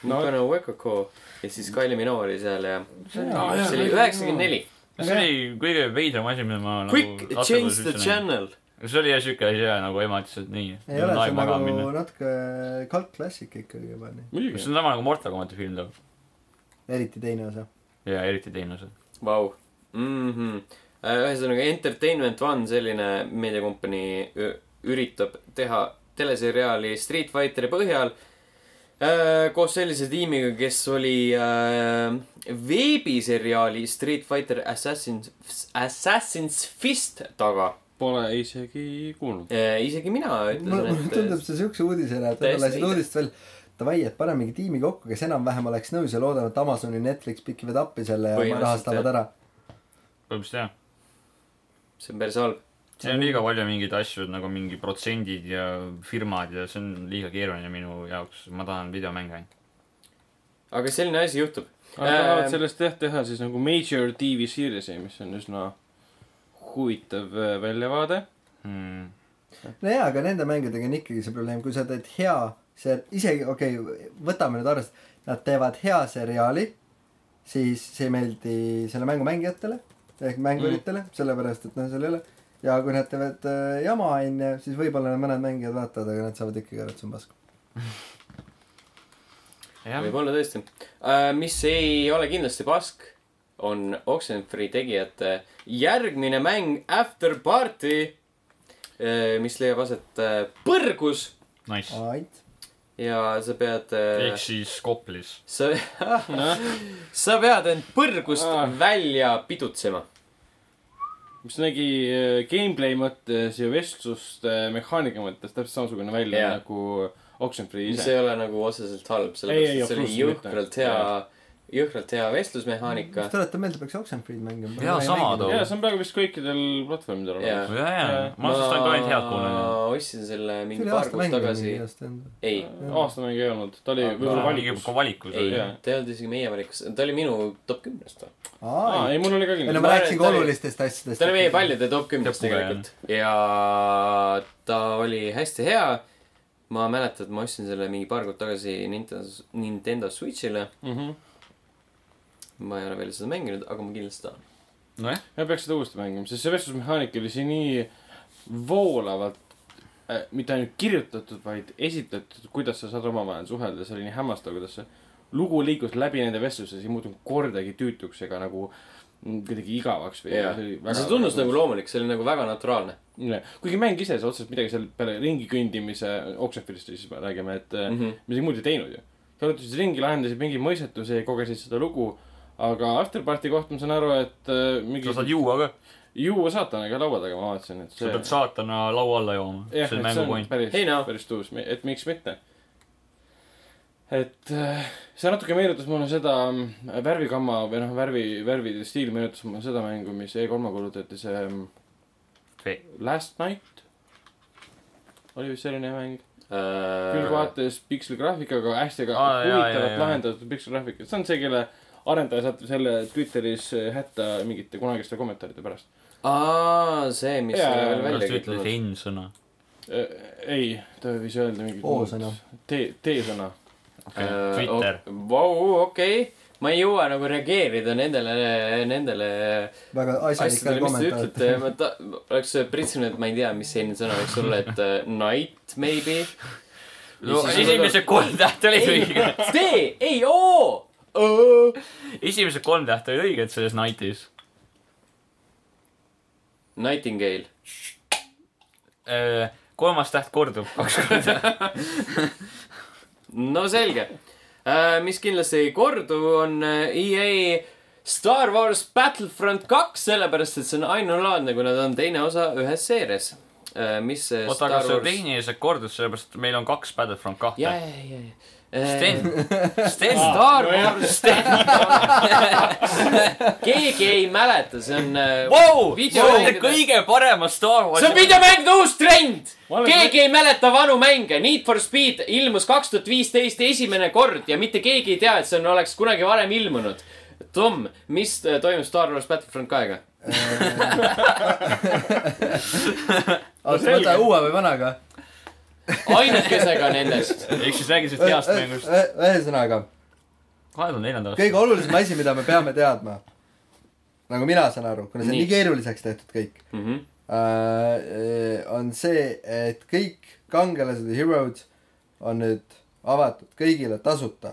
B: No.
A: Gonna Wekako ja siis Kylie Minogue oli seal ja
B: Aa, jaa,
A: see oli
B: Kylie
A: üheksakümmend neli .
D: see oli kõige veidram asi , mida ma nagu
A: Quick , change the . channel .
D: see oli jah siuke asi ja nagu ema ütles , et nii .
C: ei ole , see on nagu natuke kalkklassik ikkagi juba nii .
D: see
B: muidugi .
D: on sama nagu Mortal Combati film toob .
C: eriti teine osa .
D: ja eriti teine osa .
A: Vau . Mhm. Äh, ühesõnaga Entertainment One , selline meediakompanii ü- üritab teha teleseriaali Street Fighteri põhjal äh, koos sellise tiimiga , kes oli äh, veebiseriaali Street Fighter Assassin's , Assassin's Fist taga .
B: Pole isegi kuulnud .
A: isegi mina
C: mulle mulle
A: ütlesin , äh,
C: tundub see siukse uudisena , et
A: täiesti
C: võib-olla siin
A: õige.
C: uudist veel davai , et pane mingi tiimi kokku , kes enam-vähem oleks nõus ja loodan , et Amazoni , Netflix pikivad appi selle ja
A: Põhimõtteliselt,
C: rahastavad ära .
D: põhimõtteliselt jah .
A: et see on päris halb .
D: siin on liiga palju mingeid asju , nagu mingi protsendid ja firmad ja see on liiga keeruline minu jaoks , ma tahan videomänge ainult .
A: aga selline asi juhtub .
B: aga tahavad
A: Ähm.
B: sellest jah teha siis nagu major tv series'i , mis on üsna huvitav äh, väljavaade .
D: Hmm.
C: nojaa , aga nende mängudega on ikkagi see probleem , kui sa teed hea ser- , isegi okei okay, , võtame nüüd arvesse , nad teevad hea seriaali , siis see ei meeldi selle mängu mängijatele ehk mänguritele mm. , sellepärast et noh , seal ei ole . ja kui nad teevad äh, jama onju , siis võib-olla mõned mängijad vaatavad , aga nad saavad ikkagi aru , et see on pask .
D: jah ,
A: võib-olla tõesti uh, . mis ei ole kindlasti pask , on Oxenfree tegijate järgmine mäng After Party uh, , mis leiab aset uh, Põrgus
D: nice .
C: ait .
A: ja sa pead
D: ehk
A: uh, ,
D: siis Koplis .
A: sa , sa pead end Põrgust
B: Noh. Ah.
A: välja pidutsema .
B: mis nägi äh, gameplay mõttes ja vestlust äh, mehaanika mõttes täpselt samasugune välja
A: Jaa.
B: yeah. nagu Oxenfree
A: mis
B: ise .
A: ei ole nagu otseselt halb ,
B: Ei,
A: sellepärast et see oli
B: ei, absoluutselt mitte.
A: jõhkralt hea , jõhkralt hea vestlusmehaanika .
C: tuletan meelde , peaks Oxenfree'd mängima .
D: Jaa, sama too.
B: ja see on praegu vist kõikidel platvormidel
A: Jaa.
B: olemas .
D: ja , ja , ma lihtsalt olen ka ainult head kuulanud .
A: ma ostsin selle mingi
C: see oli
A: paar
C: aasta
A: kuud
C: mäng
A: tagasi
C: minu . arust on .
A: ei ,
B: aastamäng ei olnud , ta oli
A: Aga-
B: võib-olla valikus .
D: ka valikus
A: ei
D: oli .
B: Jaa. ,
A: ta ei olnud isegi meie valikus , ta oli minu top kümnest või ?
B: aa ,
C: aa ,
B: ei , mul oli ka
C: ei
B: kindlasti
C: no
A: ma
C: ma
A: arvan,
C: rääkisin
A: et
C: ka
A: ta oli-
C: olulistest asjadest .
A: ta oli meie paljude top kümnes
D: Lõpuga,
A: tegelikult ja ta oli hästi hea . ma mäletan , et ma ostsin selle mingi paar kuud tagasi Nintendo , Nintendo Switch'ile .
B: mm . -hmm.
A: ma ei ole veel seda mänginud , aga ma kindlasti tahan .
D: nojah ,
B: me peaks seda uuesti mängima , sest see vestlusmehaanika oli siin nii voolavalt äh, mitte ainult kirjutatud , vaid esitletud , kuidas sa saad omavahel suhelda , see oli nii hämmastav , kuidas see lugu liikus läbi nende vestluse , see ei muutunud kordagi tüütuks ega nagu mm, kuidagi igavaks või
A: jaa , see tundus nagu loomulik , see oli nagu väga naturaalne
B: loomulik . kuigi mäng ise see otseselt midagi seal peale ringi kõndimise , Oxenfieldist siis me räägime , et mm
A: mm . -hmm.
B: midagi muud ei teinud ju . sa jalutasid ringi , lahendasid mingi mõistetusi , kogesid seda lugu , aga Afterparty kohta ma saan aru , et äh, mingi
D: sa saad juua ka .
B: juua saatanaga laua taga , ma vaatasin , et
D: sa
B: see
D: pead saatana laua alla jooma .
B: jah ,
D: see on
B: et see
D: mängu
B: on
D: point .
B: päris
A: Ei noh. ,
B: päris tuus , et miks mitte . et äh, see natuke meenutas mulle seda mm, värvigamma või noh , värvi , värvide stiil meenutas mulle seda mängu , mis E E3-e kuulutati , see mm,
D: Fe-
B: Last Night oli vist selline mäng ,
A: külgvaat .
B: külgvaates piksligraafikaga , hästi aga
D: Aa, jaa, jaa,
B: huvitavalt
D: jaa.
B: lahendatud piksligraafikat , see on see , kelle arendaja saab selle Twitteris äh, hätta mingite kunagiste kommentaaride pärast .
A: aa , see , mis
B: Jaa,
A: ei
B: jaa,
A: ole
B: jaa.
A: veel
D: kuidas
A: välja
D: sa ütled
A: käidud .
D: N-sõna ?
B: ei , ta võis öelda mingit
C: O-sõna. .
B: T , T-sõna .
D: Twitter .
A: Äh, Vau , okei . ma ei jõua nagu reageerida nendele , nendele
C: väga asjalikel
A: asjadele , mis te ütlete
C: kommentaaritel ..
A: ma ta- , oleks pritsinud , ma ei tea , mis selline sõna võiks olla , et äh, night maybe .
D: no esimesed kolm tähte olid õiged ,
A: D , ei O .
D: esimesed kolm tähte olid õiged selles Nightis .
A: Nightingale .
D: Äh, kolmas täht kordub kaks korda .
A: no selge . mis kindlasti ei kordu , on äh, EA Star Wars Battlefront kaks , sellepärast et see on ainulaadne , kuna ta on teine osa ühes seerias . mis see
D: oota , aga see tehniliselt kordus , sellepärast et meil on kaks Battlefront
A: ja ,
D: kahte .
A: ja , ja , ja .
D: Sten ,
A: Äh,
D: Sten ,
A: Star
B: nojah.
A: Wars , keegi ei mäleta , see on äh,
D: Vau , see on
A: Videomängide-
D: kõige parema Star
A: see on
D: Warsi .
A: videomängude uus trend .
B: Ma olen-
A: keegi ei mäleta vanu mänge . Need for Speed ilmus kaks tuhat viisteist esimene kord ja mitte keegi ei tea , et see on , oleks kunagi varem ilmunud . Tom , mis äh, toimub Star wars Battlefront kahega ?
C: oota , võta uue või vanaga .
A: ainukesega nendest .
D: ehk siis räägi sellest heast mängust .
C: ühesõnaga ,
D: kahe tuhande neljanda aasta .
C: kõige olulisem asi , mida me peame teadma , nagu mina saan aru , kuna see on
A: Nii.
C: nii keeruliseks tehtud kõik ,
A: Mhm.
C: on see , et kõik kangelased ja hero'd on nüüd avatud kõigile tasuta .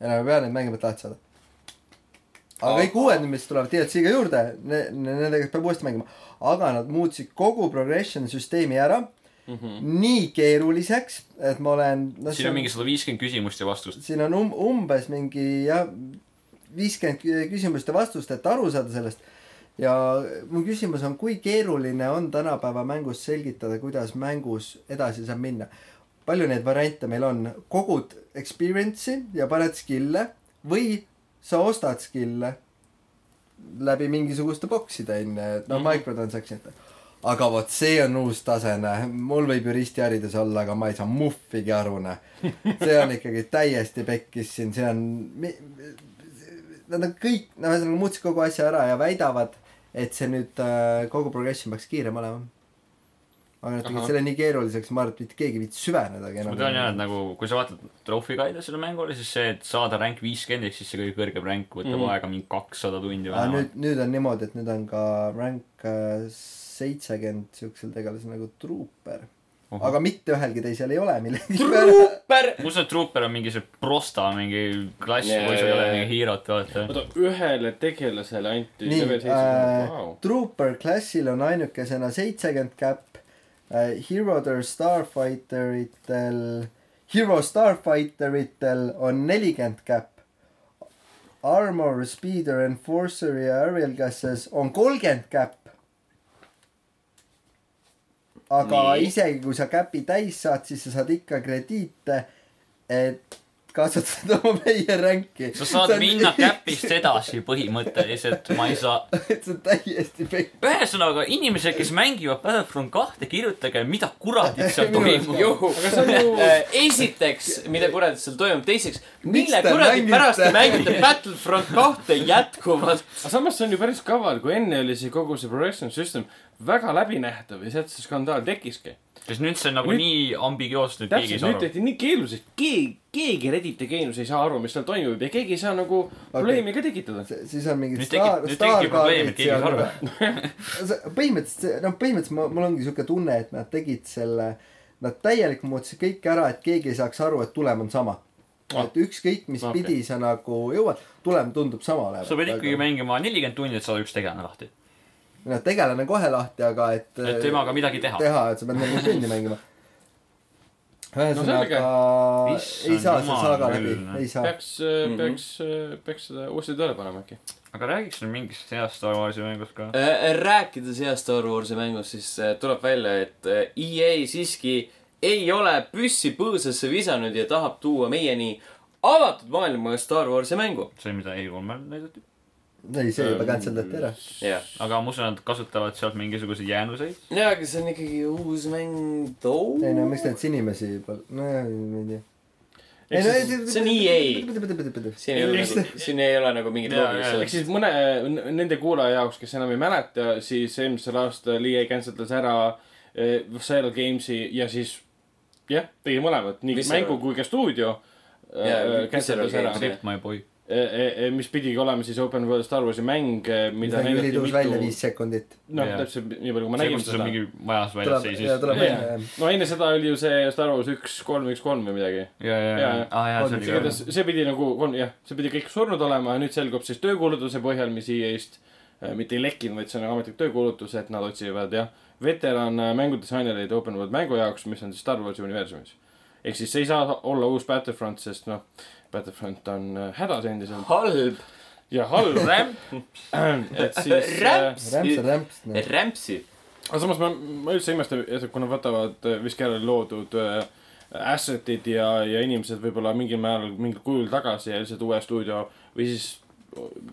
C: enam ei pea neid mängimata lahti saada . aga kõik uued , mis tulevad DLC-ga juurde ne, , ne, nendega peab uuesti mängima , aga nad muutsid kogu progression süsteemi ära
B: Mm -hmm.
C: nii keeruliseks , et ma olen no,
D: Mhm. siin on mingi sada viiskümmend küsimust ja vastust .
C: siin on um, umbes mingi jah , viiskümmend küsimust ja vastust , et aru saada sellest . ja mu küsimus on , kui keeruline on tänapäeva mängus selgitada , kuidas mängus edasi saab minna ? palju neid variante meil on , kogud experience'i ja paned skill'e või sa ostad skill'e läbi mingisuguste bokside onju , et noh mm -hmm. microtransaction ite aga vot see on uus taseme , mul võib juristiharidus olla , aga ma ei saa muhvigi aru , noh . see on ikkagi täiesti pekkis siin , see on , nad on kõik , no ühesõnaga muutsid kogu asja ära ja väidavad , et see nüüd äh, kogu progression peaks kiirem olema . aga nad
B: Ahah.
C: tegid selle nii keeruliseks , ma arvan , et mitte keegi ei viitsi süvenedagi
D: ma
C: enam .
D: tean jah , et nagu , kui sa vaatad Trophy Guide'i selle mängule , siis see , et saada ränk viiskümmend ehk siis see kõige kõrgem ränk võtab
A: Mm.
B: Mhm.
D: aega mingi kakssada tundi
C: aga
D: vähemalt .
C: nüüd , nüüd on niimoodi , et nüüd on ka rank äh, seitsekümmend siuksel tegelasel nagu truuper . aga mitte ühelgi teisel ei ole millegipärast .
A: super .
D: ma usun , et Trooper on mingi see prosta mingi klass
A: Jaa,
D: yeah, , kui sul ei
A: jaa,
D: ole
A: jaa.
D: mingi hiirot , vaata .
B: oota , ühele tegelasele anti
C: nii
B: level , seitsekümmend ,
C: äh,
B: vau .
C: truuper klassil on ainukesena seitsekümmend käpp äh, . Heroder Starfighteritel , Hero Starfighteritel on nelikümmend käpp . Armor , Speeder , Enforcer ja Aerial Gases on kolmkümmend käpp . aga
A: Nii.
C: nii. isegi kui sa käpi täis saad , siis sa saad ikka krediite , et kasutada oma meie ränki .
D: sa saad minna käpist edasi põhimõtteliselt , ma ei saa .
C: et see on täiesti pekk .
D: ühesõnaga , inimesed , kes mängivad Battlefront kahte , kirjutage , mida kuradit seal toimub .
B: aga see on ju-
A: Äh, esiteks , mida kuradi seal toimub , teiseks ,
C: Miks
A: mille
C: te
A: kuradi
C: mängite?
A: pärast te mängite Battlefront kahte jätkuvalt ?
B: aga samas see on ju päris kaval , kui enne oli see kogu see progression system väga läbinähtav ja sealt see skandaal tekkiski .
D: sest nüüd see on nagu
B: Nüüd-
D: nii ambigioosne , et keegi ei
B: täpselt ,
D: saa
B: nüüd
D: aru .
B: tehti nii keeruliseks , keegi , keegi Redditi geenus ei saa aru , mis seal toimub ja keegi ei saa nagu probleemi ka tekitada .
C: see , siis on mingid
D: nüüd tekib ,
C: staar ,
D: nüüd tekib probleem , et
C: staarkaardid
D: keegi ei saa
C: seal
D: aru .
C: See- põhimõtteliselt see , noh , põhimõtteliselt mul- mul ongi siuke tunne , et nad tegid selle , nad täielikult muutsid kõik ära , et keegi ei saaks aru , et tulem on sama .
B: Ah.
C: et ükskõik , mis okay.
B: Okei.
C: pidi sa nagu jõuad , tulem tundub sama olevat .
D: sa pead ikkagi . mängima nelikümmend tundi , et saada üks tegelane lahti .
C: no tegelane kohe lahti , aga et .
D: et temaga midagi teha .
C: teha , et sa pead nagu tundi mängima .
B: selge.
C: ühesõnaga no, , ei
D: Issand
C: saa see
D: jumal
C: saaga
D: küll,
C: läbi
D: noh. ,
C: ei saa .
B: peaks mm ,
A: Mhm.
B: -hmm. peaks , peaks seda uuesti tööle panema äkki .
D: aga räägiks nüüd mingist heast Star Warsi mängust ka .
A: Äh, rääkides heast Star Warsi mängust , siis äh, tuleb välja , et äh, EA siiski ei ole püssi põõsasse visanud ja tahab tuua meieni avatud maailma Star Warsi mängu .
D: see , mida E3-l näidati .
C: ei , see juba canceldati ära .
A: jah .
D: aga ma usun , nad kasutavad sealt mingisuguseid jäänuseid .
A: jaa , aga see on ikkagi uus mäng too .
C: ei no miks neid inimesi pal- , nojah , ma ei tea .
B: Ehk siis-
A: see on EA.
C: EA .
A: siin ei ole
B: Eks-
A: nagu , siin ei ole nagu mingit
D: Jaa, jaa,
B: ehk
A: loogilist .
B: siis mõne , nende kuulaja jaoks , kes enam ei mäleta , siis eelmisel aastal EA canceldas ära eh, Visceral Games'i ja siis jah , tegi mõlemat , nii
A: Visceral.
B: mängu kui ka stuudio eh,
A: Jaa, Visceral
B: canceldas ära Äh,
A: Games, .
D: Rip my boy .
B: mis pidigi olema siis Open World Star Warsi mäng , mida
C: see
B: näidati
C: ülitõus välja
B: mitu
C: viis sekundit .
B: noh ,
D: Jaa.
B: täpselt nii palju , kui ma
D: see ,
B: nägin
D: kus sul
B: seda .
D: mingi majas väljas
C: tuleb ,
D: seisis
C: jaa , tuleb
B: Jaa.
C: välja jah .
B: no enne seda oli ju see Star Wars üks , kolm , üks , kolm või midagi .
D: ja , ja , ja
B: Jaa. ,
D: aa jaa ,
C: On,
D: see oli ka
B: igatahes . see pidi nagu , jah , see pidi kõik surnud olema ja nüüd selgub siis töökuulutuse põhjal , mis EA-st äh, mitte ei lekkinud , vaid see on nagu ametlik töökuulutus , et nad otsivad jah , veteran äh, mängudisainereid Open World mängu jaoks , mis on siis Star Warsi universumis . ehk siis see ei saa olla uus Battlefront , sest noh , Battlefront on äh, hädas endiselt
A: halb .
B: ja halb . et siis äh,
A: Rämps.
C: rämps on rämps , noh .
A: rämpsi .
B: aga samas ma , ma üldse ei imesta , et kui nad võtavad Viskerale loodud äh, asset'id ja , ja inimesed võib-olla mingil määral mingil kujul tagasi ja lihtsalt uue stuudio või siis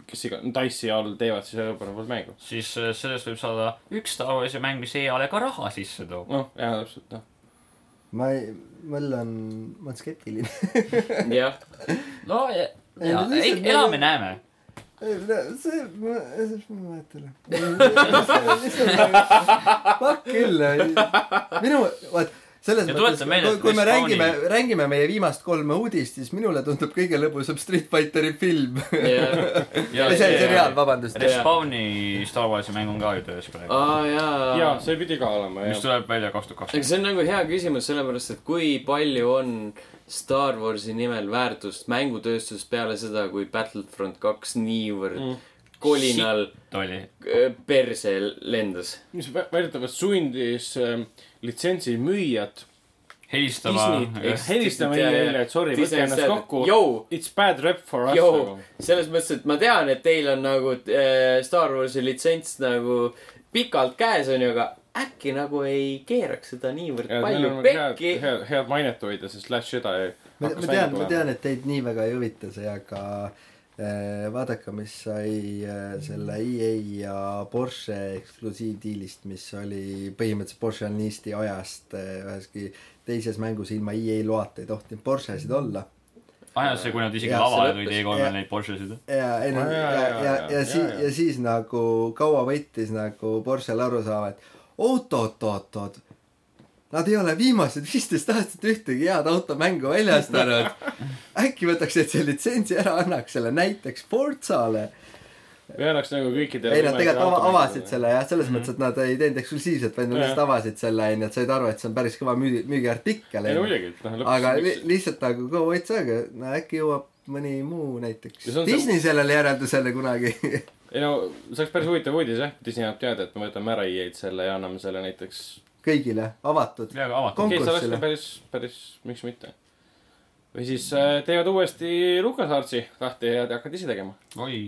B: kes iga , Dice'i all teevad siis õppenevad mängu .
D: siis äh, sellest võib saada üks Star Warsi mäng , mis EA-le ka raha sisse toob .
B: noh , jaa , täpselt , noh .
C: ma ei , mul on , ma olen skeptiline .
A: jah .
D: no ja,
C: Ei,
D: ja
C: no lihtsalt-
D: elame-näeme .
C: see , ma , ma ei mäleta . Fuck küll , minu , vaat selles
D: Ja
C: mõttes
D: tuletan , meelde,
C: kui,
D: et
C: kui me
D: Chris
C: räägime
D: Browni- ,
C: räägime meie viimast kolme uudist , siis minule tundub kõige lõbusam Street Fighteri film . või see seriaal , vabandust .
D: Respawni Star Warsi mäng on ka ju töös praegu ,
A: aa jaa .
B: Ah, jaa , see pidi ka olema ,
D: mis
B: jah .
D: tuleb välja kaks tuhat
A: aga
D: kakskümmend .
A: see on nagu hea küsimus , sellepärast et kui palju on Star Warsi nimel väärtust mängutööstus peale seda , kui Battlefront kaks niivõrd mm. kolinal
D: oli ,
A: äh, perse lendas .
B: mis vä- väidetavalt sundis ähm, litsentsi müüjad Disney
D: helistama .
B: helistama EA-le , et sorry , võtke ennast kokku .
A: Jou ,
B: It's bad rep for us
A: jou
B: nagu .,
A: selles mõttes , et ma tean , et teil on nagu äh, Star Warsi litsents nagu pikalt käes onju , aga äkki nagu ei keeraks seda niivõrd
B: ja meil
A: palju
B: on nagu head ,
A: pekki .
B: head , head mainet hoida , sest Last Jedi
C: ma ma tean , ma tean , et teid nii väga ei huvita see , aga äh, vaadake , mis sai äh, selle EA ja Porsche eksklusiivdiilist , mis oli põhimõtteliselt Porsche on Eesti ajast äh, üheski teises mängus ilma EA loata ei tohtinud Porschesid olla .
D: ajas see , kui nad isegi
C: Jah, see
D: lavale
A: lõppes.
D: tulid E3-l
C: Jah.
D: neid Porschesid .
C: ja , ja ,
B: Aa,
C: ja ja,
B: Ah, jaa, , jaa,
C: ja,
B: jaa,
C: ja
B: jaa,
C: siis
B: jaa. ,
C: ja siis nagu kaua võttis nagu Porschel aru saama , et oot-oot-oot-oot . Nad ei ole viimased viisteist aastat ühtegi head automängu väljastanud . äkki võtaks nüüd selle litsentsi ära , annaks selle näiteks Forzale .
B: või annaks nagu kõikidele .
C: ei , nad tegelikult ava- , avasid . selle jah , selles mõttes , et nad ei teinud eksklusiivselt , vaid nad
B: Mhm. Jah.
C: lihtsalt avasid selle onju , et said aru , et see on päris kõva müügi , müügiartikkel
B: ei no
C: onju .
B: muidugi , et noh ,
C: aga li,
B: lõpuks .
C: lihtsalt nagu go wait aega , no äkki jõuab mõni muu näiteks
B: Ja see on see-
C: Disney sellele järeldusele kunagi
B: ei no see oleks päris huvitav uudis jah , Disney annab teada , et me võtame ära EA-d selle ja anname selle näiteks .
C: kõigile avatud .
D: ja , aga avatud .
B: okei , see oleks
C: Konkursile.
B: ka päris , päris , miks mitte . või siis äh, teevad uuesti Lukas Artsi lahti ja te hakkate ise tegema .
D: oi ,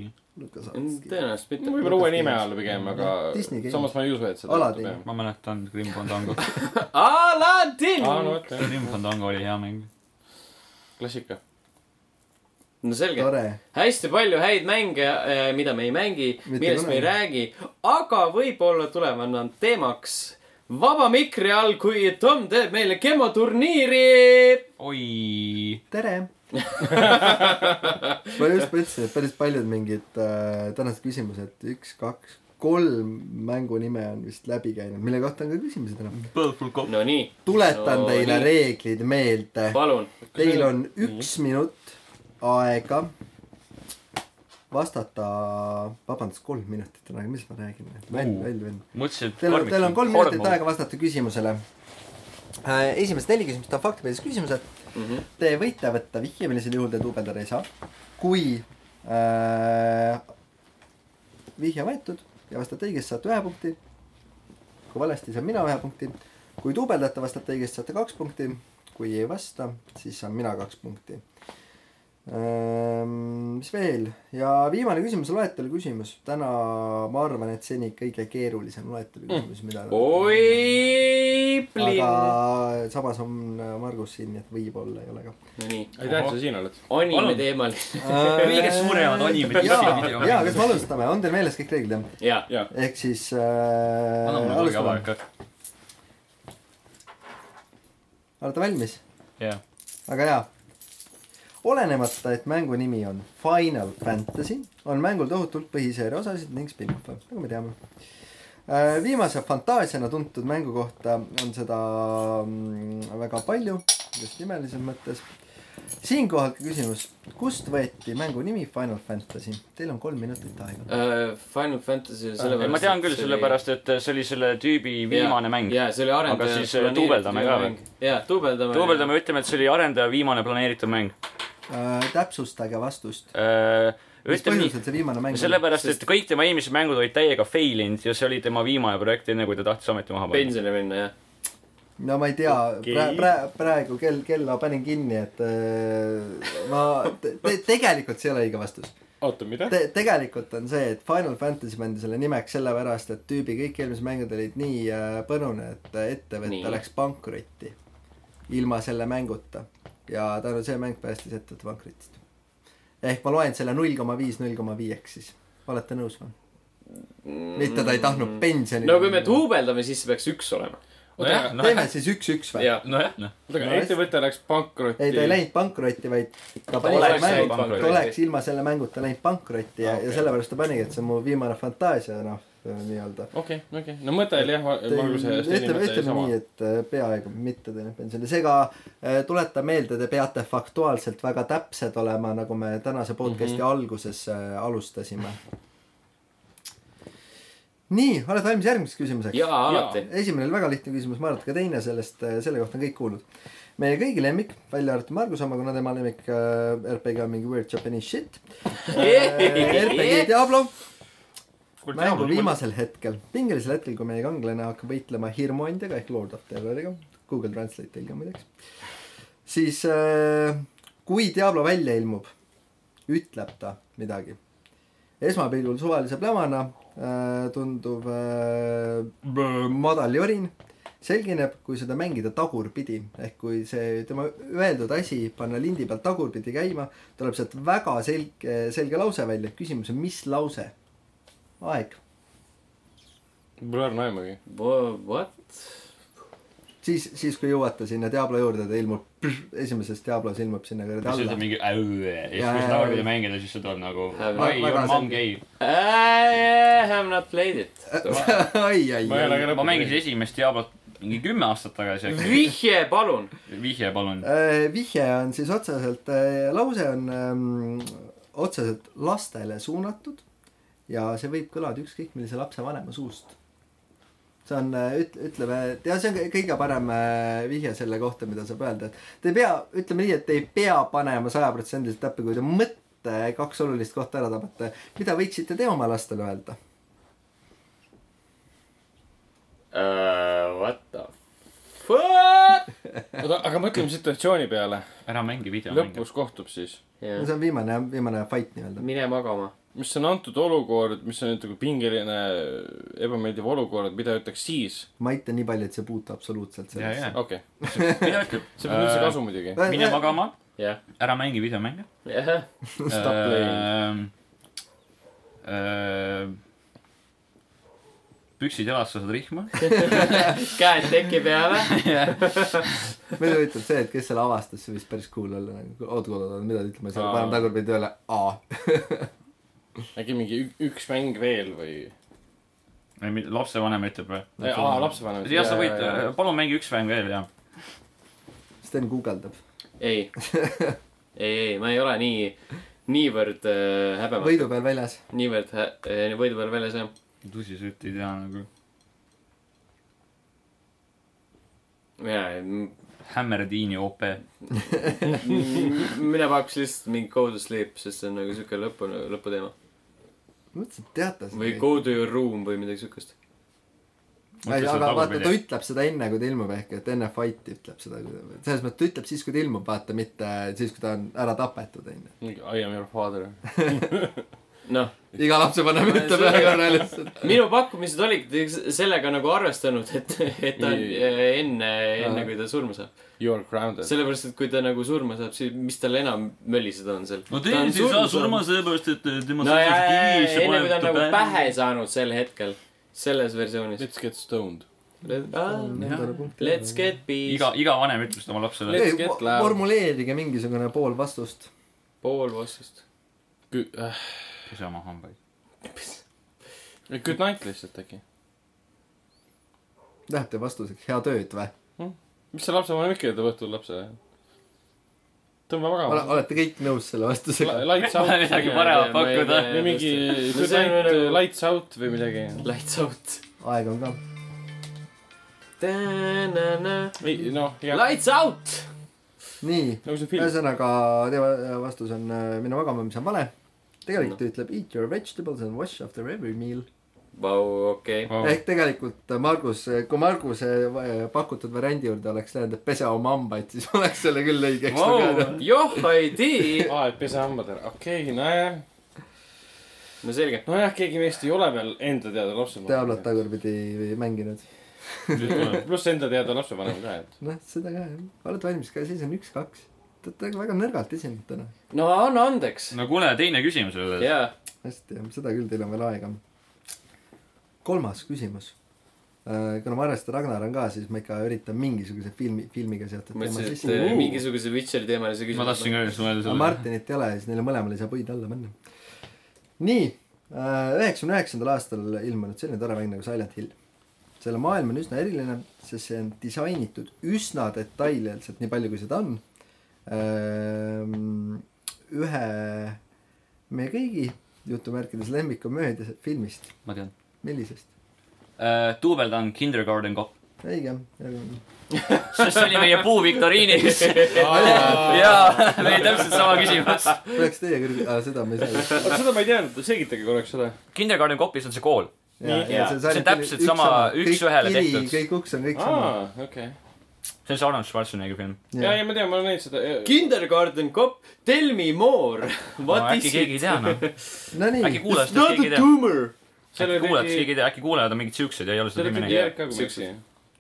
A: tõenäoliselt mitte .
B: võib-olla uue nime all pigem , aga
C: Noh, Disney Games.
B: samas ma ei usu , et seda .
C: Aladdin.
D: ma mäletan Grim Fandango .
A: Aladdin
B: aa , no vot jah ,
D: Grim Fandango oli hea mäng .
B: klassika .
A: no selge .
C: tore .
A: hästi palju häid mänge , mida me ei mängi ,
C: Mitte
A: millest me ei
C: kunagi.
A: räägi , aga võib-olla tulevad nad teemaks vaba mikri all , kui Tom teeb meile gemoturniiri .
D: oi ,
C: tere . ma just mõtlesin , et päris paljud mingid äh, tänased küsimused , üks , kaks , kolm mängu nime on vist läbi käinud , mille kohta on ka küsimusi täna .
D: Purple Cop .
A: Nonii ,
C: tuletan
A: No
C: no, teile
A: nii.
C: nii. reeglid meelde .
A: palun .
C: Teil on üks minut aega vastata , vabandust , kolm minutit on aega , mis ma räägin , välja , välja , välja .
D: mõtlesin , et
C: Teil on , teil on kolm
D: Hormon.
C: minutit aega vastata küsimusele . esimesed neli küsimust on faktipõhised küsimused mm . -hmm. Te võite võtta vihje , millisel juhul te duubeldada ei saa . kui äh, vihje võetud ja vastate õigesti , saate ühe punkti . kui valesti , saan mina ühe punkti . kui duubeldate , vastate õigesti , saate kaks punkti . kui ei vasta , siis saan mina kaks punkti . mis veel ja viimane küsimus , loetelu küsimus . täna
A: Mm.
C: ma arvan , et seni kõige keerulisem loetelu küsimus , mida .
A: oi , Piplin .
C: aga samas on äh, Margus siin , nii et võib-olla ei ole ka .
A: nii ,
B: aitäh , et sa siin oled .
A: anime
D: Palun.
A: teemal .
D: Äh, kõige suuremad animid
C: jaa , jaa , kas me alustame , on teil meeles kõik reeglid jah ?
A: jaa ,
B: jaa .
C: ehk siis
D: anna
C: äh,
D: mulle kolge
C: alustame ,
D: avaka .
C: olete valmis ?
D: jah .
C: väga hea . olenemata , et mängu nimi on Final Fantasy , on mängul tohutult põhiseeria osasid ning spin-off'e , nagu me teame . viimase fantaasiana tuntud mängu kohta on seda mm, väga palju , just nimelises mõttes . siinkohal ka küsimus , kust võeti mängu nimi Final Fantasy ? Teil on kolm minutit aega .
A: Äh, Final Fantasy sellepärast .
E: ma tean küll , sellepärast et äh, see oli selle tüübi viimane mäng .
A: jaa , see oli arendaja .
E: Aga siis, äh, duubeldame ka või? ?
A: jaa , duubeldame .
E: duubeldame , ütleme , et see oli arendaja viimane planeeritud mäng .
C: Äh, täpsustage vastust . mis
E: ütleme nii ,
C: põhjusel see viimane mäng
E: sellepärast , et kõik tema eelmised mängud olid täiega fail inud ja see oli tema viimane projekt , enne kui ta tahtis ameti maha panna .
A: pensionile minna , jah .
C: no ma ei tea okay. ,
B: Okei.
C: praegu , praegu , praegu kell , kella panin kinni , et äh, ma te, , te, tegelikult see ei ole õige vastus
B: oota , mida ?
C: te, . tegelikult on see , et Final Fantasy pandi selle nimeks sellepärast , et tüübi kõik eelmised mängud olid nii äh, põnune , et ettevõte
A: Nii.
C: läks pankrotti ilma selle mänguta ja tänu see mäng päästis ettevõtte pankrotist . ehk ma loen selle null koma viis , null koma viieks siis , olete nõus või ? mitte ta ei tahtnud pensioni
A: Mm. no kui me duubeldame , siis see peaks üks olema .
B: oota ,
D: nojah ,
C: teeme siis üks-üks või ?
A: jaa .
D: nojah , noh .
B: oota , aga
C: No
B: ettevõte läks pankrotti .
C: ei , ta ei läinud pankrotti , vaid ta pani
A: oleks
C: selle
A: läinud
C: mängu ,
A: pankrotti. Ah,
C: ta oleks ilma selle mänguta läinud pankrotti ja okay. , ja sellepärast ta panigi , et see on mu viimane fantaasia , noh , nii-öelda .
B: okei , okei , no mõte oli jah , Marguse eest
C: ütleme ,
B: inimeste
C: ütleme
B: sama
C: nii ,. et äh, peaaegu mitte teinud pensioni , seega äh, tuletan meelde , te peate faktuaalselt väga täpsed olema , nagu me tänase podcast'i
A: Mhm.
C: mm -hmm. alguses äh, alustasime . nii , oled valmis järgmiseks küsimuseks ?
A: jaa , alati .
C: esimene oli väga lihtne küsimus , ma arvan , et ka teine sellest , selle kohta on kõik kuulnud . meie kõigi lemmik , välja arvatud Margus oma , kuna tema lemmik äh, RPG on mingi weird Japanese shit äh, . RPG Diablo , mängu viimasel hetkel , pingelisel hetkel , kui meie kangelane hakkab võitlema hirmuandjaga ehk Lord of Terroriga , Google Translate tõlge muideks . siis äh, kui Diablo välja ilmub , ütleb ta midagi . esmapilgul suvalise plämana äh, tunduv äh, bõ- madal jorin selgineb , kui seda mängida tagurpidi , ehk kui see tema öeldud asi panna lindi pealt tagurpidi käima , tuleb sealt väga selge , selge lause välja . küsimus on , mis lause ? aeg .
B: mul ei ole aimugi .
A: What ?
C: siis , siis kui jõuate sinna Diablo juurde , ta ilmub , esimeses Diablos ilmub sinna kuradi
D: siis
C: alla
D: ütleb . mingi äu ja siis
C: Jaa, jaa,
D: kui sa tagurpidi
C: jaa.
D: mängida , siis see tuleb nagu
A: Väga-
D: I
C: väga
D: am mom
C: selge.
D: gay .
A: I have not played it .
C: ai , ai ,
B: ma ei
C: ai .
B: ole ka lõpuni .
D: ma mängisin esimest Diablot mingi kümme aastat tagasi äkki .
A: vihje , palun .
D: vihje palun .
C: Äh, vihje on siis otseselt , lause on ähm, otseselt lastele suunatud ja see võib kõlada ükskõik millise lapsevanema suust . see on , üt- , ütleme , et ja see on kõ- kõige parem äh, vihje selle kohta , mida saab öelda , et te ei pea , ütleme nii , et te ei pea panema sajaprotsendiliselt täppi , kui te mõtte kaks olulist kohta ära tabate , mida võiksite te oma lastele öelda ?
A: Äh, What the fuck ?
B: oota , aga mõtleme situatsiooni peale .
D: ära mängi videomänge .
B: lõpus kohtub siis .
C: no see on viimane , viimane fight nii-öelda .
A: mine magama .
B: mis on antud olukord , mis on ütleme pingeline , ebameeldiv olukord , mida ütleks siis ?
C: ma ütlen nii palju , et see ei puutu absoluutselt
D: ja ,
C: sellesse .
D: ja .
B: okei okay. ,
D: mida ütleb ?
B: see pole üldse kasu muidugi .
C: äh,
D: mine . magama ,
A: jah .
D: ära mängi videomänge . Äh,
A: jah .
B: Stop playing.
D: äh, püksid jalas , sa saad rihma .
A: käed teki peale .
C: muidu ütleb see , et kes selle avastas , see võis päris cool olla nagu . oot , oot , oot , mida ta ütleb , ma ei saa ,
B: Aa.
C: panen tagurpidi tööle . aa .
B: äkki mingi ük- üks mäng veel või ?
D: lapsevanem ütleb või ?
B: aa , lapsevanem .
D: jah , sa võid , äh, palun mängi üks mäng veel ja .
C: Sten guugeldab .
A: ei , ei , ei , ma ei ole nii , niivõrd äh, häbematu ,
C: võidu peal väljas .
A: niivõrd hä- äh, võidu peal väljas jah .
D: tõsiselt ei tea nagu .
A: mina ei ,
D: Hammerdiini OP .
A: mina pakuks lihtsalt mingi go to sleep , sest see on nagu siuke lõpu , lõputeema .
C: mõtlesin , et teate
A: või . go to your room või midagi siukest .
C: aga vaata , ta ütleb seda enne , kui ta ilmub ehk , et enne fight'i ütleb seda . selles mõttes , ta ütleb siis , kui ta ilmub , vaata , mitte siis , kui ta on ära tapetud , onju .
B: I am your father .
A: noh ,
F: iga lapsevanem ütleb ühe korra lihtsalt .
A: minu pakkumised olidki sellega nagu arvestanud , et , et ta on eh, enne , enne kui ta surma saab .
B: You are grounded .
A: sellepärast , et kui ta nagu surma saab , siis mis tal enam möliseda on seal ?
D: no teen siis ära surma . sellepärast , et tema
A: no jaa , jaa , jaa , enne kui ta on nagu pähe saanud sel hetkel , selles versioonis .
B: Let's get stoned .
A: Let's get peace
D: iga ,, iga vanem ütles oma lapsele .
B: Let's
C: ei ,
B: get loud.
C: formuleerige mingisugune pool vastust .
A: pool vastust .
B: Good äh,
D: pese oma hambaid .
B: night lihtsalt äkki .
C: Läheb teie vastuseks , head ööd või ?
B: mis see lapsevanem ikka ütleb õhtul lapsele ? tõmba magama .
C: olete kõik nõus selle vastusega ?
B: Lights
D: Pole midagi
B: out .
D: paremat pakkuda .
B: või mingi
A: No
B: Good
A: see on
B: night äh,
A: nagu- ,
B: lights out või midagi .
A: Lights out .
C: aeg on ka .
B: ei noh , jah .
A: Lights out .
C: nii ,
B: nagu see film .
C: ühesõnaga teie vastus on äh, mine magama , mis on vale . tegelikult ta ütleb eat your vegetables and wash after every meal .
A: Vau , okei .
B: Oh.
C: ehk tegelikult äh, Margus , kui Marguse äh, pakutud variandi juurde oleks läinud , et pese oma hambaid , siis oleks selle küll õige , eks
D: Vau.
C: ole .
A: joh , ei tea .
B: aa , et pese hambad ära , okei okay, , nojah .
A: no selge .
B: nojah , keegi meist ei ole veel enda teada
C: Diablat
B: lapsevanem .
C: tagurpidi mänginud .
B: pluss enda teada lapsevanem ka , et .
C: noh , seda ka jah . oled valmis ka , siis on üks-kaks . Te olete väga nõrgalt esinenud täna .
A: no anna andeks .
D: no kuule , teine küsimus oli .
A: jaa ,
C: hästi , seda küll , teil on veel aega . kolmas küsimus . kuna ma arvestan , Ragnar on ka , siis ma ikka üritan mingisuguse filmi , filmiga seotud
A: ma
C: teema
A: ütlesin , et
C: sisse
A: eh,
C: tuua.
A: mingisuguse Witcheri teemalise
D: ma tahtsin
A: küsimuse .
D: ka just mõelda
C: aga
D: selle .
C: Martinit ei ole , siis neile mõlemale ei saa puid alla panna . nii , üheksakümne üheksandal aastal ilmunud selline tore mäng nagu Silent Hill . selle maailm on üsna eriline , sest see on disainitud üsna detailselt , nii palju kui seda on . ühe meie kõigi jutumärkides lemmikumeedias filmist ,
D: ma tean .
C: millisest ?
D: duubeldan Äh, Kindergarten Cop .
C: õige ,
D: sest see oli meie puu viktoriinis . jaa , meil täpselt sama küsimus .
C: peaks teie kõrge , seda me ei saa .
B: aga seda ma ei teadnud , selgitage korraks seda .
D: Kindergarten Copis on see kool . see on täpselt sama, üks-ühele tehtud.
C: kõik uks on kõik sama .
B: aa , okei .
D: see on see Arnold Schwarzeneggeri film .
B: ja , ja ma tean , ma olen näinud seda . eh,
A: Kindergarten cop , tell me more .
D: no
A: What
D: äkki
A: is
D: keegi ei
A: it ?
D: tea noh . äkki
C: Nonii ,
A: It's
D: kuulajatest
A: not
D: keegi
A: a
D: ei tea .
A: tumor .
B: seal
D: äkki
B: oli
D: kuulajatest keegi
B: mingi ,
D: ei tea , äkki kuulajad on mingid siuksed ja ei ole
B: seal
D: seda
B: oli
D: nimi
B: mingi
D: näinud .
B: järg ka , kui ma ei eksi .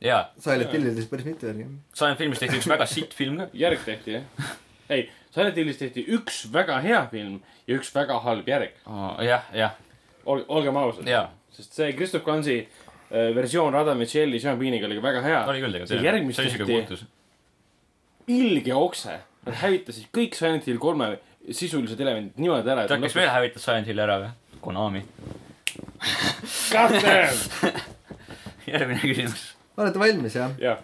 D: jaa ,
C: Silent Hillides päris mitu järgi .
D: Silent Filmis tehti üks väga sitt film ka .
B: järg tehti jah . ei , Silent Hillis tehti üks väga hea film ja üks väga halb järg .
D: jah , jah ,
B: Ol- , olgem ausad .
D: jaa .
B: sest see Christoph Kansi äh, versioon Adam ja Tšelli , Sean Beaniga oli ka väga hea .
D: oli küll
B: see
D: tegelikult .
B: järgmist
D: see oli siuke
B: tehti-
D: puutus .
B: ilge okse . Nad hävitasid kõik Silent Hill kolme sisulised elemendid niimoodi ära ,
D: tead ,
A: Nagu-
D: kes veel hävitas Silent Hilli ära või ? Konami .
B: Goddamn !
D: järgmine küsimus .
C: olete valmis jah ?
B: jah ,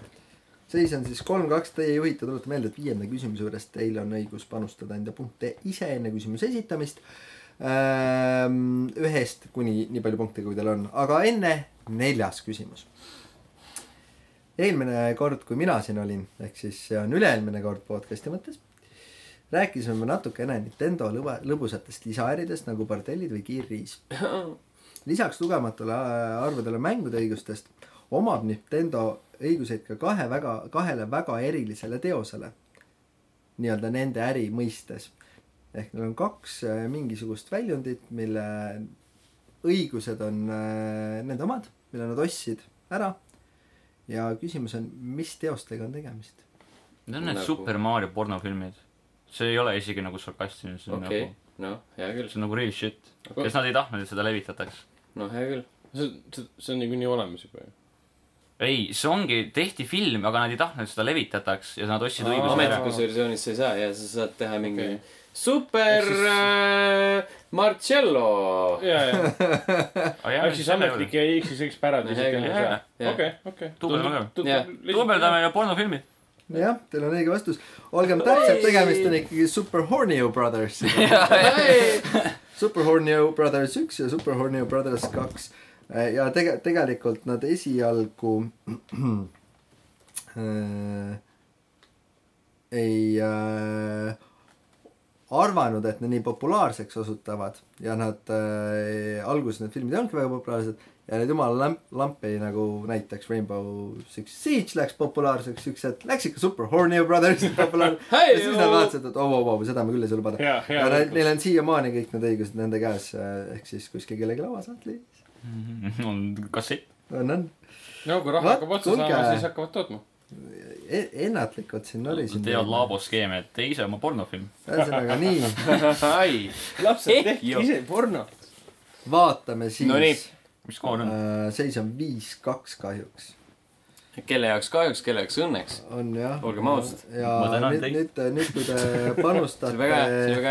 C: seis on siis kolm , kaks teie juhite , tuletan meelde , et viienda küsimuse juures teil on õigus panustada enda punkte ise enne küsimuse esitamist . ühest kuni nii palju punkte , kui teil on , aga enne neljas küsimus . eelmine kord , kui mina siin olin , ehk siis see on üle-eelmine kord podcast'i mõttes , rääkisime me natukene Nintendo lõva , lõbusatest lisaäridest nagu bordellid või kiirriis . lisaks lugematule äh, arvudele mängude õigustest omab Nintendo õiguseid ka kahe väga , kahele väga erilisele teosele . nii-öelda nende äri mõistes . ehk neil on kaks äh, mingisugust väljundit , mille õigused on äh, nende omad , mille nad ostsid ära . ja küsimus on , mis teostega on tegemist ?
D: Need on need
A: Nagu-
D: Super Mario pornofilmid . see ei ole isegi nagu sarkastiline , see on
A: okei
D: nagu ,,
A: noh , hea küll ,
D: see on nagu real shit .
A: Aga-
D: kas nad ei tahtnud , et seda levitataks ?
A: noh , hea küll .
B: see , see , see on niikuinii olemas juba ju .
D: ei , see ongi , tehti film , aga nad ei tahtnud , et seda levitataks ja nad ostsid
B: Aa.
D: õiguse ära .
A: ametlikus versioonis sa ei saa ja sa saad teha mingi
B: Okei.
A: super äh, Marcello .
B: ja , ja , ehk siis ametlik . ja ehk siis ekspärad ja siis
A: Hea küll,
B: teine
D: hea
B: saa .
A: küll.
B: okei , okei .
D: Duubeldame.
A: Jah.
D: duubeldame ja pornofilmid .
C: jah , teil on õige vastus . olgem täpsed , tegemist on ikkagi Super Hornio Brothers . Super Hornio Brothers üks ja Super Hornio Brothers kaks . ja tege- , tegelikult nad esialgu äh, ei äh, arvanud , et need nii populaarseks osutuvad ja nad äh, alguses need filmid ei olnudki väga populaarsed ja need jumala lämp , lampi nagu näiteks Rainbow Six Siege läks populaarseks , üks hetk läks ikka Super Horny Brothers populaarseks . ja siis nad vaatasid , et oo , oo , oo , seda me küll ei saa lubada .
B: ja ,
C: ja
B: ja .
C: neil , neil on siiamaani kõik need õigused nende käes , ehk siis kuskil kellegi lauasaatlis .
D: on kassett .
C: on , on .
B: no kui raha
C: Vat,
B: hakkab otsa
C: kuulge.
B: saama , siis hakkavad tootma .
C: e-, ennatlikult siin oli siin .
D: teevad . laaboskeeme , et ei , see on oma pornofilm .
C: ühesõnaga nii ,
A: ai ,
B: lapsed ,
A: Ehk
B: tehke
A: ju.
B: ise porno .
C: vaatame siis
A: No nii.
D: mis skoor on ?
C: Äh, seis on viis , kaks kahjuks .
A: kelle jaoks kahjuks , kelle jaoks õnneks .
C: on jah .
A: Olgem ausad.
C: ja
D: Ma tänan
C: nüüd ,
D: teid.
C: nüüd , nüüd kui te
A: see on väga hea , see on
C: panustate
A: väga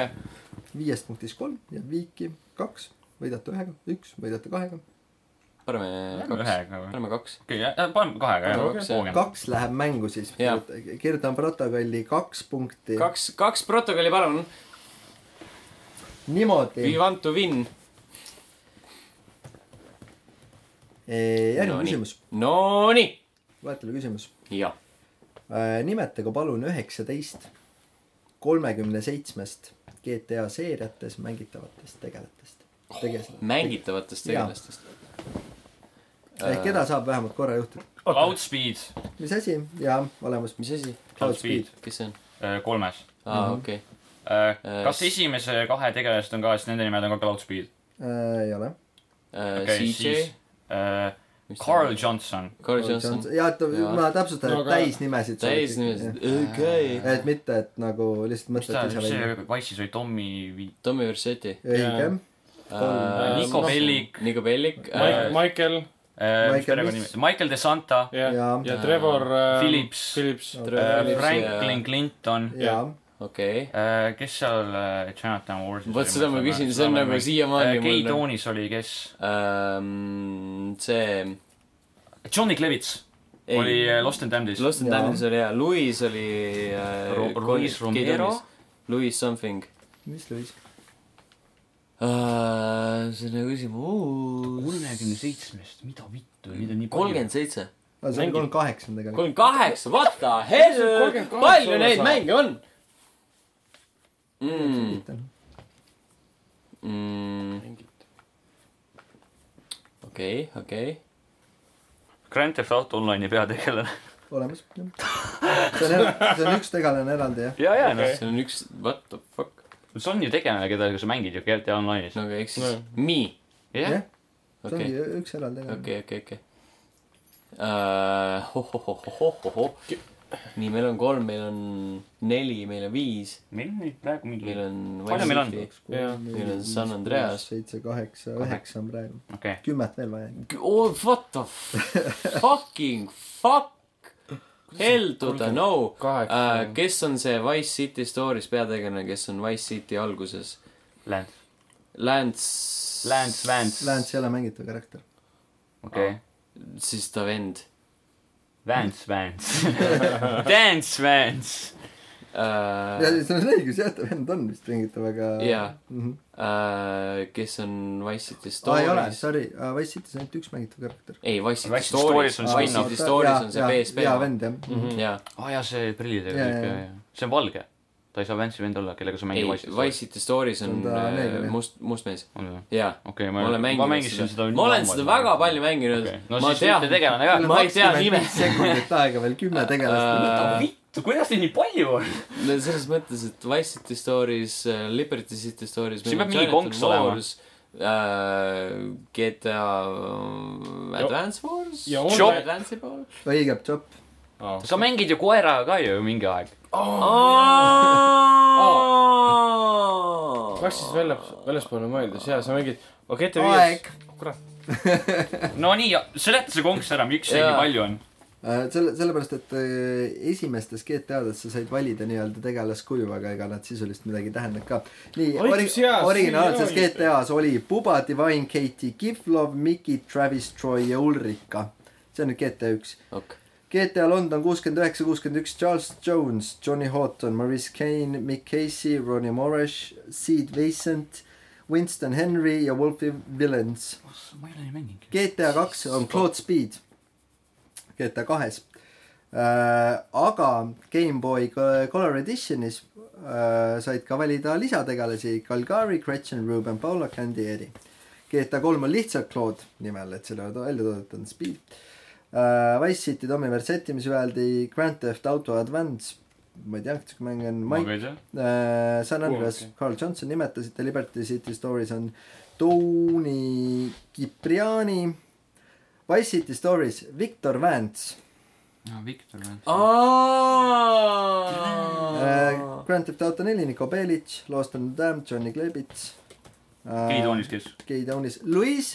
A: hea .
C: viiest punktist kolm , jääb viiki kaks , võidate ühega , üks , võidate kahega .
A: paneme Äh, kaks ,
D: ühega või ?
A: paneme kaks .
D: okei , paneme kahega
A: Paneme
D: jah
A: kaks, . jah.
C: kaks läheb mängu siis
A: Jaa. .
C: kirjutan protokolli kaks punkti .
A: kaks , kaks protokolli , palun .
C: niimoodi
A: We . want to win .
C: järgmine
A: Nonii.
C: Eh, küsimus ,
A: Nonii .
C: loetelu küsimus .
A: jah .
C: Äh, nimetage palun üheksateist kolmekümne seitsmest GTA seeriates mängitavatest tegelatest . tegelased .
A: mängitavatest
C: Jaa.
A: tegelastest . Oh.
C: ehk keda saab vähemalt korra juhtida .
D: Outspeed
C: mis asi ? jaa , olemas .
A: mis asi ,
D: Cloud Speed.
A: kes see on ?
D: äh, kolmes .
A: aa , okei . Äh,
D: kas esimese kahe tegelased on ka , siis nende nimed on ka Outspeed ?
C: äh, . ei ole .
A: äh,
D: okei ,
A: CJ
D: siis . äh, Carl . Johnson .
A: Carl Johnson .
C: jaa , et
A: Jaa.
C: ma täpsustan ,
B: No
C: et
B: aga-
C: täisnimesid .
A: täis nimesid ,. okei .
C: et mitte , et nagu lihtsalt
D: mis ta ,
C: mõtled ise
D: mis
C: välja .
D: see Wise'is oli , Tommy Vi- ,
A: Tommy Versetti .
C: õige .
B: Äh,
D: Nico
B: ma-
D: Bellic ,
A: Nico Bellic .
D: Äh,
B: Michael
D: mis
C: Michael
D: perekonnanimi , Michael äh, DeSanta ,
B: ja ,
C: jaa ,
B: ja Trevor . ähm,
D: Phillips.
B: Phillips .
A: Äh,
D: Franklin Clinton ,
C: jaa .
A: okei .
D: kes seal äh, Chinatown Warsis
A: vot seda ma küsin ,
D: Äh,
A: see on nagu . siiamaani
D: Gay
A: mul .
D: Toonis oli , kes ,
A: see .
D: Johnny Klevits oli äh, Lost in Damned'is .
A: Lost in
C: Jaa.
A: Damnedis oli hea , Louis oli
D: Ru-
A: äh,
D: Ruiz
A: Gay
D: Romero?
A: Toonis. Louis something
C: mis Luis ?
A: uh, . see on hea küsimus .
D: kolmekümne seitsmest , mida vittu , neid on nii palju .
A: kolmkümmend seitse .
C: Ah, see on kolmkümmend kaheksa on tegelikult .
A: kolmkümmend kaheksa , what the hell
B: 38 ,
A: palju
B: olla
A: neid
B: saab.
A: mänge on mm. ? Mm. okei , okei .
D: Grand Theft Auto Online'i peategelane .
C: olemas . see on , see on üks tegelane eraldi jah .
D: ja , ja , noh ,
A: see on üks , what the fuck .
D: see on ju tegelane , keda sa mängid ju GTA Online'is .
A: no aga eks siis no. , me .
D: jah ,
C: jah , see
A: okei ,
C: ongi üks eraldi tegelane .
A: okei , okei , Äh, okei . Hohohohohohoho . nii , meil on kolm , meil on neli , meil on viis ,
D: meil on neid praegu mingi
A: meil on .
D: Palju meil on?
A: Meil on San Andreas.
C: seitse , kaheksa , üheksa on praegu .
D: okei okay. ,
C: kümmet veel vaja .
A: oh, . What the fucking fuck ? Hell to the no .
B: kaheksa
A: Äh, . kes on see Wise City Stories peategelane , kes on Wise City alguses ?
D: Lance ,
A: Lance .
D: Lance , Vance ,
C: Lance ei ole mängitav karakter .
D: okei okay. ,
A: siis ta vend
D: Vance , Vance , Dance Vance .
C: ja
A: äh, .
C: see on õigus jah , ta vend on vist mängitav , aga .
A: Jaa.
C: Mhm.
A: Äh, kes on Wise City
C: aa , ei ole ,
A: Stories ?
C: sorry , Wise City's on ainult üks mängitav karakter .
A: ei , Wise City
D: Wise City Stories
A: Stories on
D: on see
A: Wise
D: vend.
A: City Stories on see PSP .
C: jaa , vend jah .
B: Mhm.
A: jaa ,
D: aa oh, jaa , see prillidega
C: Jaa,
D: tüüp ,
C: jaa.
D: jaa , jaa . see on valge . ta ei saa Vance'i vend olla , kellega sa
A: ei
D: mängid ,
A: Wise City Stories on
C: On ta
A: äh,
C: neeger, jah?
A: must , must mees ,
D: Stories .
A: jaa .
D: okei ,
A: ma olen
D: ma
A: mänginud
D: mängisin
A: seda
D: seda .
A: ma olen seda väga palju mänginud
D: okay. . no
A: ma
D: siis tean.
A: tean
D: ühte , tegelane ka .
A: ma ei tea nime .
C: sekundit aega veel , kümme tegelast .
A: Äh,
D: vittu , kuidas neid nii palju on ?
A: no selles mõttes , et Wise City Stories , Liberty City Stories .
D: Siin peab mingi konks olema. .
A: äh, GTA äh, Advance Wars .
B: ja
D: Job.
B: online ,
A: Advance'i pool .
C: õige job .
D: sa mängid ju koeraga ka ju mingi aeg .
B: Oh.
A: Oh.
D: Oh.
B: kas siis välja , väljaspoole mõeldes ja sa mängid , okei , ette viies .
C: aeg .
D: Nonii , seleta see konks ära , miks see
A: Jaa.
D: nii palju on ?
C: selle , sellepärast , et äh, esimestes GTA-des sa said valida nii-öelda tegelaskuju , aga ega nad sisuliselt midagi ei tähendanud ka . nii ,
B: Õigus, jaa,
C: originaalses
B: siin oli.
C: GTA-s oli Puba , Divine , Katie , Kiflov , Miki , Travis , Troy ja Ulrika . see on nüüd GTA üks . GTA London kuuskümmend üheksa , kuuskümmend üks , Charles Jones , Johnny Houghton , Maurice Kane , Mick Casey , Ronnie Morris , Sid Vincent , Winston Henry ja Wolfie Villains .
D: ma ei ole nii mänginud .
C: GTA kaks on Cloud Speed , GTA kahes äh, . aga Gameboy Color Editionis äh, said ka valida lisategelasi Calgary , Gretchen , Ruben , Paula , Candy , Eddie . GTA kolm on lihtsalt klood nimel , et selle välja toodetud on Speed . Wise City Tommy Versetti , mis öeldi , Grand Theft Auto Advance , ma ei tea , kas see mäng on
D: ma
C: Mike
D: ka ei tea .
C: Äh, San Andreas
B: Kuulake.
C: Carl Johnson nimetasite , Liberty City Stories on Tony Kipriani , Wise City Stories Viktor Vance
D: aa , Viktor või ?
A: aa
D: Oh.
C: äh, , Grand Theft Auto neli Niko Belitš , Lost in the Dam Johnny Klebits
D: Kei Toonis , kes ?
C: Kei Toonis , Luis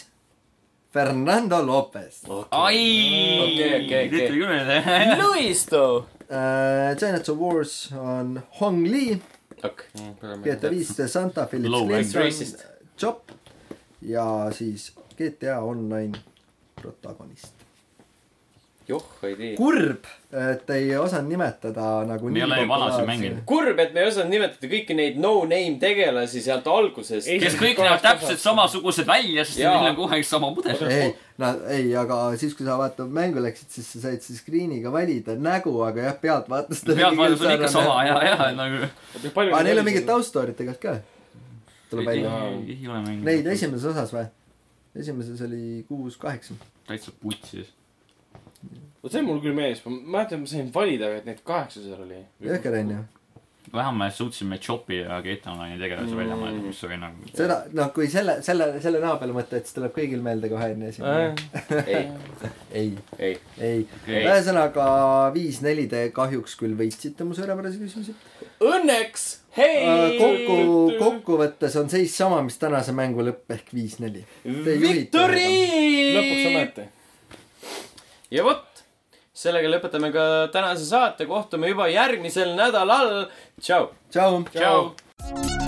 C: Fernando Lopez
D: ai ,
A: Okei, okei, okei.
D: tuli küll meelde .
A: Luis too .
C: äh, Giants of Wars on Hong Lee ,
A: okei ,
B: Mm,
C: GTA viis The Santa Phillips
D: Low rank
C: Linson
A: racist. ,
C: Chop ja siis GTA Online protagonist .
A: joh ei tea .
C: kurb , et ei osanud nimetada nagu
D: Me ei ole vana siin mänginud. .
A: kurb , et me ei osanud nimetada kõiki neid no-name tegelasi sealt algusest .
B: Ei,
D: kes kõik näevad täpselt samasugused välja , sest
A: Jaa.
D: neil on kogu aeg sama mudel .
C: ei , nad , ei , aga siis , kui sa vaata mängu läksid , siis sa said siis screen'iga valida nägu , aga jah , pealt vaatas
D: pealtvaatus on ikka sama , ja , ja nagu .
C: aga neil on mingid . tauststoorid tegelikult ka . tuleb
D: ei
C: välja .
D: ei ole mänginud .
C: Neid . esimeses osas või ? esimeses oli kuus-kaheksa .
D: täitsa putsis .
B: vot see on mul küll meeles , ma mäletan , ma sain valida , et neid kaheksa seal oli .
C: jõhker on ju .
D: vähemalt suutsime Chopi ja Geta Online'i tegelasi välja mõelda , mis oli nagu .
C: seda , noh , kui selle , selle , selle näo peale mõtled , siis tuleb kõigil meelde kohe enne
B: Äh,
C: esimene .
A: ei ,
C: ei ,
A: ei .
C: ei .
A: Okei.
C: ühesõnaga viis-neli te kahjuks küll võitsite mu suurepärase küsimuse .
A: Õnneks ,
B: Äh,
A: hei .
C: Äh, kokku , kokkuvõttes on seis sama , mis tänase mängu lõpp ehk viis-neli .
B: lõpuks
A: Victory .
B: ometi .
A: ja vot , sellega lõpetame ka tänase saate , kohtume juba järgmisel nädalal . tšau .
C: tšau .
A: tšau .